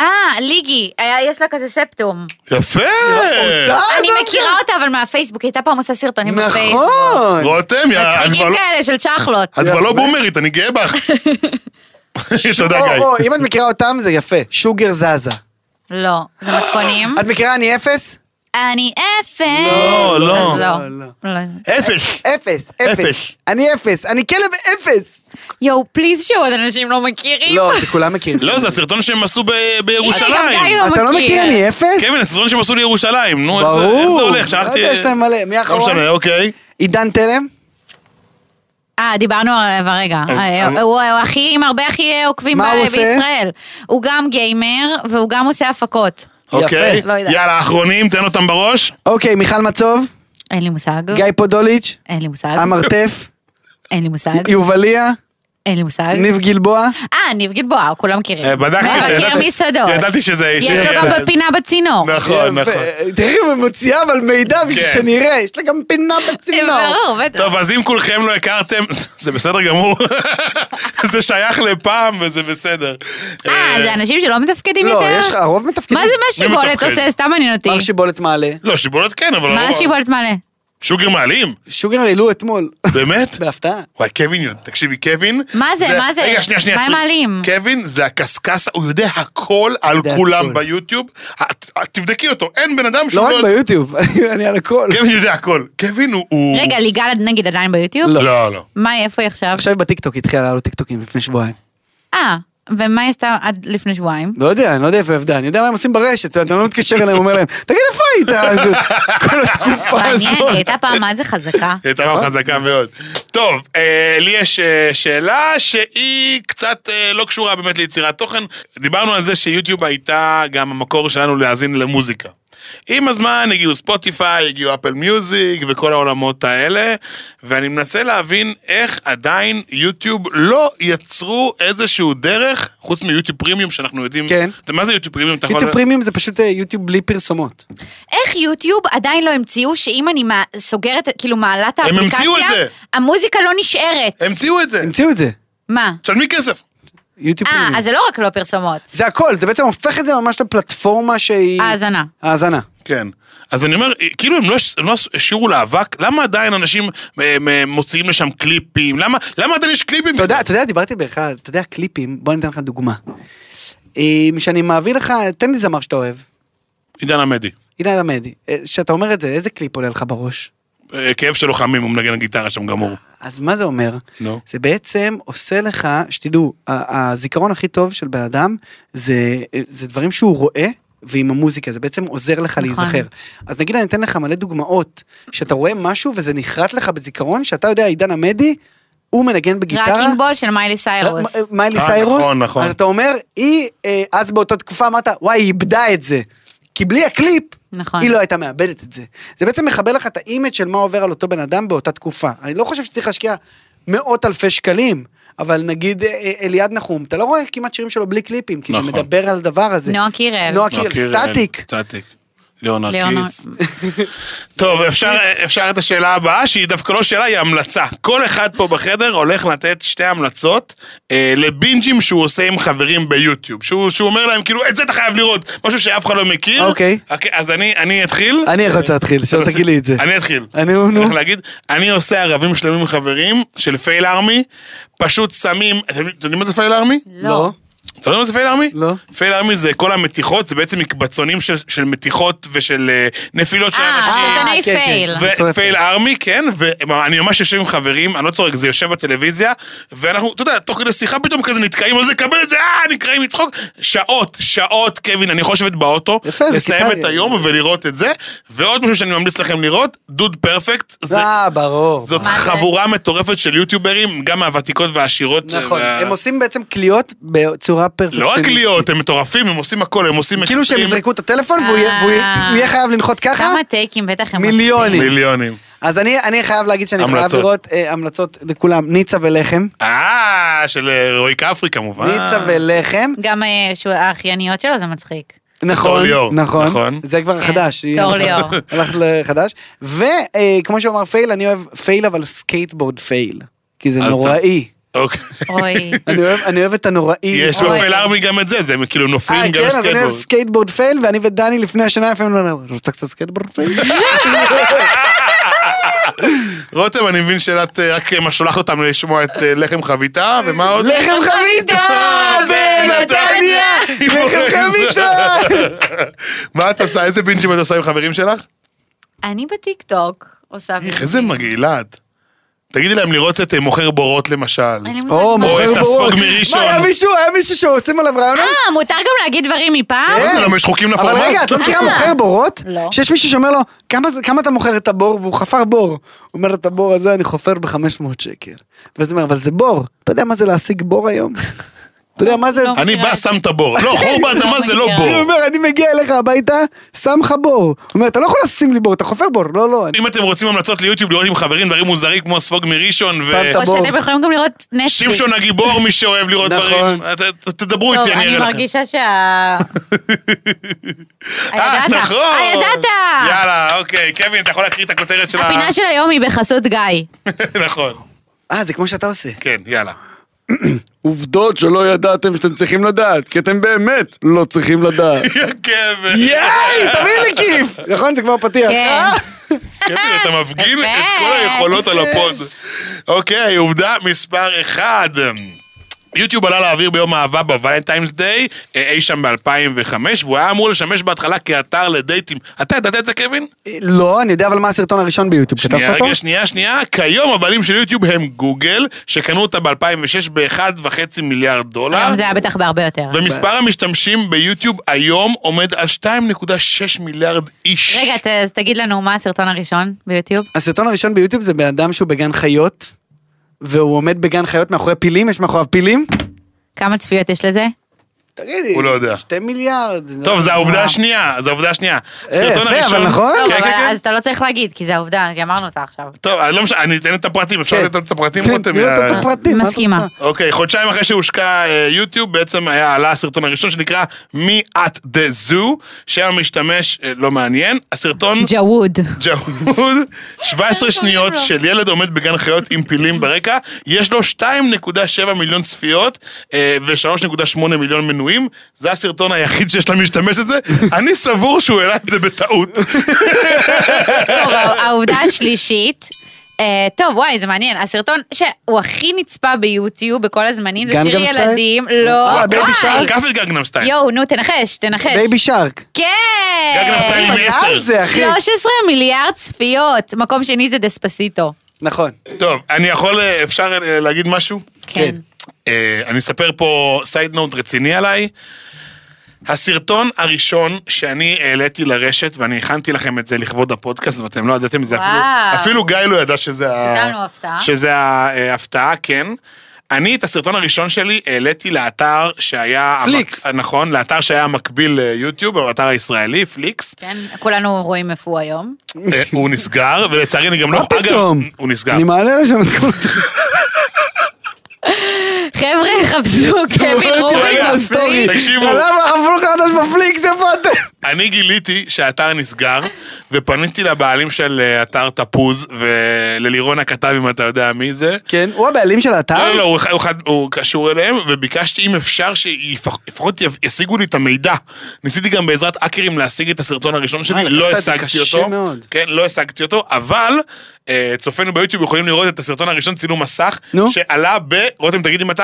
Speaker 3: אה, ליגי, היה- יש לה כזה ספטום.
Speaker 2: יפה! אה.
Speaker 4: אה,
Speaker 3: אני מכירה אותה, אבל מהפייסבוק, היא הייתה פעם עושה סרטונים בפייסבוק.
Speaker 4: נכון.
Speaker 2: רותם, יא, את כבר
Speaker 3: מצחיקים
Speaker 2: לא-
Speaker 3: כאלה של צ'חלות.
Speaker 2: את כבר לא בומרית, אני גאה בך. תודה,
Speaker 4: או, או,
Speaker 2: גיא.
Speaker 4: אם את מכירה אותם זה יפה, שוגר זזה.
Speaker 3: לא, זה מתכונים.
Speaker 4: את מכירה אני אפס?
Speaker 3: אני אפס.
Speaker 2: אה, לא, לא.
Speaker 3: אז
Speaker 4: לא,
Speaker 3: לא. לא.
Speaker 2: אפס.
Speaker 4: אפס, אפס.
Speaker 2: אפס.
Speaker 4: אני אפס, אני כלב אפס.
Speaker 3: יואו, פליז שעוד אנשים לא מכירים.
Speaker 4: לא, זה כולם מכירים.
Speaker 2: לא, זה הסרטון שהם עשו ב-
Speaker 3: הנה, גם גיא
Speaker 2: בירושלים.
Speaker 3: לא
Speaker 4: אתה לא
Speaker 3: מכיר.
Speaker 4: מכיר אני אפס?
Speaker 2: קווין, הסרטון שהם עשו לירושלים. נו, איך זה-
Speaker 4: ברור.
Speaker 2: איך זה הולך? שלחתי...
Speaker 4: לא יודע, יש להם מלא. מי
Speaker 2: לא
Speaker 4: האחרון?
Speaker 2: משנה, אוקיי.
Speaker 4: עידן תלם?
Speaker 3: אה, דיברנו עליו הרגע.
Speaker 2: אז-
Speaker 3: אה,
Speaker 2: אז-
Speaker 3: הוא הוא הכי, עם הרבה הכי עוקבים
Speaker 4: מה הוא
Speaker 3: ב-
Speaker 4: עושה?
Speaker 3: בישראל. הוא גם גיימר, והוא גם עושה הפקות.
Speaker 2: אוקיי.
Speaker 3: לא יודעת.
Speaker 2: יאללה, אחרונים, תן אותם בראש.
Speaker 4: אוקיי, מיכל מצוב,
Speaker 3: אין לי מושג.
Speaker 4: גיא פודוליץ',
Speaker 3: אין לי מושג.
Speaker 4: המרתף,
Speaker 3: אין לי מושג.
Speaker 4: יובליה,
Speaker 3: אין לי מושג.
Speaker 4: ניב גלבוע,
Speaker 3: אה, ניב גלבוע, כולם מכירים.
Speaker 2: אה, בדקתי,
Speaker 3: מבקר
Speaker 2: ידעתי-
Speaker 3: מסעדות.
Speaker 2: ידעתי שזה איש.
Speaker 3: יש לו גם בפינה בצינור. אה,
Speaker 2: נכון, נכון.
Speaker 4: ו- תראי, היא מוציאה אבל מידע בשביל
Speaker 2: כן.
Speaker 4: שנראה, יש לה גם פינה בצינור.
Speaker 3: ברור, בטח.
Speaker 2: טוב, אז אם כולכם לא הכרתם, זה בסדר גמור. זה שייך לפעם וזה בסדר.
Speaker 3: אה, זה אנשים שלא מתפקדים
Speaker 4: לא,
Speaker 3: יותר?
Speaker 4: יש לך, הרוב מתפקידים.
Speaker 3: מה זה
Speaker 2: מי
Speaker 3: מה שיבולת
Speaker 2: מתפקד?
Speaker 3: עושה? סתם מעניין אותי.
Speaker 4: מר שיבולת מעלה.
Speaker 2: לא, שיבולת כן, אבל...
Speaker 3: מה
Speaker 2: לא-
Speaker 3: שיבולת מעלה?
Speaker 2: שוגר מעלים,
Speaker 4: שוגר העלו אתמול,
Speaker 2: באמת?
Speaker 4: בהפתעה.
Speaker 2: וואי, קווין, יודע- תקשיבי, קווין...
Speaker 3: מה זה? מה זה?
Speaker 2: רגע, שנייה, שנייה.
Speaker 3: מה הם
Speaker 2: עצרי.
Speaker 3: מעלים?
Speaker 2: קווין זה הקשקש, הוא יודע הכל על
Speaker 4: יודע
Speaker 2: כולם
Speaker 4: הכל.
Speaker 2: ביוטיוב. את- את- תבדקי אותו, אין בן אדם
Speaker 4: לא
Speaker 2: שהוא...
Speaker 4: רק ביוטיוב, אני על הכל.
Speaker 2: קווין יודע הכל. קווין הוא- הוא...
Speaker 3: רגע, ליגל נגיד עדיין ביוטיוב?
Speaker 2: לא. לא, לא.
Speaker 3: מה, איפה היא עכשיו?
Speaker 4: עכשיו היא בטיקטוק, היא התחילה לעלות טיקטוקים לפני שבועיים.
Speaker 3: אה, ומה היא עשתה עד לפני שבועיים?
Speaker 4: לא יודע, אני לא יודע איפה היא עבדה, אני יודע מה הם עושים ברשת, אתה לא מתקשר אליהם, אומר להם, תגיד איפה היית כל התקופה
Speaker 3: מעניין, היא
Speaker 4: הזאת.
Speaker 3: הייתה פעם מה זה חזקה.
Speaker 2: היא הייתה
Speaker 4: נכון.
Speaker 2: מאוד חזקה מאוד. טוב, אה, לי יש אה, שאלה שהיא קצת אה, לא קשורה באמת ליצירת תוכן. דיברנו על זה שיוטיוב הייתה גם המקור שלנו להאזין למוזיקה. עם הזמן הגיעו ספוטיפיי, הגיעו אפל מיוזיק וכל העולמות האלה, ואני מנסה להבין איך עדיין יוטיוב לא יצרו איזשהו דרך, חוץ מיוטיוב פרימיום שאנחנו יודעים.
Speaker 4: כן.
Speaker 2: מה זה יוטיוב פרימיום? אתה
Speaker 3: נכון.
Speaker 2: יכול-
Speaker 4: יוטיוב פרימיום זה פשוט אה, יוטיוב בלי פרסומות.
Speaker 3: איך יוטיוב עדיין לא המציאו שאם אני מה- סוגרת, כאילו מעלה את
Speaker 2: הם המציאו את
Speaker 3: האפליקציה,
Speaker 2: זה.
Speaker 3: המוזיקה לא נשארת.
Speaker 2: המציאו את זה.
Speaker 4: המציאו את זה,
Speaker 3: מה?
Speaker 2: תשלמי כסף.
Speaker 4: יוטיוב
Speaker 3: אה,
Speaker 4: פרימיום.
Speaker 3: אז זה לא רק לא פרסומות.
Speaker 4: זה הכל, זה בעצם הופך את זה ממש לפלטפורמה שהיא...
Speaker 3: האזנה.
Speaker 4: האזנה.
Speaker 2: כן. אז אני אומר, כאילו הם לא, הם לא השאירו לאבק, למה עדיין אנשים אה, אה, מוציאים לשם קליפים? למה, למה עדיין יש קליפים?
Speaker 4: אתה יודע, אתה יודע, דיברתי בכלל, אתה יודע, קליפים, בוא אני אתן לך דוגמה. אם שאני מעביר לך, תן לי זמר שאתה אוהב,
Speaker 2: עידן עמדי.
Speaker 4: הנה למדי, כשאתה אומר את זה, איזה קליפ עולה לך בראש?
Speaker 2: אה, כאב של לוחמים, הוא מנגן גיטרה שם גמור.
Speaker 4: אז מה זה אומר?
Speaker 2: נו.
Speaker 4: זה בעצם עושה לך, שתדעו, ה- הזיכרון הכי טוב של בן אדם, זה, זה דברים שהוא רואה. ועם המוזיקה, זה בעצם עוזר לך
Speaker 3: נכון.
Speaker 4: להיזכר. אז נגיד אני אתן לך מלא דוגמאות, שאתה רואה משהו וזה נחרט לך בזיכרון, שאתה יודע, עידן עמדי, הוא מנגן בגיטרה.
Speaker 3: ראקינג בול של מיילי סיירוס.
Speaker 4: מ- מיילי
Speaker 2: אה,
Speaker 4: סיירוס,
Speaker 2: נכון, נכון.
Speaker 4: אז אתה אומר, היא, אה, אז באותה תקופה אמרת, וואי, היא איבדה את זה. כי בלי הקליפ,
Speaker 3: נכון.
Speaker 4: היא לא הייתה מאבדת את זה. זה בעצם מחבר לך את האימג' של מה עובר על אותו בן אדם באותה תקופה. אני לא חושב שצריך להשקיע מאות אלפי שקלים, אבל נגיד אה, אה, אליעד נחום, אתה לא רואה כמעט שירים שלו בלי קליפים, כי זה
Speaker 2: נכון.
Speaker 4: מדבר על הדבר הזה.
Speaker 3: נועה קירל.
Speaker 4: נועה
Speaker 2: לא,
Speaker 4: קירל,
Speaker 2: קירל,
Speaker 4: סטטיק.
Speaker 2: סטטיק.
Speaker 4: אה,
Speaker 2: ליאונרד
Speaker 3: ליאונרד.
Speaker 2: קיס. טוב, אפשר, אפשר את השאלה הבאה, שהיא דווקא לא שאלה, היא המלצה. כל אחד פה בחדר הולך לתת שתי המלצות אה, לבינג'ים שהוא עושה עם חברים ביוטיוב. שהוא, שהוא אומר להם, כאילו, את זה אתה חייב לראות, משהו שאף אחד לא מכיר.
Speaker 4: אוקיי.
Speaker 2: אז אני, אני אתחיל.
Speaker 4: אני יכול להתחיל, שלא תגיד לי את זה.
Speaker 2: אני אתחיל.
Speaker 4: אני- נו,
Speaker 2: אני
Speaker 4: נו.
Speaker 2: הולך להגיד, אני עושה ערבים שלמים עם חברים של פייל ארמי, פשוט שמים, אתם יודעים- אתם יודעים מה זה פייל ארמי?
Speaker 3: לא.
Speaker 2: אתה לא יודע מה זה פייל ארמי?
Speaker 4: לא.
Speaker 2: פייל ארמי זה כל המתיחות, זה בעצם מקבצונים של, של מתיחות ושל אה,
Speaker 4: אוקיי,
Speaker 2: נפילות של
Speaker 3: אה,
Speaker 2: אנשים.
Speaker 3: סרטני
Speaker 4: כן, כן.
Speaker 3: פייל.
Speaker 2: ופייל ארמי, כן, ואני ממש יושב עם חברים, אני לא צוחק, זה יושב בטלוויזיה, ואנחנו, אתה יודע, תוך כדי שיחה פתאום כזה נתקעים על זה, קבל את זה, אה, נקרעים לצחוק. שעות, שעות, קווין, אני יכול לשבת באוטו,
Speaker 4: יפה, זה
Speaker 2: לסיים
Speaker 4: כיתה-
Speaker 2: את היום ולראות את זה, ועוד משהו שאני ממליץ לכם לראות, דוד פרפקט, זה-
Speaker 4: אה, ברור.
Speaker 2: זאת
Speaker 3: מה זה?
Speaker 2: חבורה מטורפת של יוטיוברים, גם מהוותיקות והעשירות.
Speaker 4: נכון,
Speaker 2: וה-
Speaker 4: הם עושים בעצם קליעות בצורה פרפקציונית.
Speaker 2: לא רק להיות, הם מטורפים, הם עושים הכל, הם עושים
Speaker 4: כאילו שהם
Speaker 2: אקסטרים.
Speaker 4: יזרקו את הטלפון והוא יהיה- והוא יהיה
Speaker 3: אה.
Speaker 4: הוא יהיה חייב לנחות ככה?
Speaker 3: כמה טייקים בטח הם
Speaker 4: אה? מיליונים.
Speaker 2: מיליונים.
Speaker 4: אז אני אני חייב להגיד שאני חייב
Speaker 2: המלצות.
Speaker 4: לראות אה, המלצות לכולם, ניצה ולחם.
Speaker 2: אה, של אה, רועי כפרי כמובן.
Speaker 4: ניצה ולחם,
Speaker 3: גם אה, שהוא- האחייניות שלו זה מצחיק.
Speaker 4: נכון,
Speaker 2: ליאור,
Speaker 4: נכון,
Speaker 2: נכון.
Speaker 4: זה כבר
Speaker 3: כן,
Speaker 4: חדש.
Speaker 3: תור
Speaker 4: נכון.
Speaker 3: ליאור.
Speaker 4: הלכת לחדש. וכמו שאמר פייל, אני אוהב פייל אבל סקייטבורד פייל. כי זה
Speaker 2: אז אתה-
Speaker 4: נוראי.
Speaker 2: אוקיי.
Speaker 3: אוי.
Speaker 4: אני אוהב- אני אוהב את הנוראי.
Speaker 2: יש
Speaker 3: אוי.
Speaker 2: בפייל ארמי גם את זה, זה כאילו
Speaker 4: אה,
Speaker 2: נופלים גם
Speaker 4: כן, אז אני אוהב
Speaker 2: סקייטבורד.
Speaker 4: סקייטבורד פייל, ואני ודני לפני השנה לפעמים אמרנו, רוצה קצת סקייטבורד פייל?
Speaker 2: רותם, אני מבין שאת אה, רק אה, שולחת אותם לשמוע את אה, לחם חביתה, ומה עוד?
Speaker 4: לחם חביתה בנתניה! לחם חביתה!
Speaker 2: מה את עושה? איזה בינג'ים את עושה עם חברים שלך?
Speaker 3: אני בטיקטוק
Speaker 4: אה,
Speaker 3: עושה...
Speaker 2: איך,
Speaker 3: וידאו.
Speaker 2: איזה מגעילה את. תגידי להם לראות את אה, מוכר בורות למשל.
Speaker 3: אין לי מושג
Speaker 4: או,
Speaker 3: מה.
Speaker 2: מוכר-
Speaker 4: מוכר
Speaker 2: את
Speaker 4: בורות.
Speaker 2: הספוג מראשון.
Speaker 4: מה, היה מישהו, היה מישהו שעושים עליו רעיונות?
Speaker 3: אה, מותר גם להגיד דברים מפעם?
Speaker 4: כן,
Speaker 2: מה זה, למה יש חוקים
Speaker 8: נכון.
Speaker 2: לפורמט?
Speaker 4: אבל רגע, את לא מכירה
Speaker 3: אה.
Speaker 4: מוכר בורות?
Speaker 3: לא.
Speaker 4: שיש מישהו שאומר לו, "כמה זה- כמה אתה מוכר את הבור? והוא חפר בור. הוא אומר, את הבור הזה אני חופר ב-500 שקל. ואז הוא אומר, אבל זה בור. אתה יודע מה זה להשיג בור היום? אתה יודע מה זה?
Speaker 3: לא.
Speaker 2: אני בא, שם את הבור. לא, חור באדמה זה לא
Speaker 4: אני
Speaker 2: בור.
Speaker 4: אומר, אני מגיע אליך הביתה, שם לך בור. הוא אומר, אתה לא יכול לשים לי בור, אתה חופר בור. לא, לא. אני-
Speaker 2: אם אתם רוצים המלצות ליוטיוב לראות עם חברים דברים מוזרים כמו ספוג מראשון ו...
Speaker 4: שם את
Speaker 3: או
Speaker 4: בוא.
Speaker 3: שאתם יכולים גם לראות נטפליקס.
Speaker 2: שמשון הגיבור, מי שאוהב לראות
Speaker 4: נכון.
Speaker 2: דברים. ת- ת- תדברו
Speaker 3: טוב,
Speaker 2: איתי, אני
Speaker 3: אני
Speaker 2: אראה לכם.
Speaker 3: מרגישה שה...
Speaker 2: אה,
Speaker 3: הידעת.
Speaker 2: נכון.
Speaker 3: הידעת.
Speaker 2: יאללה, אוקיי. קווין, אתה יכול להקריא את הכותרת של ה...
Speaker 3: הפינה של היום היא בחסות גיא.
Speaker 2: נכון.
Speaker 4: אה, זה כמו שאתה עושה.
Speaker 2: כן, יאללה.
Speaker 8: עובדות שלא ידעתם שאתם צריכים לדעת, כי אתם באמת לא צריכים לדעת.
Speaker 2: קווין.
Speaker 4: היי, תביא לי כיף! נכון, זה כמו הפתיח.
Speaker 3: כן.
Speaker 2: קווין, אתה מפגין את
Speaker 3: באמת.
Speaker 2: כל היכולות על הפוד. אוקיי, עובדה מספר אחד. יוטיוב עלה לאוויר ביום האהבה בוולנטיינס דיי, אה, אי שם ב-2005, והוא היה אמור לשמש בהתחלה כאתר לדייטים. אתה ידעת את זה, קווין?
Speaker 4: לא, אני יודע אבל מה הסרטון הראשון ביוטיוב, כתבת
Speaker 2: שנייה,
Speaker 4: אותו?
Speaker 2: רגע, שנייה, שנייה. כיום הבעלים של יוטיוב הם גוגל, שקנו אותה ב-2006 ב-1.5 מיליארד דולר.
Speaker 3: היום זה היה בטח בהרבה יותר.
Speaker 2: ומספר המשתמשים ביוטיוב היום עומד על 2.6 מיליארד איש.
Speaker 3: רגע, ת- אז תגיד לנו מה הסרטון הראשון ביוטיוב.
Speaker 4: הסרטון הראשון ביוטיוב זה בן אדם שהוא בגן חיות, והוא עומד בגן חיות מאחורי פילים, יש מאחוריו פילים?
Speaker 3: כמה צפיות יש לזה?
Speaker 4: תגידי,
Speaker 2: הוא לא יודע.
Speaker 4: שתי מיליארד. לא-
Speaker 2: טוב, זו העובדה
Speaker 4: וואו.
Speaker 2: השנייה, זו העובדה השנייה.
Speaker 4: אה,
Speaker 2: הסרטון
Speaker 4: יפה, אבל
Speaker 2: הראשון-
Speaker 4: נכון?
Speaker 3: טוב,
Speaker 2: כן,
Speaker 3: אבל
Speaker 2: כן, כן.
Speaker 3: אז אתה לא צריך להגיד, כי זה העובדה, כי אמרנו אותה עכשיו.
Speaker 2: טוב, אני לא משנה, אני אתן את הפרטים, אפשר
Speaker 4: כן.
Speaker 2: לתת את הפרטים,
Speaker 4: תן-
Speaker 2: רותם?
Speaker 4: תני לו
Speaker 2: יא-
Speaker 4: את הפרטים, מה את
Speaker 3: מסכימה.
Speaker 4: רוצה?
Speaker 2: אוקיי, חודשיים אחרי שהושקע אה, יוטיוב, בעצם היה עלה הסרטון הראשון שנקרא מי את דה זו, שם המשתמש אה, לא מעניין, הסרטון
Speaker 3: ג'ווד.
Speaker 2: ג'הוד, 17 שניות של ילד עומד בגן חיות עם פילים ברקע, יש לו 2.7 מיליון צפיות אה, ו-3.8 מיליון מנויים, זה הסרטון היחיד שיש למשתמש הזה, אני סבור שהוא העלה את זה בטעות.
Speaker 3: טוב, העובדה השלישית. אה, טוב, וואי, זה מעניין. הסרטון שהוא הכי נצפה ביוטיוב בכל הזמנים, זה
Speaker 4: גנגאם
Speaker 3: שיר
Speaker 4: סטייל?
Speaker 3: ילדים. לא,
Speaker 4: אה,
Speaker 2: הוא
Speaker 4: בייבי
Speaker 3: וואי.
Speaker 4: שרק?
Speaker 2: עקף את גגנם סטייל.
Speaker 3: יואו, נו, תנחש, תנחש.
Speaker 4: בייבי שרק.
Speaker 3: כן!
Speaker 2: גגנם סטייל עם
Speaker 4: אה,
Speaker 2: עשר.
Speaker 4: זה, אחי.
Speaker 3: 13 מיליארד צפיות. מקום שני זה דספסיטו.
Speaker 4: נכון.
Speaker 2: טוב, אני יכול, אה, אפשר אה, להגיד משהו?
Speaker 3: כן.
Speaker 2: אה, אני אספר פה סייד נוט רציני עליי. הסרטון הראשון שאני העליתי לרשת, ואני הכנתי לכם את זה לכבוד הפודקאסט, ואתם לא ידעתם זה אפילו,
Speaker 3: וואו.
Speaker 2: אפילו גיא לא ידע שזה, ה-
Speaker 3: לנו הפתעה.
Speaker 2: שזה ההפתעה, כן. אני את הסרטון הראשון שלי העליתי לאתר שהיה...
Speaker 4: פליקס.
Speaker 2: המק... נכון, לאתר שהיה מקביל ליוטיוב, האתר הישראלי, פליקס.
Speaker 3: כן, כולנו רואים איפה הוא היום.
Speaker 2: אה, הוא נסגר, ולצערי אני גם לא...
Speaker 4: מה
Speaker 2: אגב,
Speaker 4: פתאום?
Speaker 2: הוא נסגר.
Speaker 4: אני מעלה לשם את כל...
Speaker 3: חבר'ה,
Speaker 2: לא
Speaker 3: חפשו קווין
Speaker 2: רגע,
Speaker 3: רובין.
Speaker 2: הסטורי. תקשיבו.
Speaker 4: למה חפרו לך חדש בפליקס, איפה אתם?
Speaker 2: אני גיליתי שהאתר נסגר, ופניתי לבעלים של אה, אתר תפוז, וללירון הכתב, אם אתה יודע מי זה.
Speaker 4: כן, הוא הבעלים של
Speaker 2: לא,
Speaker 4: האתר?
Speaker 2: לא, לא, הוא, אחד- הוא, אחד- הוא קשור אליהם, וביקשתי אם אפשר שלפחות ישיגו לי את המידע. ניסיתי גם בעזרת האקרים להשיג את הסרטון הראשון שלי,
Speaker 4: אה, לקחת
Speaker 2: לא
Speaker 4: את זה
Speaker 2: השגתי
Speaker 4: קשה
Speaker 2: אותו.
Speaker 4: מאוד.
Speaker 2: כן, לא השגתי אותו, אבל אה, צופינו ביוטיוב יכולים לראות את הסרטון הראשון, צילום מסך,
Speaker 4: נו.
Speaker 2: שעלה ב... רותם, תגידי מתי?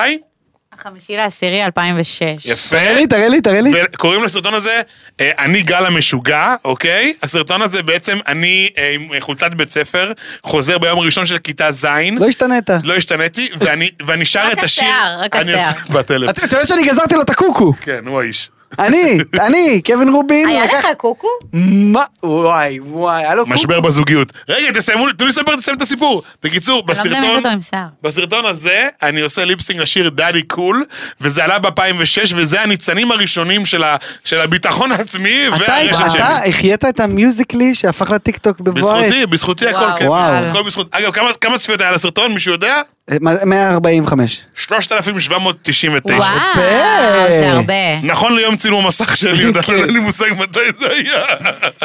Speaker 3: חמישי לעשירי 2006.
Speaker 2: יפה.
Speaker 4: תראה לי, תראה לי, תראה לי.
Speaker 2: וקוראים לסרטון הזה, אה, אני גל המשוגע, אוקיי? הסרטון הזה בעצם, אני אה, עם חולצת בית ספר, חוזר ביום הראשון של כיתה ז',
Speaker 4: לא השתנית.
Speaker 2: לא השתניתי, ואני- ואני שר
Speaker 3: רק
Speaker 2: את השיר.
Speaker 3: השיער, רק
Speaker 2: אני
Speaker 3: השיער.
Speaker 2: עושה- בטלפון.
Speaker 4: אתה אתה יודע שאני גזרתי לו את הקוקו.
Speaker 2: כן, הוא האיש.
Speaker 4: אני, אני, קווין רובין.
Speaker 3: היה
Speaker 4: לקח-
Speaker 3: לך קוקו?
Speaker 4: מה? וואי, וואי, היה לו קוקו.
Speaker 2: משבר בזוגיות. רגע, תסיימו, תנו לי לספר, תסיים את הסיפור. בקיצור,
Speaker 3: אני לא מדמיינת
Speaker 2: בסרטון...
Speaker 3: אותו עם שיער.
Speaker 2: בסרטון הזה אני עושה ליפסינג לשיר דאדי קול, וזה עלה ב-2006, וזה הניצנים הראשונים של ה- של הביטחון העצמי והרשת
Speaker 4: אתה
Speaker 2: שלי.
Speaker 4: אתה החיית את המיוזיקלי שהפך לטיקטוק בבואה.
Speaker 2: בזכותי, בזכותי הכל,
Speaker 3: וואו.
Speaker 2: כן.
Speaker 4: וואו.
Speaker 2: הכל בזכות. אגב, כמה- כמה צפיות היה לסרטון, מישהו יודע?
Speaker 4: 145.
Speaker 2: 3,799.
Speaker 3: וואו,
Speaker 4: יפה.
Speaker 3: זה הרבה.
Speaker 2: נכון ליום צילום המסך שלי, יודע,
Speaker 4: כן.
Speaker 2: אין לי מושג מתי זה היה.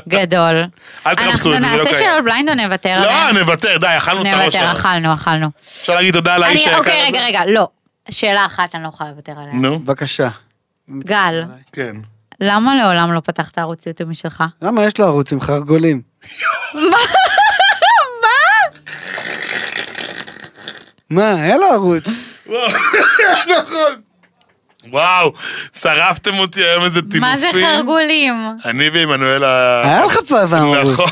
Speaker 3: גדול.
Speaker 2: אל תחפשו את זה, זה
Speaker 3: אנחנו
Speaker 2: לא
Speaker 3: נעשה
Speaker 2: קיים.
Speaker 3: של בליינד או נוותר
Speaker 2: לא,
Speaker 3: עליהם?
Speaker 2: נוותר, די, אכלנו את הראש.
Speaker 3: נוותר,
Speaker 2: שלנו.
Speaker 3: אכלנו, אכלנו.
Speaker 2: אפשר להגיד תודה לאיש
Speaker 3: אני,
Speaker 2: היקר
Speaker 3: אוקיי, רגע,
Speaker 2: הזה?
Speaker 3: רגע, לא. שאלה אחת אני לא יכולה לוותר עליה.
Speaker 2: נו,
Speaker 4: בבקשה.
Speaker 3: גל,
Speaker 2: כן.
Speaker 3: למה לעולם לא פתחת ערוץ יוטיוב משלך?
Speaker 4: למה יש לו ערוץ עם חרגולים? מה? מה? מה? היה לו ערוץ.
Speaker 2: וואו, נכון. וואו, שרפתם אותי היום איזה טינופים.
Speaker 3: מה זה חרגולים?
Speaker 2: אני ועמנואל ה...
Speaker 4: היה לך פעם ערוץ.
Speaker 2: נכון.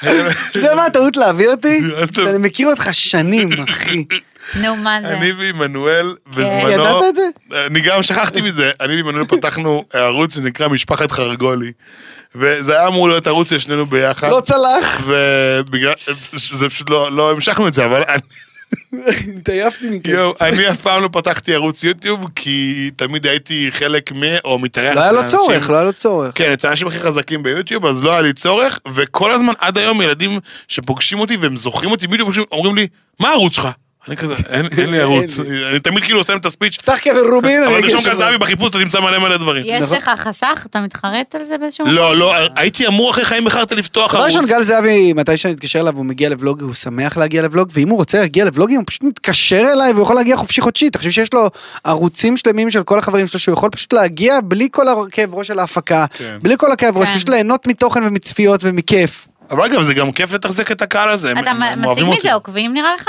Speaker 4: אתה יודע מה הטעות להביא אותי?
Speaker 2: אל ת-
Speaker 4: שאני מכיר אותך שנים, אחי.
Speaker 3: נו, מה זה?
Speaker 2: אני ועמנואל
Speaker 3: כן.
Speaker 2: בזמנו...
Speaker 4: ידעת את
Speaker 2: זה? אה, אני גם שכחתי מזה. אני ועמנואל פתחנו אה, ערוץ שנקרא משפחת חרגולי. וזה היה אמור להיות ערוץ של שנינו ביחד.
Speaker 4: לא צלח.
Speaker 2: ובגלל... זה פשוט לא, לא המשכנו את זה, אבל... אני-
Speaker 4: התעייפתי מכם.
Speaker 2: יואו, אני אף פעם לא פתחתי ערוץ יוטיוב, כי תמיד הייתי חלק מ... או מתארח.
Speaker 4: לא היה לו
Speaker 2: לאנשים.
Speaker 4: צורך, לא היה לו צורך.
Speaker 2: כן, את האנשים הכי חזקים ביוטיוב, אז לא היה לי צורך, וכל הזמן עד היום ילדים שפוגשים אותי והם זוכרים אותי, בדיוק פוגשים, אומרים לי, מה הערוץ שלך? אני כזה, אין אין לי ערוץ. אני תמיד כאילו עושה להם את הספיץ',
Speaker 4: פתח קבר רובין,
Speaker 2: אבל
Speaker 4: אני
Speaker 2: תרשום
Speaker 4: אגיד
Speaker 2: כזה אבי בחיפוש, אתה תמצא מלא מלא דברים.
Speaker 3: יש לך חסך? אתה מתחרט על זה באיזשהו...
Speaker 2: נכון. לא, לא, הייתי אמור אחרי חיים בחרת לפתוח
Speaker 4: דבר
Speaker 2: ערוץ.
Speaker 4: ראשון, גל זהבי, מתי שאני אתקשר אליו, הוא מגיע לבלוג, הוא שמח להגיע לבלוג, ואם הוא רוצה להגיע לבלוגים, הוא פשוט מתקשר אליי והוא יכול להגיע חופשי חודשי. אתה חושב שיש לו ערוצים שלמים של כל החברים שלו, שהוא יכול פשוט להגיע בלי כל הכאב ראש של ההפקה,
Speaker 2: כן.
Speaker 4: בלי כל הכאב ראש,
Speaker 3: כן.
Speaker 4: פשוט ליהנות מתוכן ומצפיות ומכיף.
Speaker 2: אבל אגב, זה גם כיף לתחזק את הקהל הזה. הם-
Speaker 3: אתה
Speaker 2: הם
Speaker 3: מ-
Speaker 2: אוהבים
Speaker 3: משיג
Speaker 2: אותי.
Speaker 3: מזה עוקבים נראה לך?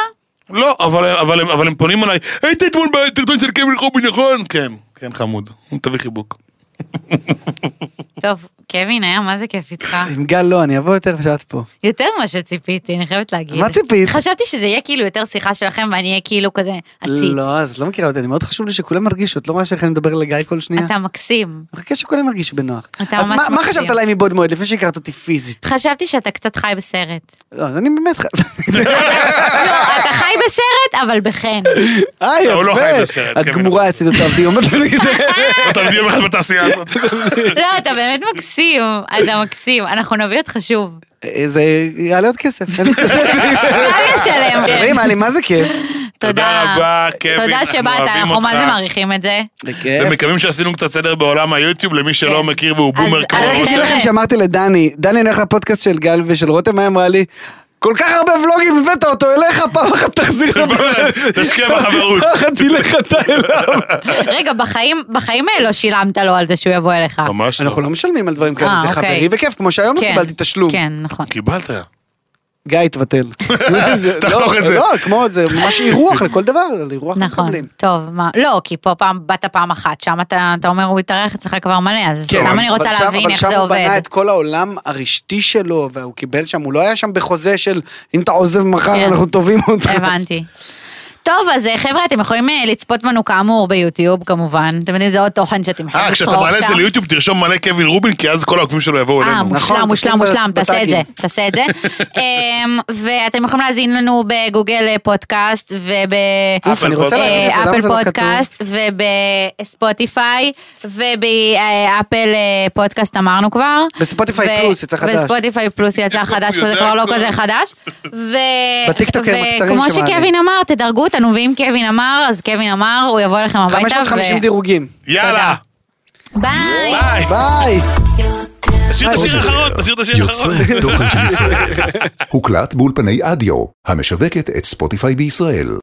Speaker 2: לא, אבל, אבל, הם- אבל הם פונים אליי, היית אתמול בסרטון של קמל קובי, נכון? כן, כן חמוד, תביא חיבוק.
Speaker 3: טוב, קווין, היה מה זה כיף איתך.
Speaker 4: עם גל לא, אני אבוא יותר כשאת פה.
Speaker 3: יותר ממה שציפיתי, אני חייבת להגיד.
Speaker 4: מה ציפית?
Speaker 3: חשבתי שזה יהיה כאילו יותר שיחה שלכם ואני אהיה כאילו כזה עציץ.
Speaker 4: לא, אז את לא מכירה אותי, אני מאוד חשוב לי שכולם ירגישו, את לא רואה שאיך אני מדבר לגיא כל שנייה?
Speaker 3: אתה מקסים.
Speaker 4: אני מחכה שכולם ירגישו בנוח.
Speaker 3: אתה
Speaker 4: אז
Speaker 3: ממש
Speaker 4: מה- מה
Speaker 3: מקסים.
Speaker 4: חשבת עליי מבעוד מועד לפני שהכרת אותי פיזית?
Speaker 3: חשבתי שאתה קצת חי בסרט.
Speaker 4: לא, אז אני באמת חשבתי.
Speaker 3: לא, אתה חי בסרט, אבל בחן.
Speaker 4: אה, יפה.
Speaker 2: הוא לא חי בסרט,
Speaker 4: את
Speaker 2: כן,
Speaker 4: גמורה אצלי לא אותי, עומדת נגד.
Speaker 2: לא, אתה מביא יום אחד בתעשייה הזאת.
Speaker 3: לא, אתה באמת מקסים. אתה מקסים. אנחנו נביא אותך שוב.
Speaker 4: אה, זה יעלה עוד כסף.
Speaker 3: אפשר לשלם.
Speaker 4: חברים, היה לי מה זה כיף.
Speaker 2: תודה רבה, קווין,
Speaker 3: תודה
Speaker 2: אנחנו
Speaker 3: שבאת,
Speaker 2: אוהבים
Speaker 3: אנחנו מה
Speaker 2: אותך.
Speaker 3: זה מעריכים את זה.
Speaker 4: בכיף.
Speaker 2: ומקווים שעשינו קצת סדר בעולם היוטיוב למי שלא
Speaker 3: כן.
Speaker 2: מכיר והוא
Speaker 3: אז- כן.
Speaker 2: בומר
Speaker 3: אז-
Speaker 2: כמוהו.
Speaker 4: אני אגיד לכם שאמרתי לדני, דני אני הולך לפודקאסט של גל ושל רותם, מה היא אמרה לי? כל כך הרבה ולוגים הבאת אותו אליך, פעם אחת תחזיר אותו.
Speaker 2: תשקיע בחברות.
Speaker 4: פעם אחת תלך אתה אליו.
Speaker 3: רגע, בחיים, בחיים לא שילמת לו על זה שהוא יבוא אליך.
Speaker 2: ממש לא.
Speaker 4: אנחנו לא משלמים על דברים כאלה,
Speaker 3: אה,
Speaker 4: זה
Speaker 3: אוקיי.
Speaker 4: חברי וכיף, כמו שהיום לא
Speaker 3: כן,
Speaker 4: קיבלתי תשלום.
Speaker 3: כן, נכון.
Speaker 2: קיבלת. אה,
Speaker 4: גיא, תבטל. זה-
Speaker 2: תחתוך
Speaker 4: לא,
Speaker 2: את זה.
Speaker 4: לא, כמו, זה ממש אירוח לכל דבר, על אירוח
Speaker 3: נכון,
Speaker 4: מקבלים.
Speaker 3: טוב, מה, לא, כי פה פעם, באת פעם אחת, שם אתה, אתה אומר הוא התארח אצלך כבר מלא, אז
Speaker 4: כן,
Speaker 3: סתם אני
Speaker 4: אבל
Speaker 3: רוצה
Speaker 4: שם-
Speaker 3: להבין איך זה
Speaker 4: אבל שם הוא
Speaker 3: עובד.
Speaker 4: בנה את כל העולם הרשתי שלו, והוא קיבל שם, הוא לא היה שם בחוזה של אם אתה עוזב מחר
Speaker 3: כן.
Speaker 4: אנחנו תובעים אותך.
Speaker 3: הבנתי. טוב, אז אה, חבר'ה, אתם יכולים אה, לצפות בנו כאמור ביוטיוב, כמובן. אתם יודעים, זה עוד תוכן שאתם יכולים
Speaker 2: אה,
Speaker 3: לצרוך שם.
Speaker 2: כשאתה מעלה את זה ליוטיוב תרשום מלא קווין רובין, כי אז כל העוקבים שלו יבואו
Speaker 3: אה,
Speaker 2: אלינו.
Speaker 4: נכון,
Speaker 3: מושלם,
Speaker 4: תשים
Speaker 3: מושלם,
Speaker 4: ב-
Speaker 3: מושלם, תעשה את זה,
Speaker 4: בטאגים.
Speaker 3: תעשה את זה. אמ, ואתם יכולים להזין לנו בגוגל אה, פודקאסט
Speaker 4: אוף, אני רוצה להגיד את זה, למה
Speaker 3: ובאפל
Speaker 4: זה לא כתוב?
Speaker 3: אה, פודקאסט ובספוטיפיי ובאפל אה, פודקאסט אמרנו כבר.
Speaker 4: בספוטיפיי
Speaker 3: ו-
Speaker 4: פלוס יצא חדש.
Speaker 3: בספוטיפיי פלוס יצא חדש,
Speaker 2: הוא
Speaker 3: כזה
Speaker 2: יודע
Speaker 3: כבר לא
Speaker 2: הכל.
Speaker 3: כזה חדש. ו-
Speaker 4: בטיקטוק הם הקצרים
Speaker 3: וכמו
Speaker 4: שמעלים.
Speaker 3: שקווין אמר, תדרגו אותנו, ואם קווין אמר, אז קווין אמר, הוא יבוא אליכם הביתה. ו-
Speaker 4: 550 דירוגים.
Speaker 2: יאללה,
Speaker 3: ביי.
Speaker 2: ביי.
Speaker 4: ביי!
Speaker 2: תשאיר את
Speaker 4: אה,
Speaker 2: השיר
Speaker 1: עוד
Speaker 2: האחרון,
Speaker 4: אוקיי.
Speaker 1: יותר.
Speaker 2: תשאיר את השיר האחרון.
Speaker 1: יוצרי תוכן של ישראל.
Speaker 9: הוקלט באולפני אדיו, המשווקת את ספוטיפיי בישראל.